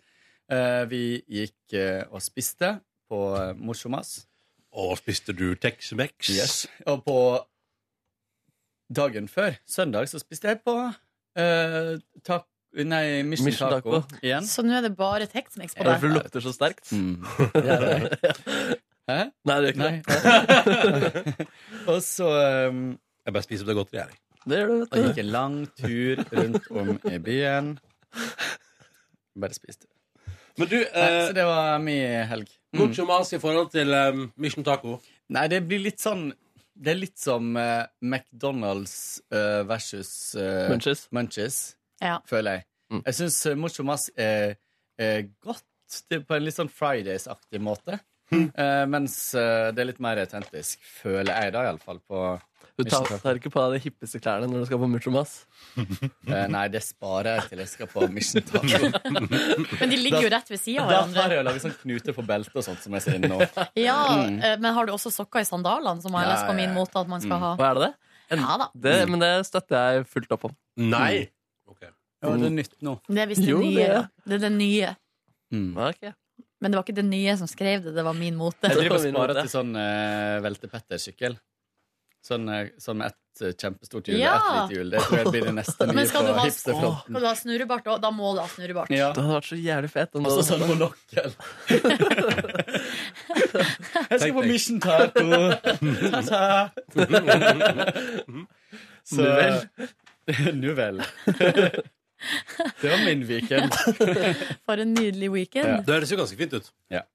Speaker 8: Eh, vi gikk eh, og spiste på eh, Morsomas.
Speaker 1: Og spiste du Tex-Mex?
Speaker 8: Yes. Og på dagen før, søndag, så spiste jeg på uh, tak nei, Mission,
Speaker 3: Mission
Speaker 8: Taco,
Speaker 3: Taco.
Speaker 8: igjen.
Speaker 2: Så nå er det bare Tex-Mex på
Speaker 3: Det er Derfor
Speaker 2: deg.
Speaker 3: du lukter så sterkt.
Speaker 8: Mm. Hæ?
Speaker 3: Nei, det gjør ikke
Speaker 8: Nei. og så um,
Speaker 1: Jeg bare spiser opp det godteriet. jeg.
Speaker 3: det. Det gjør du,
Speaker 8: og
Speaker 3: vet
Speaker 8: gikk en lang tur rundt om i byen. Bare spiste.
Speaker 1: Men du, eh,
Speaker 8: Nei, så det var min helg. Mm.
Speaker 1: god sjomas i forhold til eh, Mission Taco.
Speaker 8: Nei, det blir litt sånn Det er litt som eh, McDonald's eh, versus eh,
Speaker 3: du. Munchies.
Speaker 8: Munchies,
Speaker 2: Ja.
Speaker 8: føler jeg.
Speaker 3: Mm.
Speaker 8: Jeg syns Mocho Mass er, er godt det er på en litt sånn Fridays-aktig måte. Eh, mens eh, det er litt mer autentisk, føler jeg da, iallfall. På
Speaker 3: Du tar,
Speaker 8: Mission Taco.
Speaker 3: tar ikke på deg de hippeste klærne når du skal på Muchomas.
Speaker 8: eh, Nei, det sparer jeg til jeg skal på Mission Taco.
Speaker 2: Men de ligger jo rett ved sida av
Speaker 8: da tar
Speaker 2: hverandre.
Speaker 8: jeg og lager sånn knute på beltet og sånt, som jeg ser inne nå.
Speaker 2: Ja, eh, Men har du også sokker i sandalene, som har
Speaker 8: Mm. Ja,
Speaker 2: ellers på
Speaker 8: ja, Mm.
Speaker 2: min
Speaker 8: ja.
Speaker 2: måte at man skal ha?
Speaker 3: Hva er det det? En-
Speaker 2: Ja da.
Speaker 3: det? Men det støtter jeg fullt opp om.
Speaker 1: Nei. Ok.
Speaker 8: Ja, det er nytt nå.
Speaker 2: Det er visst det
Speaker 3: Jo,
Speaker 2: nye.
Speaker 3: det er-
Speaker 2: da. Det er det nye.
Speaker 8: Mm.
Speaker 3: Ja, ok.
Speaker 2: Men det var ikke det nye som skrev det, det var min mote.
Speaker 8: Jeg driver og
Speaker 3: Det var min
Speaker 8: sparer
Speaker 3: måte.
Speaker 8: til sånn uh, veltepetter-sykkel. Sånn eh, som ett eh, kjempestort hjul og
Speaker 2: Ja.
Speaker 8: ett lite hjul. Det tror jeg blir det neste nye
Speaker 2: Men skal du
Speaker 8: på
Speaker 2: ha-
Speaker 8: hipsterfronten.
Speaker 2: Skal du ha snurrebart òg? Da må du ha snurrebart.
Speaker 8: Ja.
Speaker 3: Det hadde vært så jævlig fett. om du
Speaker 8: Og så
Speaker 3: hadde-
Speaker 8: sånn monokkel. jeg skal
Speaker 1: Tenk
Speaker 8: på
Speaker 1: deg.
Speaker 8: Mission Taco. Ta-ta. Så
Speaker 3: Nu vel.
Speaker 8: Nu vel. Det var min weekend.
Speaker 2: For en nydelig
Speaker 8: Ja.
Speaker 2: weekend.
Speaker 1: Det høres jo ganske fint ut.
Speaker 8: Ja.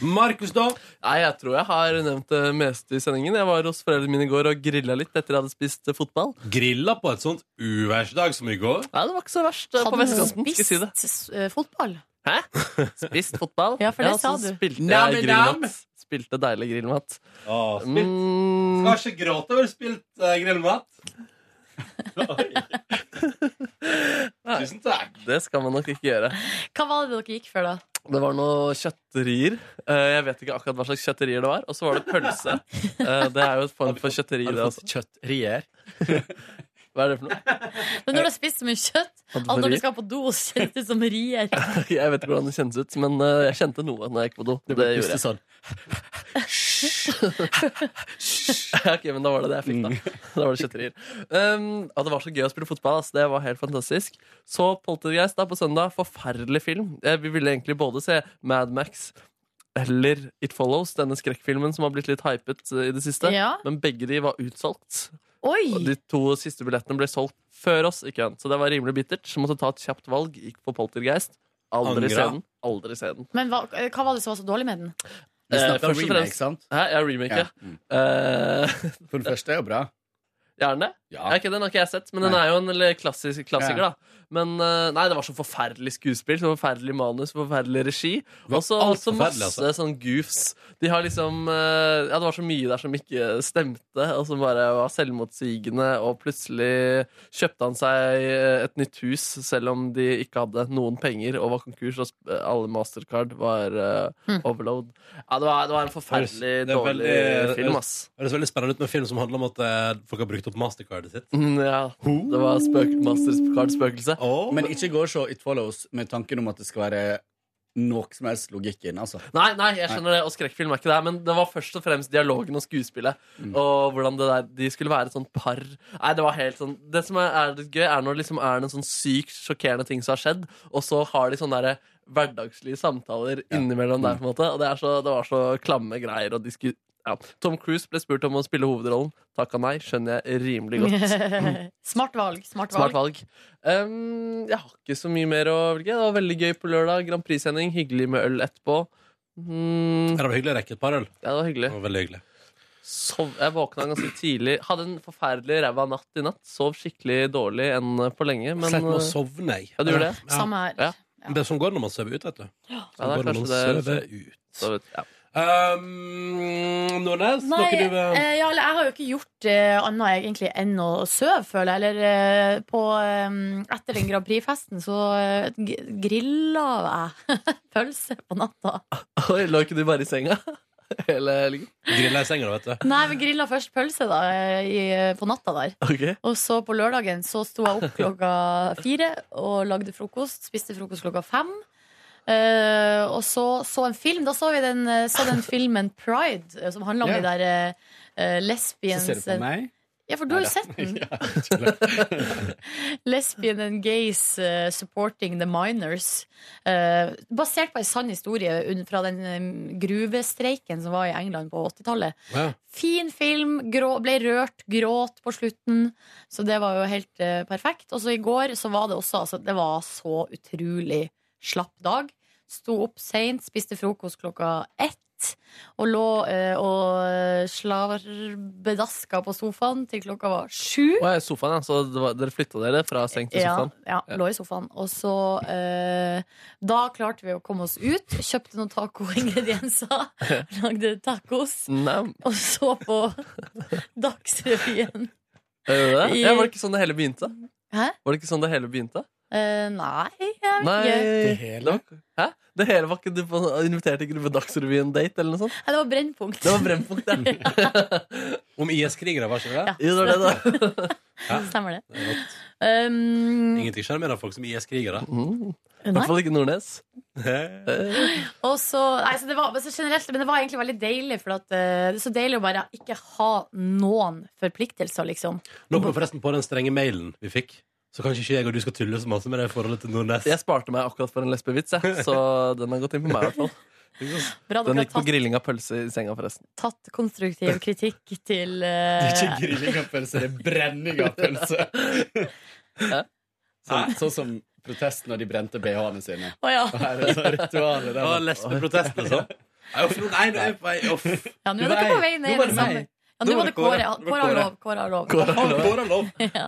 Speaker 1: Markus, da?
Speaker 3: Nei, Jeg tror jeg har nevnt det meste i sendingen. Jeg var hos foreldrene mine i går og grilla litt etter jeg hadde spist eh, fotball.
Speaker 1: Grilla på et sånt uværsdag som i går.
Speaker 3: Nei, Det var ikke så verst eh, på
Speaker 2: Hadde du
Speaker 3: vestkanten. Skal jeg si det.
Speaker 2: spist s- eh, fotball?
Speaker 3: Hæ? Spist fotball?
Speaker 2: Ja, for det sa
Speaker 3: så
Speaker 2: du.
Speaker 3: Spilte
Speaker 1: Nam,
Speaker 3: jeg
Speaker 1: nam.
Speaker 3: grillmat. Spilte deilig grillmat.
Speaker 1: Åh, spilt.
Speaker 3: Mm,
Speaker 1: Skal ikke gråte over spilt eh, grillmat.
Speaker 3: Nei.
Speaker 1: Tusen takk.
Speaker 3: det skal man nok ikke gjøre.
Speaker 2: Hva var det dere gikk for, da?
Speaker 3: Det var noen kjøtterier. Eh, Jeg vet ikke akkurat hva slags kjøtterier det var. Og så var det pølse. Eh, Det er jo en form for kjøtteri.
Speaker 8: Har du
Speaker 3: Det, altså.
Speaker 8: fått kjøttrier?
Speaker 3: Hva er det for noe?
Speaker 2: Men når du har spist så mye kjøtt at når du skal på do, kjennes det ut som rier.
Speaker 3: Jeg vet ikke hvordan det kjennes ut, men eh, jeg kjente noe når jeg gikk på do. Det gjorde jeg.
Speaker 8: sånn.
Speaker 3: ok, men da var det det jeg fikk, da. Da var det kjøtterier. Um, ja, det var så gøy å spille fotball. Ass. Det var helt fantastisk. Så Poltergeist da på søndag. Forferdelig film. Eh, Vi ville egentlig både se Mad Max eller It Follows, denne skrekkfilmen som har blitt litt hypet eh, i det siste.
Speaker 2: Ja.
Speaker 3: Men begge de var utsolgt. Og
Speaker 2: Oi!
Speaker 3: de to siste billettene ble solgt før oss i køen, så det var rimelig bittert. Så måtte ta et kjapt valg. Gikk på Poltergeist.
Speaker 1: Angra.
Speaker 3: Aldri se den. Aldri se den.
Speaker 2: Men hva, eh, hva var det som var så dårlig med den?
Speaker 8: Vi
Speaker 3: Eh,
Speaker 8: snakker
Speaker 3: først
Speaker 8: om
Speaker 3: og
Speaker 8: remake,
Speaker 3: fremst-
Speaker 8: sant?
Speaker 3: Hæ, jeg remaker.
Speaker 8: Mm.
Speaker 3: Ja.
Speaker 8: For det første er jo bra.
Speaker 3: gjerne.
Speaker 8: Ja.
Speaker 3: Ja, ok, den har ikke jeg sett, men den
Speaker 8: Nei.
Speaker 3: er jo en eller klassisk, klassiker,
Speaker 8: Ja.
Speaker 3: da. Men eh, nei, det var så forferdelig skuespill, så forferdelig manus, så forferdelig regi. Og så
Speaker 1: alt
Speaker 3: også
Speaker 1: forferdelig,
Speaker 3: masse
Speaker 1: altså.
Speaker 3: sånn goofs. De har liksom eh, Ja, det var så mye der som ikke stemte, og som bare var selvmotsigende, og plutselig kjøpte han seg eh, et nytt hus selv om de ikke hadde noen penger og var konkurs, og sp- alle mastercard var eh,
Speaker 2: Hm.
Speaker 3: overload. Ja, det var, det var en forferdelig
Speaker 1: Det er
Speaker 3: dårlig
Speaker 1: veldig- eh,
Speaker 3: film, ass.
Speaker 1: Det høres veldig spennende ut med en film som handler om at eh, folk har brukt opp mastercardet sitt.
Speaker 3: Mm, Ja, det var spøk mastercard-spøkelse.
Speaker 1: Åh,
Speaker 8: Men ikke gå og se It Follows med tanken om at det skal være noe som helst logikk inne, altså.
Speaker 3: Nei, nei, jeg skjønner det, og skrekkfilm er ikke det. Men det var først og fremst dialogen og skuespillet. Og hvordan det der, de skulle være et sånt par. Nei, Det var helt sånn Det som er, er litt gøy, er når liksom er det en sånn sykt sjokkerende ting som har skjedd, og så har de sånne der hverdagslige samtaler innimellom der, på en måte. Og det, er så, det var så klamme greier, og de skulle Ja. Tom Cruise ble spurt om å spille hovedrollen. Takka nei, skjønner jeg rimelig godt.
Speaker 2: smart valg. Smart
Speaker 3: Smart
Speaker 2: valg.
Speaker 3: valg. Um, jeg har ikke så mye mer å velge. Det var veldig gøy på lørdag. Grand Prix-sending. Hyggelig med øl etterpå. Mm,
Speaker 1: Ja, det var hyggelig å rekke et par øl.
Speaker 3: ja, det var
Speaker 1: Det
Speaker 3: hyggelig.
Speaker 1: var veldig hyggelig.
Speaker 3: Sov, jeg våkna ganske tidlig. Hadde en forferdelig ræva natt i natt. Sov skikkelig dårlig enn på lenge. Men
Speaker 1: Sleit med å
Speaker 3: uh,
Speaker 1: sovne, jeg.
Speaker 3: Ja, du gjorde det?
Speaker 1: Ja.
Speaker 2: Samme her.
Speaker 3: Ja.
Speaker 1: Det er sånn går det når man sover ut, vet du.
Speaker 3: ja,
Speaker 1: Sånn går
Speaker 3: det er
Speaker 1: det når
Speaker 3: kanskje
Speaker 1: man
Speaker 3: det.
Speaker 1: sover ut.
Speaker 3: Så, vet- ja.
Speaker 1: Um, Nordnes,
Speaker 2: Nei,
Speaker 1: noe du vil
Speaker 2: eh, ja, eller jeg har jo ikke gjort eh, annet egentlig enn å søve, føler jeg. Eller eh, på eh, Etter den Grand Prix-festen så eh, g- grilla jeg pølse på natta.
Speaker 3: Oi, lå ikke du bare i senga hele helgen?
Speaker 1: grille i senga, da, vet du.
Speaker 2: Nei, vi grilla først pølse da eh, i, på natta der.
Speaker 3: Ok.
Speaker 2: Og så på lørdagen så sto jeg opp klokka fire og lagde frokost. Spiste frokost klokka fem. Eh, og så så en film. Da så vi den, eh, så den filmen Pride, eh, som handler om
Speaker 8: Ja.
Speaker 2: de der eh, eh,
Speaker 8: Så
Speaker 2: lesbiens
Speaker 8: ser du på meg.
Speaker 2: Ja, for du har jo sett den. Lesbian and gays eh, supporting the minors. Eh, basert på en sann historie un- fra den eh, gruvestreiken som var i England på 80-tallet.
Speaker 1: Ja.
Speaker 2: Fin film. Grå, ble rørt, gråt på slutten. Så det var jo helt eh, perfekt. Og så i går så var det også altså, Det var så utrolig slapp dag. Sto opp seint, spiste frokost klokka ett. Og lå eh, og slarbedaska på sofaen til klokka var sju.
Speaker 3: Å, jeg er i sofaen, ja. Så det var, dere flytta dere fra seng til
Speaker 2: Ja,
Speaker 3: sofaen?
Speaker 2: ja, lå i sofaen. Og så eh, Da klarte vi å komme oss ut. Kjøpte noen tacoingredienser. Lagde tacos.
Speaker 3: Nei,
Speaker 2: Og så på Dagsrevyen.
Speaker 3: er det det? Ja, var det ikke sånn det hele begynte?
Speaker 2: Hæ?
Speaker 3: Var det ikke sånn det hele begynte?
Speaker 2: Eh, nei, jeg vet
Speaker 3: Nei,
Speaker 2: ikke.
Speaker 3: det var, hæ? Det hele var ikke du på, invitert ikke du på Dagsrevyen-date eller noe sånt?
Speaker 2: Nei, det var Brennpunkt.
Speaker 3: Det var Brennpunkt, ja.
Speaker 1: Om IS-krigere, var ikke det?
Speaker 2: Ja.
Speaker 3: Jo, det var det, da.
Speaker 2: Stemmer det.
Speaker 1: det er godt.
Speaker 2: Um,
Speaker 1: Ingenting sjarmerer folk som IS-krigere.
Speaker 3: Mm. I
Speaker 2: nei.
Speaker 3: hvert fall ikke Nordnes.
Speaker 2: Og så, nei, så det var, men så generelt, men det var egentlig veldig deilig, for at, eh, det er så deilig å bare ikke ha noen forpliktelser, liksom.
Speaker 1: Nå kom jeg forresten på den strenge mailen vi fikk. Så kanskje ikke jeg og du skal tulle så masse med det forholdet til Nordnes.
Speaker 3: Jeg sparte meg akkurat for en lesbevits, jeg. Så den har gått inn på meg, i hvert fall.
Speaker 2: Bra
Speaker 3: Den
Speaker 2: dere
Speaker 3: gikk på
Speaker 2: har tatt,
Speaker 3: grilling av pølse i senga, forresten.
Speaker 2: tatt konstruktiv kritikk til eh,
Speaker 8: Ikke grilling av pølse, det er brenning av pølse. Sånn, sånn som protest når de brente BH-ene sine.
Speaker 2: Å ja.
Speaker 8: Og Her er sånn ritualet
Speaker 1: Det var
Speaker 8: der.
Speaker 1: lesbeprotest, liksom. Nei, uff, nå- nei, nå er jeg på vei. Uff.
Speaker 2: ja, nå
Speaker 8: Nå
Speaker 2: er
Speaker 8: var
Speaker 2: dere på
Speaker 8: jeg-
Speaker 2: vei ned
Speaker 8: nå
Speaker 2: i
Speaker 8: var
Speaker 2: det
Speaker 8: det
Speaker 2: samme.
Speaker 8: meg.
Speaker 2: Ja,
Speaker 1: Nå
Speaker 2: nå
Speaker 1: var
Speaker 2: var
Speaker 1: det
Speaker 2: det Kåre.
Speaker 1: Kåre. Det var
Speaker 2: Kåre har
Speaker 1: Kåre.
Speaker 2: lov. Kåre har lov.
Speaker 1: Kåre har lov. Kåre har lov.
Speaker 2: Ja.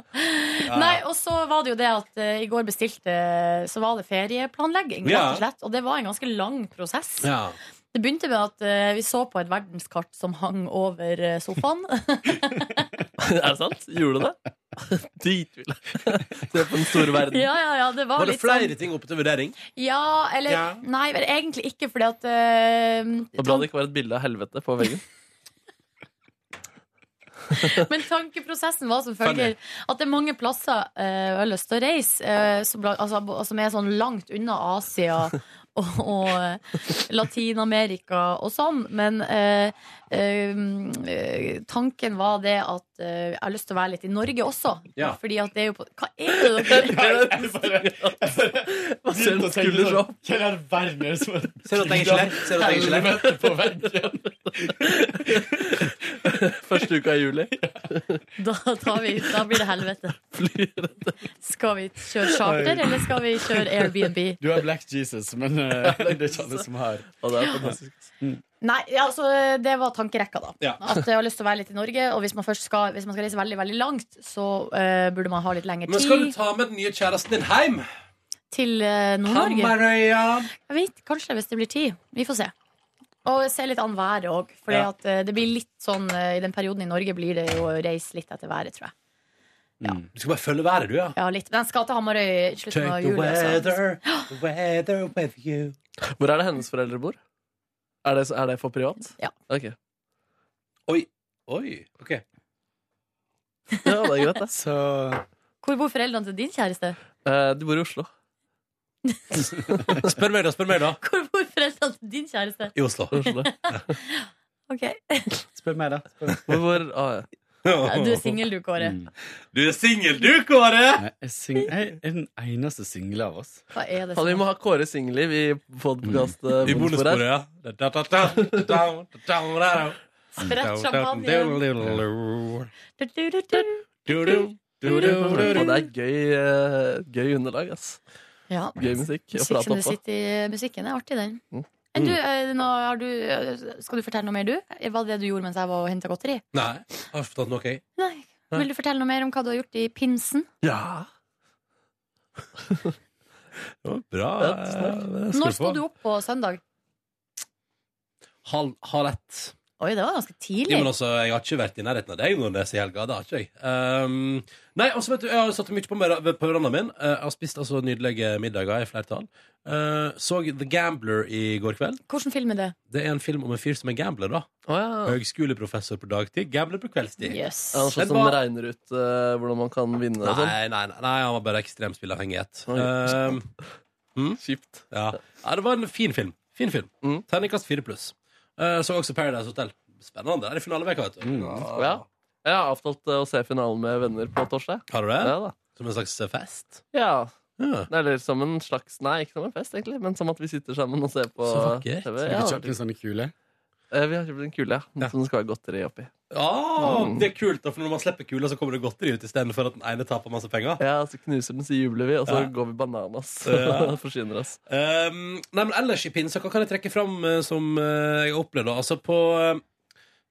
Speaker 2: Nei, og så var det jo det at eh, i går bestilte Så var det ferieplanlegging, rett
Speaker 1: Ja.
Speaker 2: og slett. Og det var en ganske lang prosess.
Speaker 1: Ja.
Speaker 2: Det begynte med at eh, vi så på et verdenskart som hang over eh, sofaen.
Speaker 3: Er det sant? Gjorde du det? Dritvill. Se på den store verden.
Speaker 2: ja, ja, ja, det var,
Speaker 1: Var det
Speaker 2: litt
Speaker 1: flere
Speaker 2: sånn
Speaker 1: ting oppe til vurdering?
Speaker 2: Ja, eller
Speaker 1: Ja.
Speaker 2: Nei, vel, egentlig ikke, fordi at eh,
Speaker 3: Det var bra det ikke var et bilde av helvete på veggen.
Speaker 2: Men tankeprosessen var som følger at det er mange plasser eh, jeg har lyst til å reise, eh, som, bla- altså, bo- som er sånn langt unna Asia og, og eh, Latin-Amerika og sånn. Men eh, eh, eh, tanken var det at eh, jeg har lyst til å være litt i Norge også.
Speaker 1: Ja.
Speaker 2: Fordi at det er jo på Hva er det dere
Speaker 8: Jeg bare- jeg bare begynte å tenke
Speaker 3: Skulder
Speaker 8: sånn,
Speaker 3: opp.
Speaker 8: Hva i all verden er det som er
Speaker 1: Ser du at jeg ikke ler? Ser du at jeg ikke ler?
Speaker 8: helvete på veggen?
Speaker 3: Første uka i juli.
Speaker 2: Da, tar vi, da blir det helvete.
Speaker 3: Flyr.
Speaker 2: Skal vi kjøre charter, eller skal vi kjøre Airbnb?
Speaker 8: Du er Black Jesus, men eh, det er ikke alle som har.
Speaker 3: Og det er fantastisk.
Speaker 2: Nei, ja, altså, det var tankerekka, da.
Speaker 1: Ja.
Speaker 2: At jeg har lyst til å være litt i Norge. Og hvis man først skal, hvis man skal reise veldig veldig langt, så eh, burde man ha litt lengre
Speaker 1: Men skal
Speaker 2: tid
Speaker 1: du ta med den nye kjæresten din hjem?
Speaker 2: til eh, Nord-Norge.
Speaker 1: Hammerøya.
Speaker 2: Jeg vet, Kanskje, hvis det blir tid. Vi får se. Og se litt an været òg. For
Speaker 1: Ja.
Speaker 2: det blir litt sånn eh, i den perioden i Norge blir det jo å reise litt etter været, tror jeg.
Speaker 1: Du skal bare følge været, du, ja.
Speaker 2: Ja, litt. Men jeg skal til Hamarøy i slutten av juli. altså.
Speaker 1: the weather with you.
Speaker 3: Hvor er det hennes foreldre bor? Er det, er det for privat?
Speaker 2: Ja.
Speaker 3: Ok.
Speaker 1: Oi, ok.
Speaker 3: Ja, det er greit, det.
Speaker 8: Så
Speaker 2: Hvor bor foreldrene til din kjæreste?
Speaker 3: Eh, Du bor i Oslo.
Speaker 1: Spør meg, da. Spør meg, da.
Speaker 2: Hvor bor foreldrene til din kjæreste?
Speaker 1: I Oslo.
Speaker 3: Oslo.
Speaker 2: Ok,
Speaker 8: spør meg, da. Spør meg.
Speaker 3: Hvor, hvor, ah, ja.
Speaker 2: Du er singel, du, Kåre.
Speaker 1: Du er singel, du, Kåre!
Speaker 8: Nei, jeg, sing, jeg er den eneste single av oss.
Speaker 2: Hva er det
Speaker 3: Faen, vi må ha Kåre Singeliv i eh, podkast.
Speaker 1: I bonussporet, ja. Da, da, da, da, da, da, da, da.
Speaker 2: Sprett champagne.
Speaker 1: Du-du-du-du-du.
Speaker 3: Og det er gøy, eh, gøy underlag, ass.
Speaker 9: Ja.
Speaker 3: Gøy musikk å
Speaker 9: Sex
Speaker 3: prate
Speaker 9: and the
Speaker 3: opp på.
Speaker 9: City-musikken er artig, den.
Speaker 3: Mm.
Speaker 9: Enn du, eh, nå har du, eh, skal du fortelle noe mer, du? Var det det du gjorde mens jeg var og henta godteri?
Speaker 1: Nei, har ikke fortalt noe, jeg.
Speaker 9: Nei. Vil du fortelle noe mer om hva du har gjort i pinsen?
Speaker 3: Ja.
Speaker 1: Det var bra.
Speaker 3: Ja, snakk.
Speaker 1: eh, skal
Speaker 9: Når sto
Speaker 1: få.
Speaker 9: du opp på søndag?
Speaker 1: Halv, halv ett.
Speaker 9: Oi, det var ganske tidlig.
Speaker 1: Jo, men altså, Jeg har ikke vært i nærheten av deg Nordnes i helga. Det har ikke jeg. Ehm, nei, altså, vet du, Jeg har satt mye på, meg- på verandaen min. Eh, Jeg har spist altså nydelige middager i flertall. Eh, så The Gambler i går kveld.
Speaker 9: Hvilken film er det?
Speaker 1: Det er en film om en fyr som er gambler. da
Speaker 3: Å ja.
Speaker 1: Høgskoleprofessor på dagtid, gambler på kveldstid.
Speaker 9: Yes.
Speaker 3: Er det noe
Speaker 1: Den
Speaker 3: sånt som
Speaker 1: var-
Speaker 3: regner ut sånn eh, hvordan man kan vinne og sånn?
Speaker 1: Nei, nei, nei, nei, han var bare ekstremt spilleavhengighet.
Speaker 3: Oi.
Speaker 1: Ehm,
Speaker 3: Kjipt.
Speaker 1: ja. ja, det var en fin film. Fin film.
Speaker 3: Mm.
Speaker 1: Terningkast fire pluss. Eh, så også Paradise Hotel. Spennende. Det er i finaleveka, vet du.
Speaker 3: Mm. Ja. Jeg har avtalt eh, å se finalen med venner på torsdag.
Speaker 1: Har du det?
Speaker 3: Ja da.
Speaker 1: Som en slags eh, fest?
Speaker 3: Ja.
Speaker 1: Ja.
Speaker 3: Eller som en slags Nei, ikke som en fest, egentlig, men som at vi sitter sammen og ser på
Speaker 1: Så vakkert.
Speaker 3: TV.
Speaker 8: Har
Speaker 3: Ja,
Speaker 8: du kjøpt en sånn kule?
Speaker 3: eh, vi har kjøpt en kule, ja.
Speaker 1: Ja.
Speaker 3: Som det skal være godteri oppi.
Speaker 1: Ja,
Speaker 3: Mm.
Speaker 1: Ah, det er kult, da, for når man slipper kula, så kommer det godteri ut istedenfor at den ene taper masse penger.
Speaker 3: Ja, så knuser den, så jubler vi, og så
Speaker 1: Ja.
Speaker 3: går vi bananas.
Speaker 1: Ja.
Speaker 3: Forsyner oss.
Speaker 1: Um, nei, men ellers i pinsa, hva kan jeg trekke fram eh, som eh, jeg opplevde? Altså, på, eh,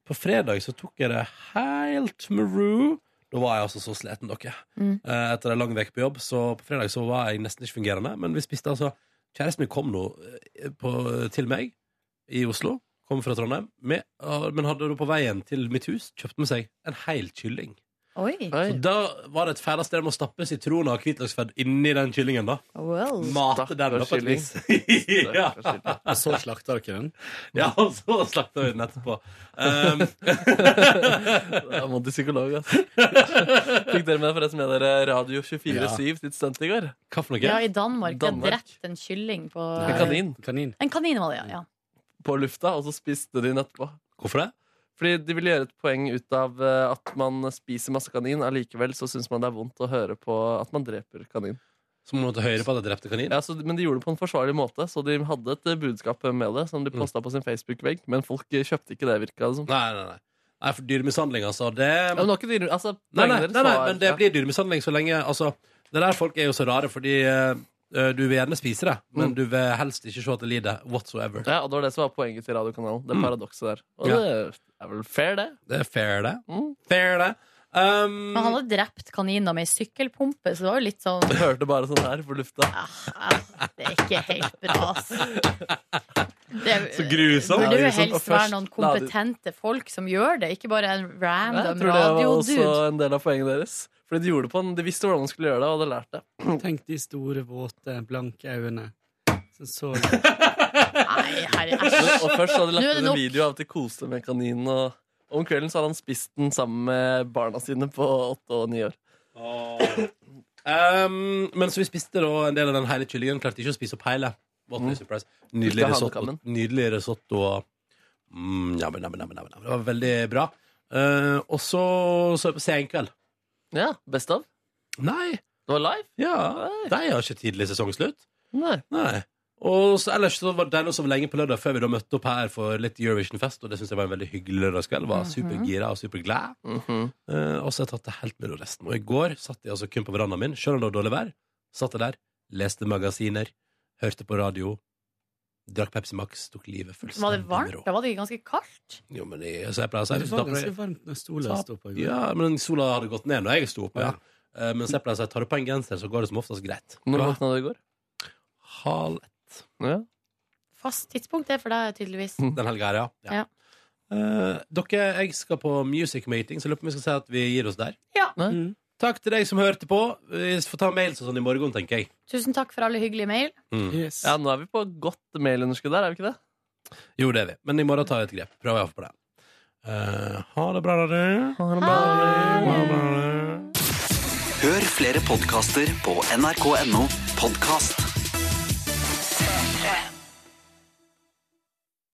Speaker 1: på fredag så tok jeg det helt med ro. Da var jeg altså så sliten, dere.
Speaker 9: Mm.
Speaker 1: Eh, etter en lang uke på jobb, så på fredag så var jeg nesten ikke fungerende. Men vi spiste altså Kjæresten min kom nå eh, på, til meg i Oslo. Kom fra Trondheim. Med, ah, men hadde da på veien til mitt hus kjøpt med seg en hel kylling.
Speaker 9: Oi.
Speaker 3: Oi.
Speaker 1: Og da var det et fælt sted med å stappe sitroner og hvitløksfett inni den kyllingen. da
Speaker 9: Well.
Speaker 1: Mate den da, på et vis. ja.
Speaker 8: Og så slakta dere den?
Speaker 1: ja, og så slakta vi den etterpå. Um,
Speaker 3: Da må til psykolog, altså. Fikk dere med forresten med dere Radio 24-7 sitt stunt i går?
Speaker 1: hva for noe?
Speaker 9: Ja, i Danmark. Det er
Speaker 3: Danmark.
Speaker 9: drept en kylling på
Speaker 3: En kanin
Speaker 8: Kanin.
Speaker 9: En kanin var det, ja. ja.
Speaker 3: på lufta, og så spiste de den etterpå.
Speaker 1: Hvorfor det?
Speaker 3: Fordi de ville gjøre et poeng ut av eh, at man spiser masse kanin, allikevel så syns man det er vondt å høre på at man dreper kanin.
Speaker 1: Som om du måtte høre på at jeg drepte kanin?
Speaker 3: Ja, så, men de gjorde det på en forsvarlig måte, så de hadde et eh, budskap med det som de posta på sin Facebook-vegg, men folk eh, kjøpte ikke det, virka det som.
Speaker 1: Nei, nei, nei. Nei, for dyremishandling, altså. Det
Speaker 3: Ja, men det var ikke dyre, altså,
Speaker 1: Nei, nei, nei,
Speaker 3: poenget
Speaker 1: nei,
Speaker 3: deres var-
Speaker 1: men det blir dyremishandling så lenge Altså, det der folk er jo så rare, fordi eh, du vil gjerne spise det, men
Speaker 3: Mm.
Speaker 1: du vil helst ikke se at det lider whatsoever.
Speaker 3: Ja, og det var det som var poenget til radiokanalen. Det paradokset der. Og
Speaker 1: Ja.
Speaker 3: det er vel fair, det.
Speaker 1: Det er fair, det.
Speaker 3: Mm.
Speaker 1: Fair, det. Um,
Speaker 9: Men han hadde drept kaniner med ei sykkelpumpe, så det var jo litt sånn
Speaker 3: Jeg hørte bare sånn her på lufta.
Speaker 9: ah, Det er ikke helt bra, altså. Det er,
Speaker 1: så grusomt!
Speaker 9: burde jo
Speaker 3: Ja, grusomt. Og
Speaker 9: helst
Speaker 3: først
Speaker 9: være noen
Speaker 3: la de-
Speaker 9: kompetente folk som gjør det, ikke bare en
Speaker 3: Jeg
Speaker 9: random
Speaker 3: tror det var også
Speaker 9: radiodude.
Speaker 3: en del av poenget deres. Fordi de gjorde det på en, de visste hvordan de skulle gjøre det, og hadde lært det.
Speaker 8: Tenk de store, våte, blanke øynene. Som så
Speaker 9: Nei, herre, æsj.
Speaker 3: Men- Og først så hadde
Speaker 9: Nå
Speaker 3: de
Speaker 9: er det
Speaker 3: lagt ut en
Speaker 9: nok.
Speaker 3: video av at de koste med kaninen. Og om kvelden så hadde han spist den sammen med barna sine på åtte og ni år.
Speaker 1: Um, men så vi spiste da en del av den hele kyllingen. Klarte ikke å spise opp hele. What a surprise. Nydelig
Speaker 3: Ikke
Speaker 1: risotto.
Speaker 3: handekammen.
Speaker 1: Nydelig risotto. og- Mm, jammen, jammen, jammen, jammen. Det var veldig bra. Eh, og så så jeg på Senkveld.
Speaker 3: Ja, Best av.
Speaker 1: Nei!
Speaker 3: Det var live.
Speaker 1: Ja, de har ikke tidlig sesongslutt.
Speaker 3: Nei.
Speaker 1: Nei. Og så, ellers så var det deilig å sove lenge på lørdag før vi da møtte opp her for litt Eurovision-fest, og det syns jeg var en veldig hyggelig lørdagskveld. Var supergira og superglad.
Speaker 3: Mhm.
Speaker 1: Eh, og så har jeg tatt det helt med ro resten. Og i går satt jeg altså kun på verandaen min, selv om det var dårlig vær. Satt jeg der, leste magasiner, hørte på radio, drakk Pepsi Max, tok livet fullstendig
Speaker 9: Var det varmt?
Speaker 1: med ro.
Speaker 9: Da var det ikke ganske kaldt.
Speaker 1: Jo, men jeg, så jeg pleier å si
Speaker 8: Det var ganske
Speaker 1: tapper-
Speaker 8: varmt når stolen sto på. i går.
Speaker 1: Ja, men sola hadde gått ned når jeg sto opp. Ja.
Speaker 8: Ja.
Speaker 1: Eh, mens jeg pleier å si tar du på en genser, så går det som oftest greit.
Speaker 3: Når
Speaker 1: Ja.
Speaker 3: våkna du i går?
Speaker 1: Halv
Speaker 3: Ja.
Speaker 9: Fast tidspunkt er for deg, tydeligvis.
Speaker 3: Mm.
Speaker 1: den helga her, ja.
Speaker 9: Ja.
Speaker 1: Eh, dere, jeg skal på music meeting, så jeg lurer på om vi skal si at vi gir oss der.
Speaker 9: Ja.
Speaker 8: Mm.
Speaker 1: Takk til deg som hørte på. Vi får ta mails og sånn i morgen, tenker jeg.
Speaker 9: Tusen takk for alle hyggelige mail.
Speaker 8: Yes.
Speaker 3: ja, nå er vi på godt mailunderskudd der, er vi ikke det?
Speaker 1: Jo, det er vi. Men i morgen tar jeg et grep. Prøver jeg å få på det. Eh, ha det bra, dere. Ha det bra, dere.
Speaker 10: Hør flere podkaster på nrk.no podkast.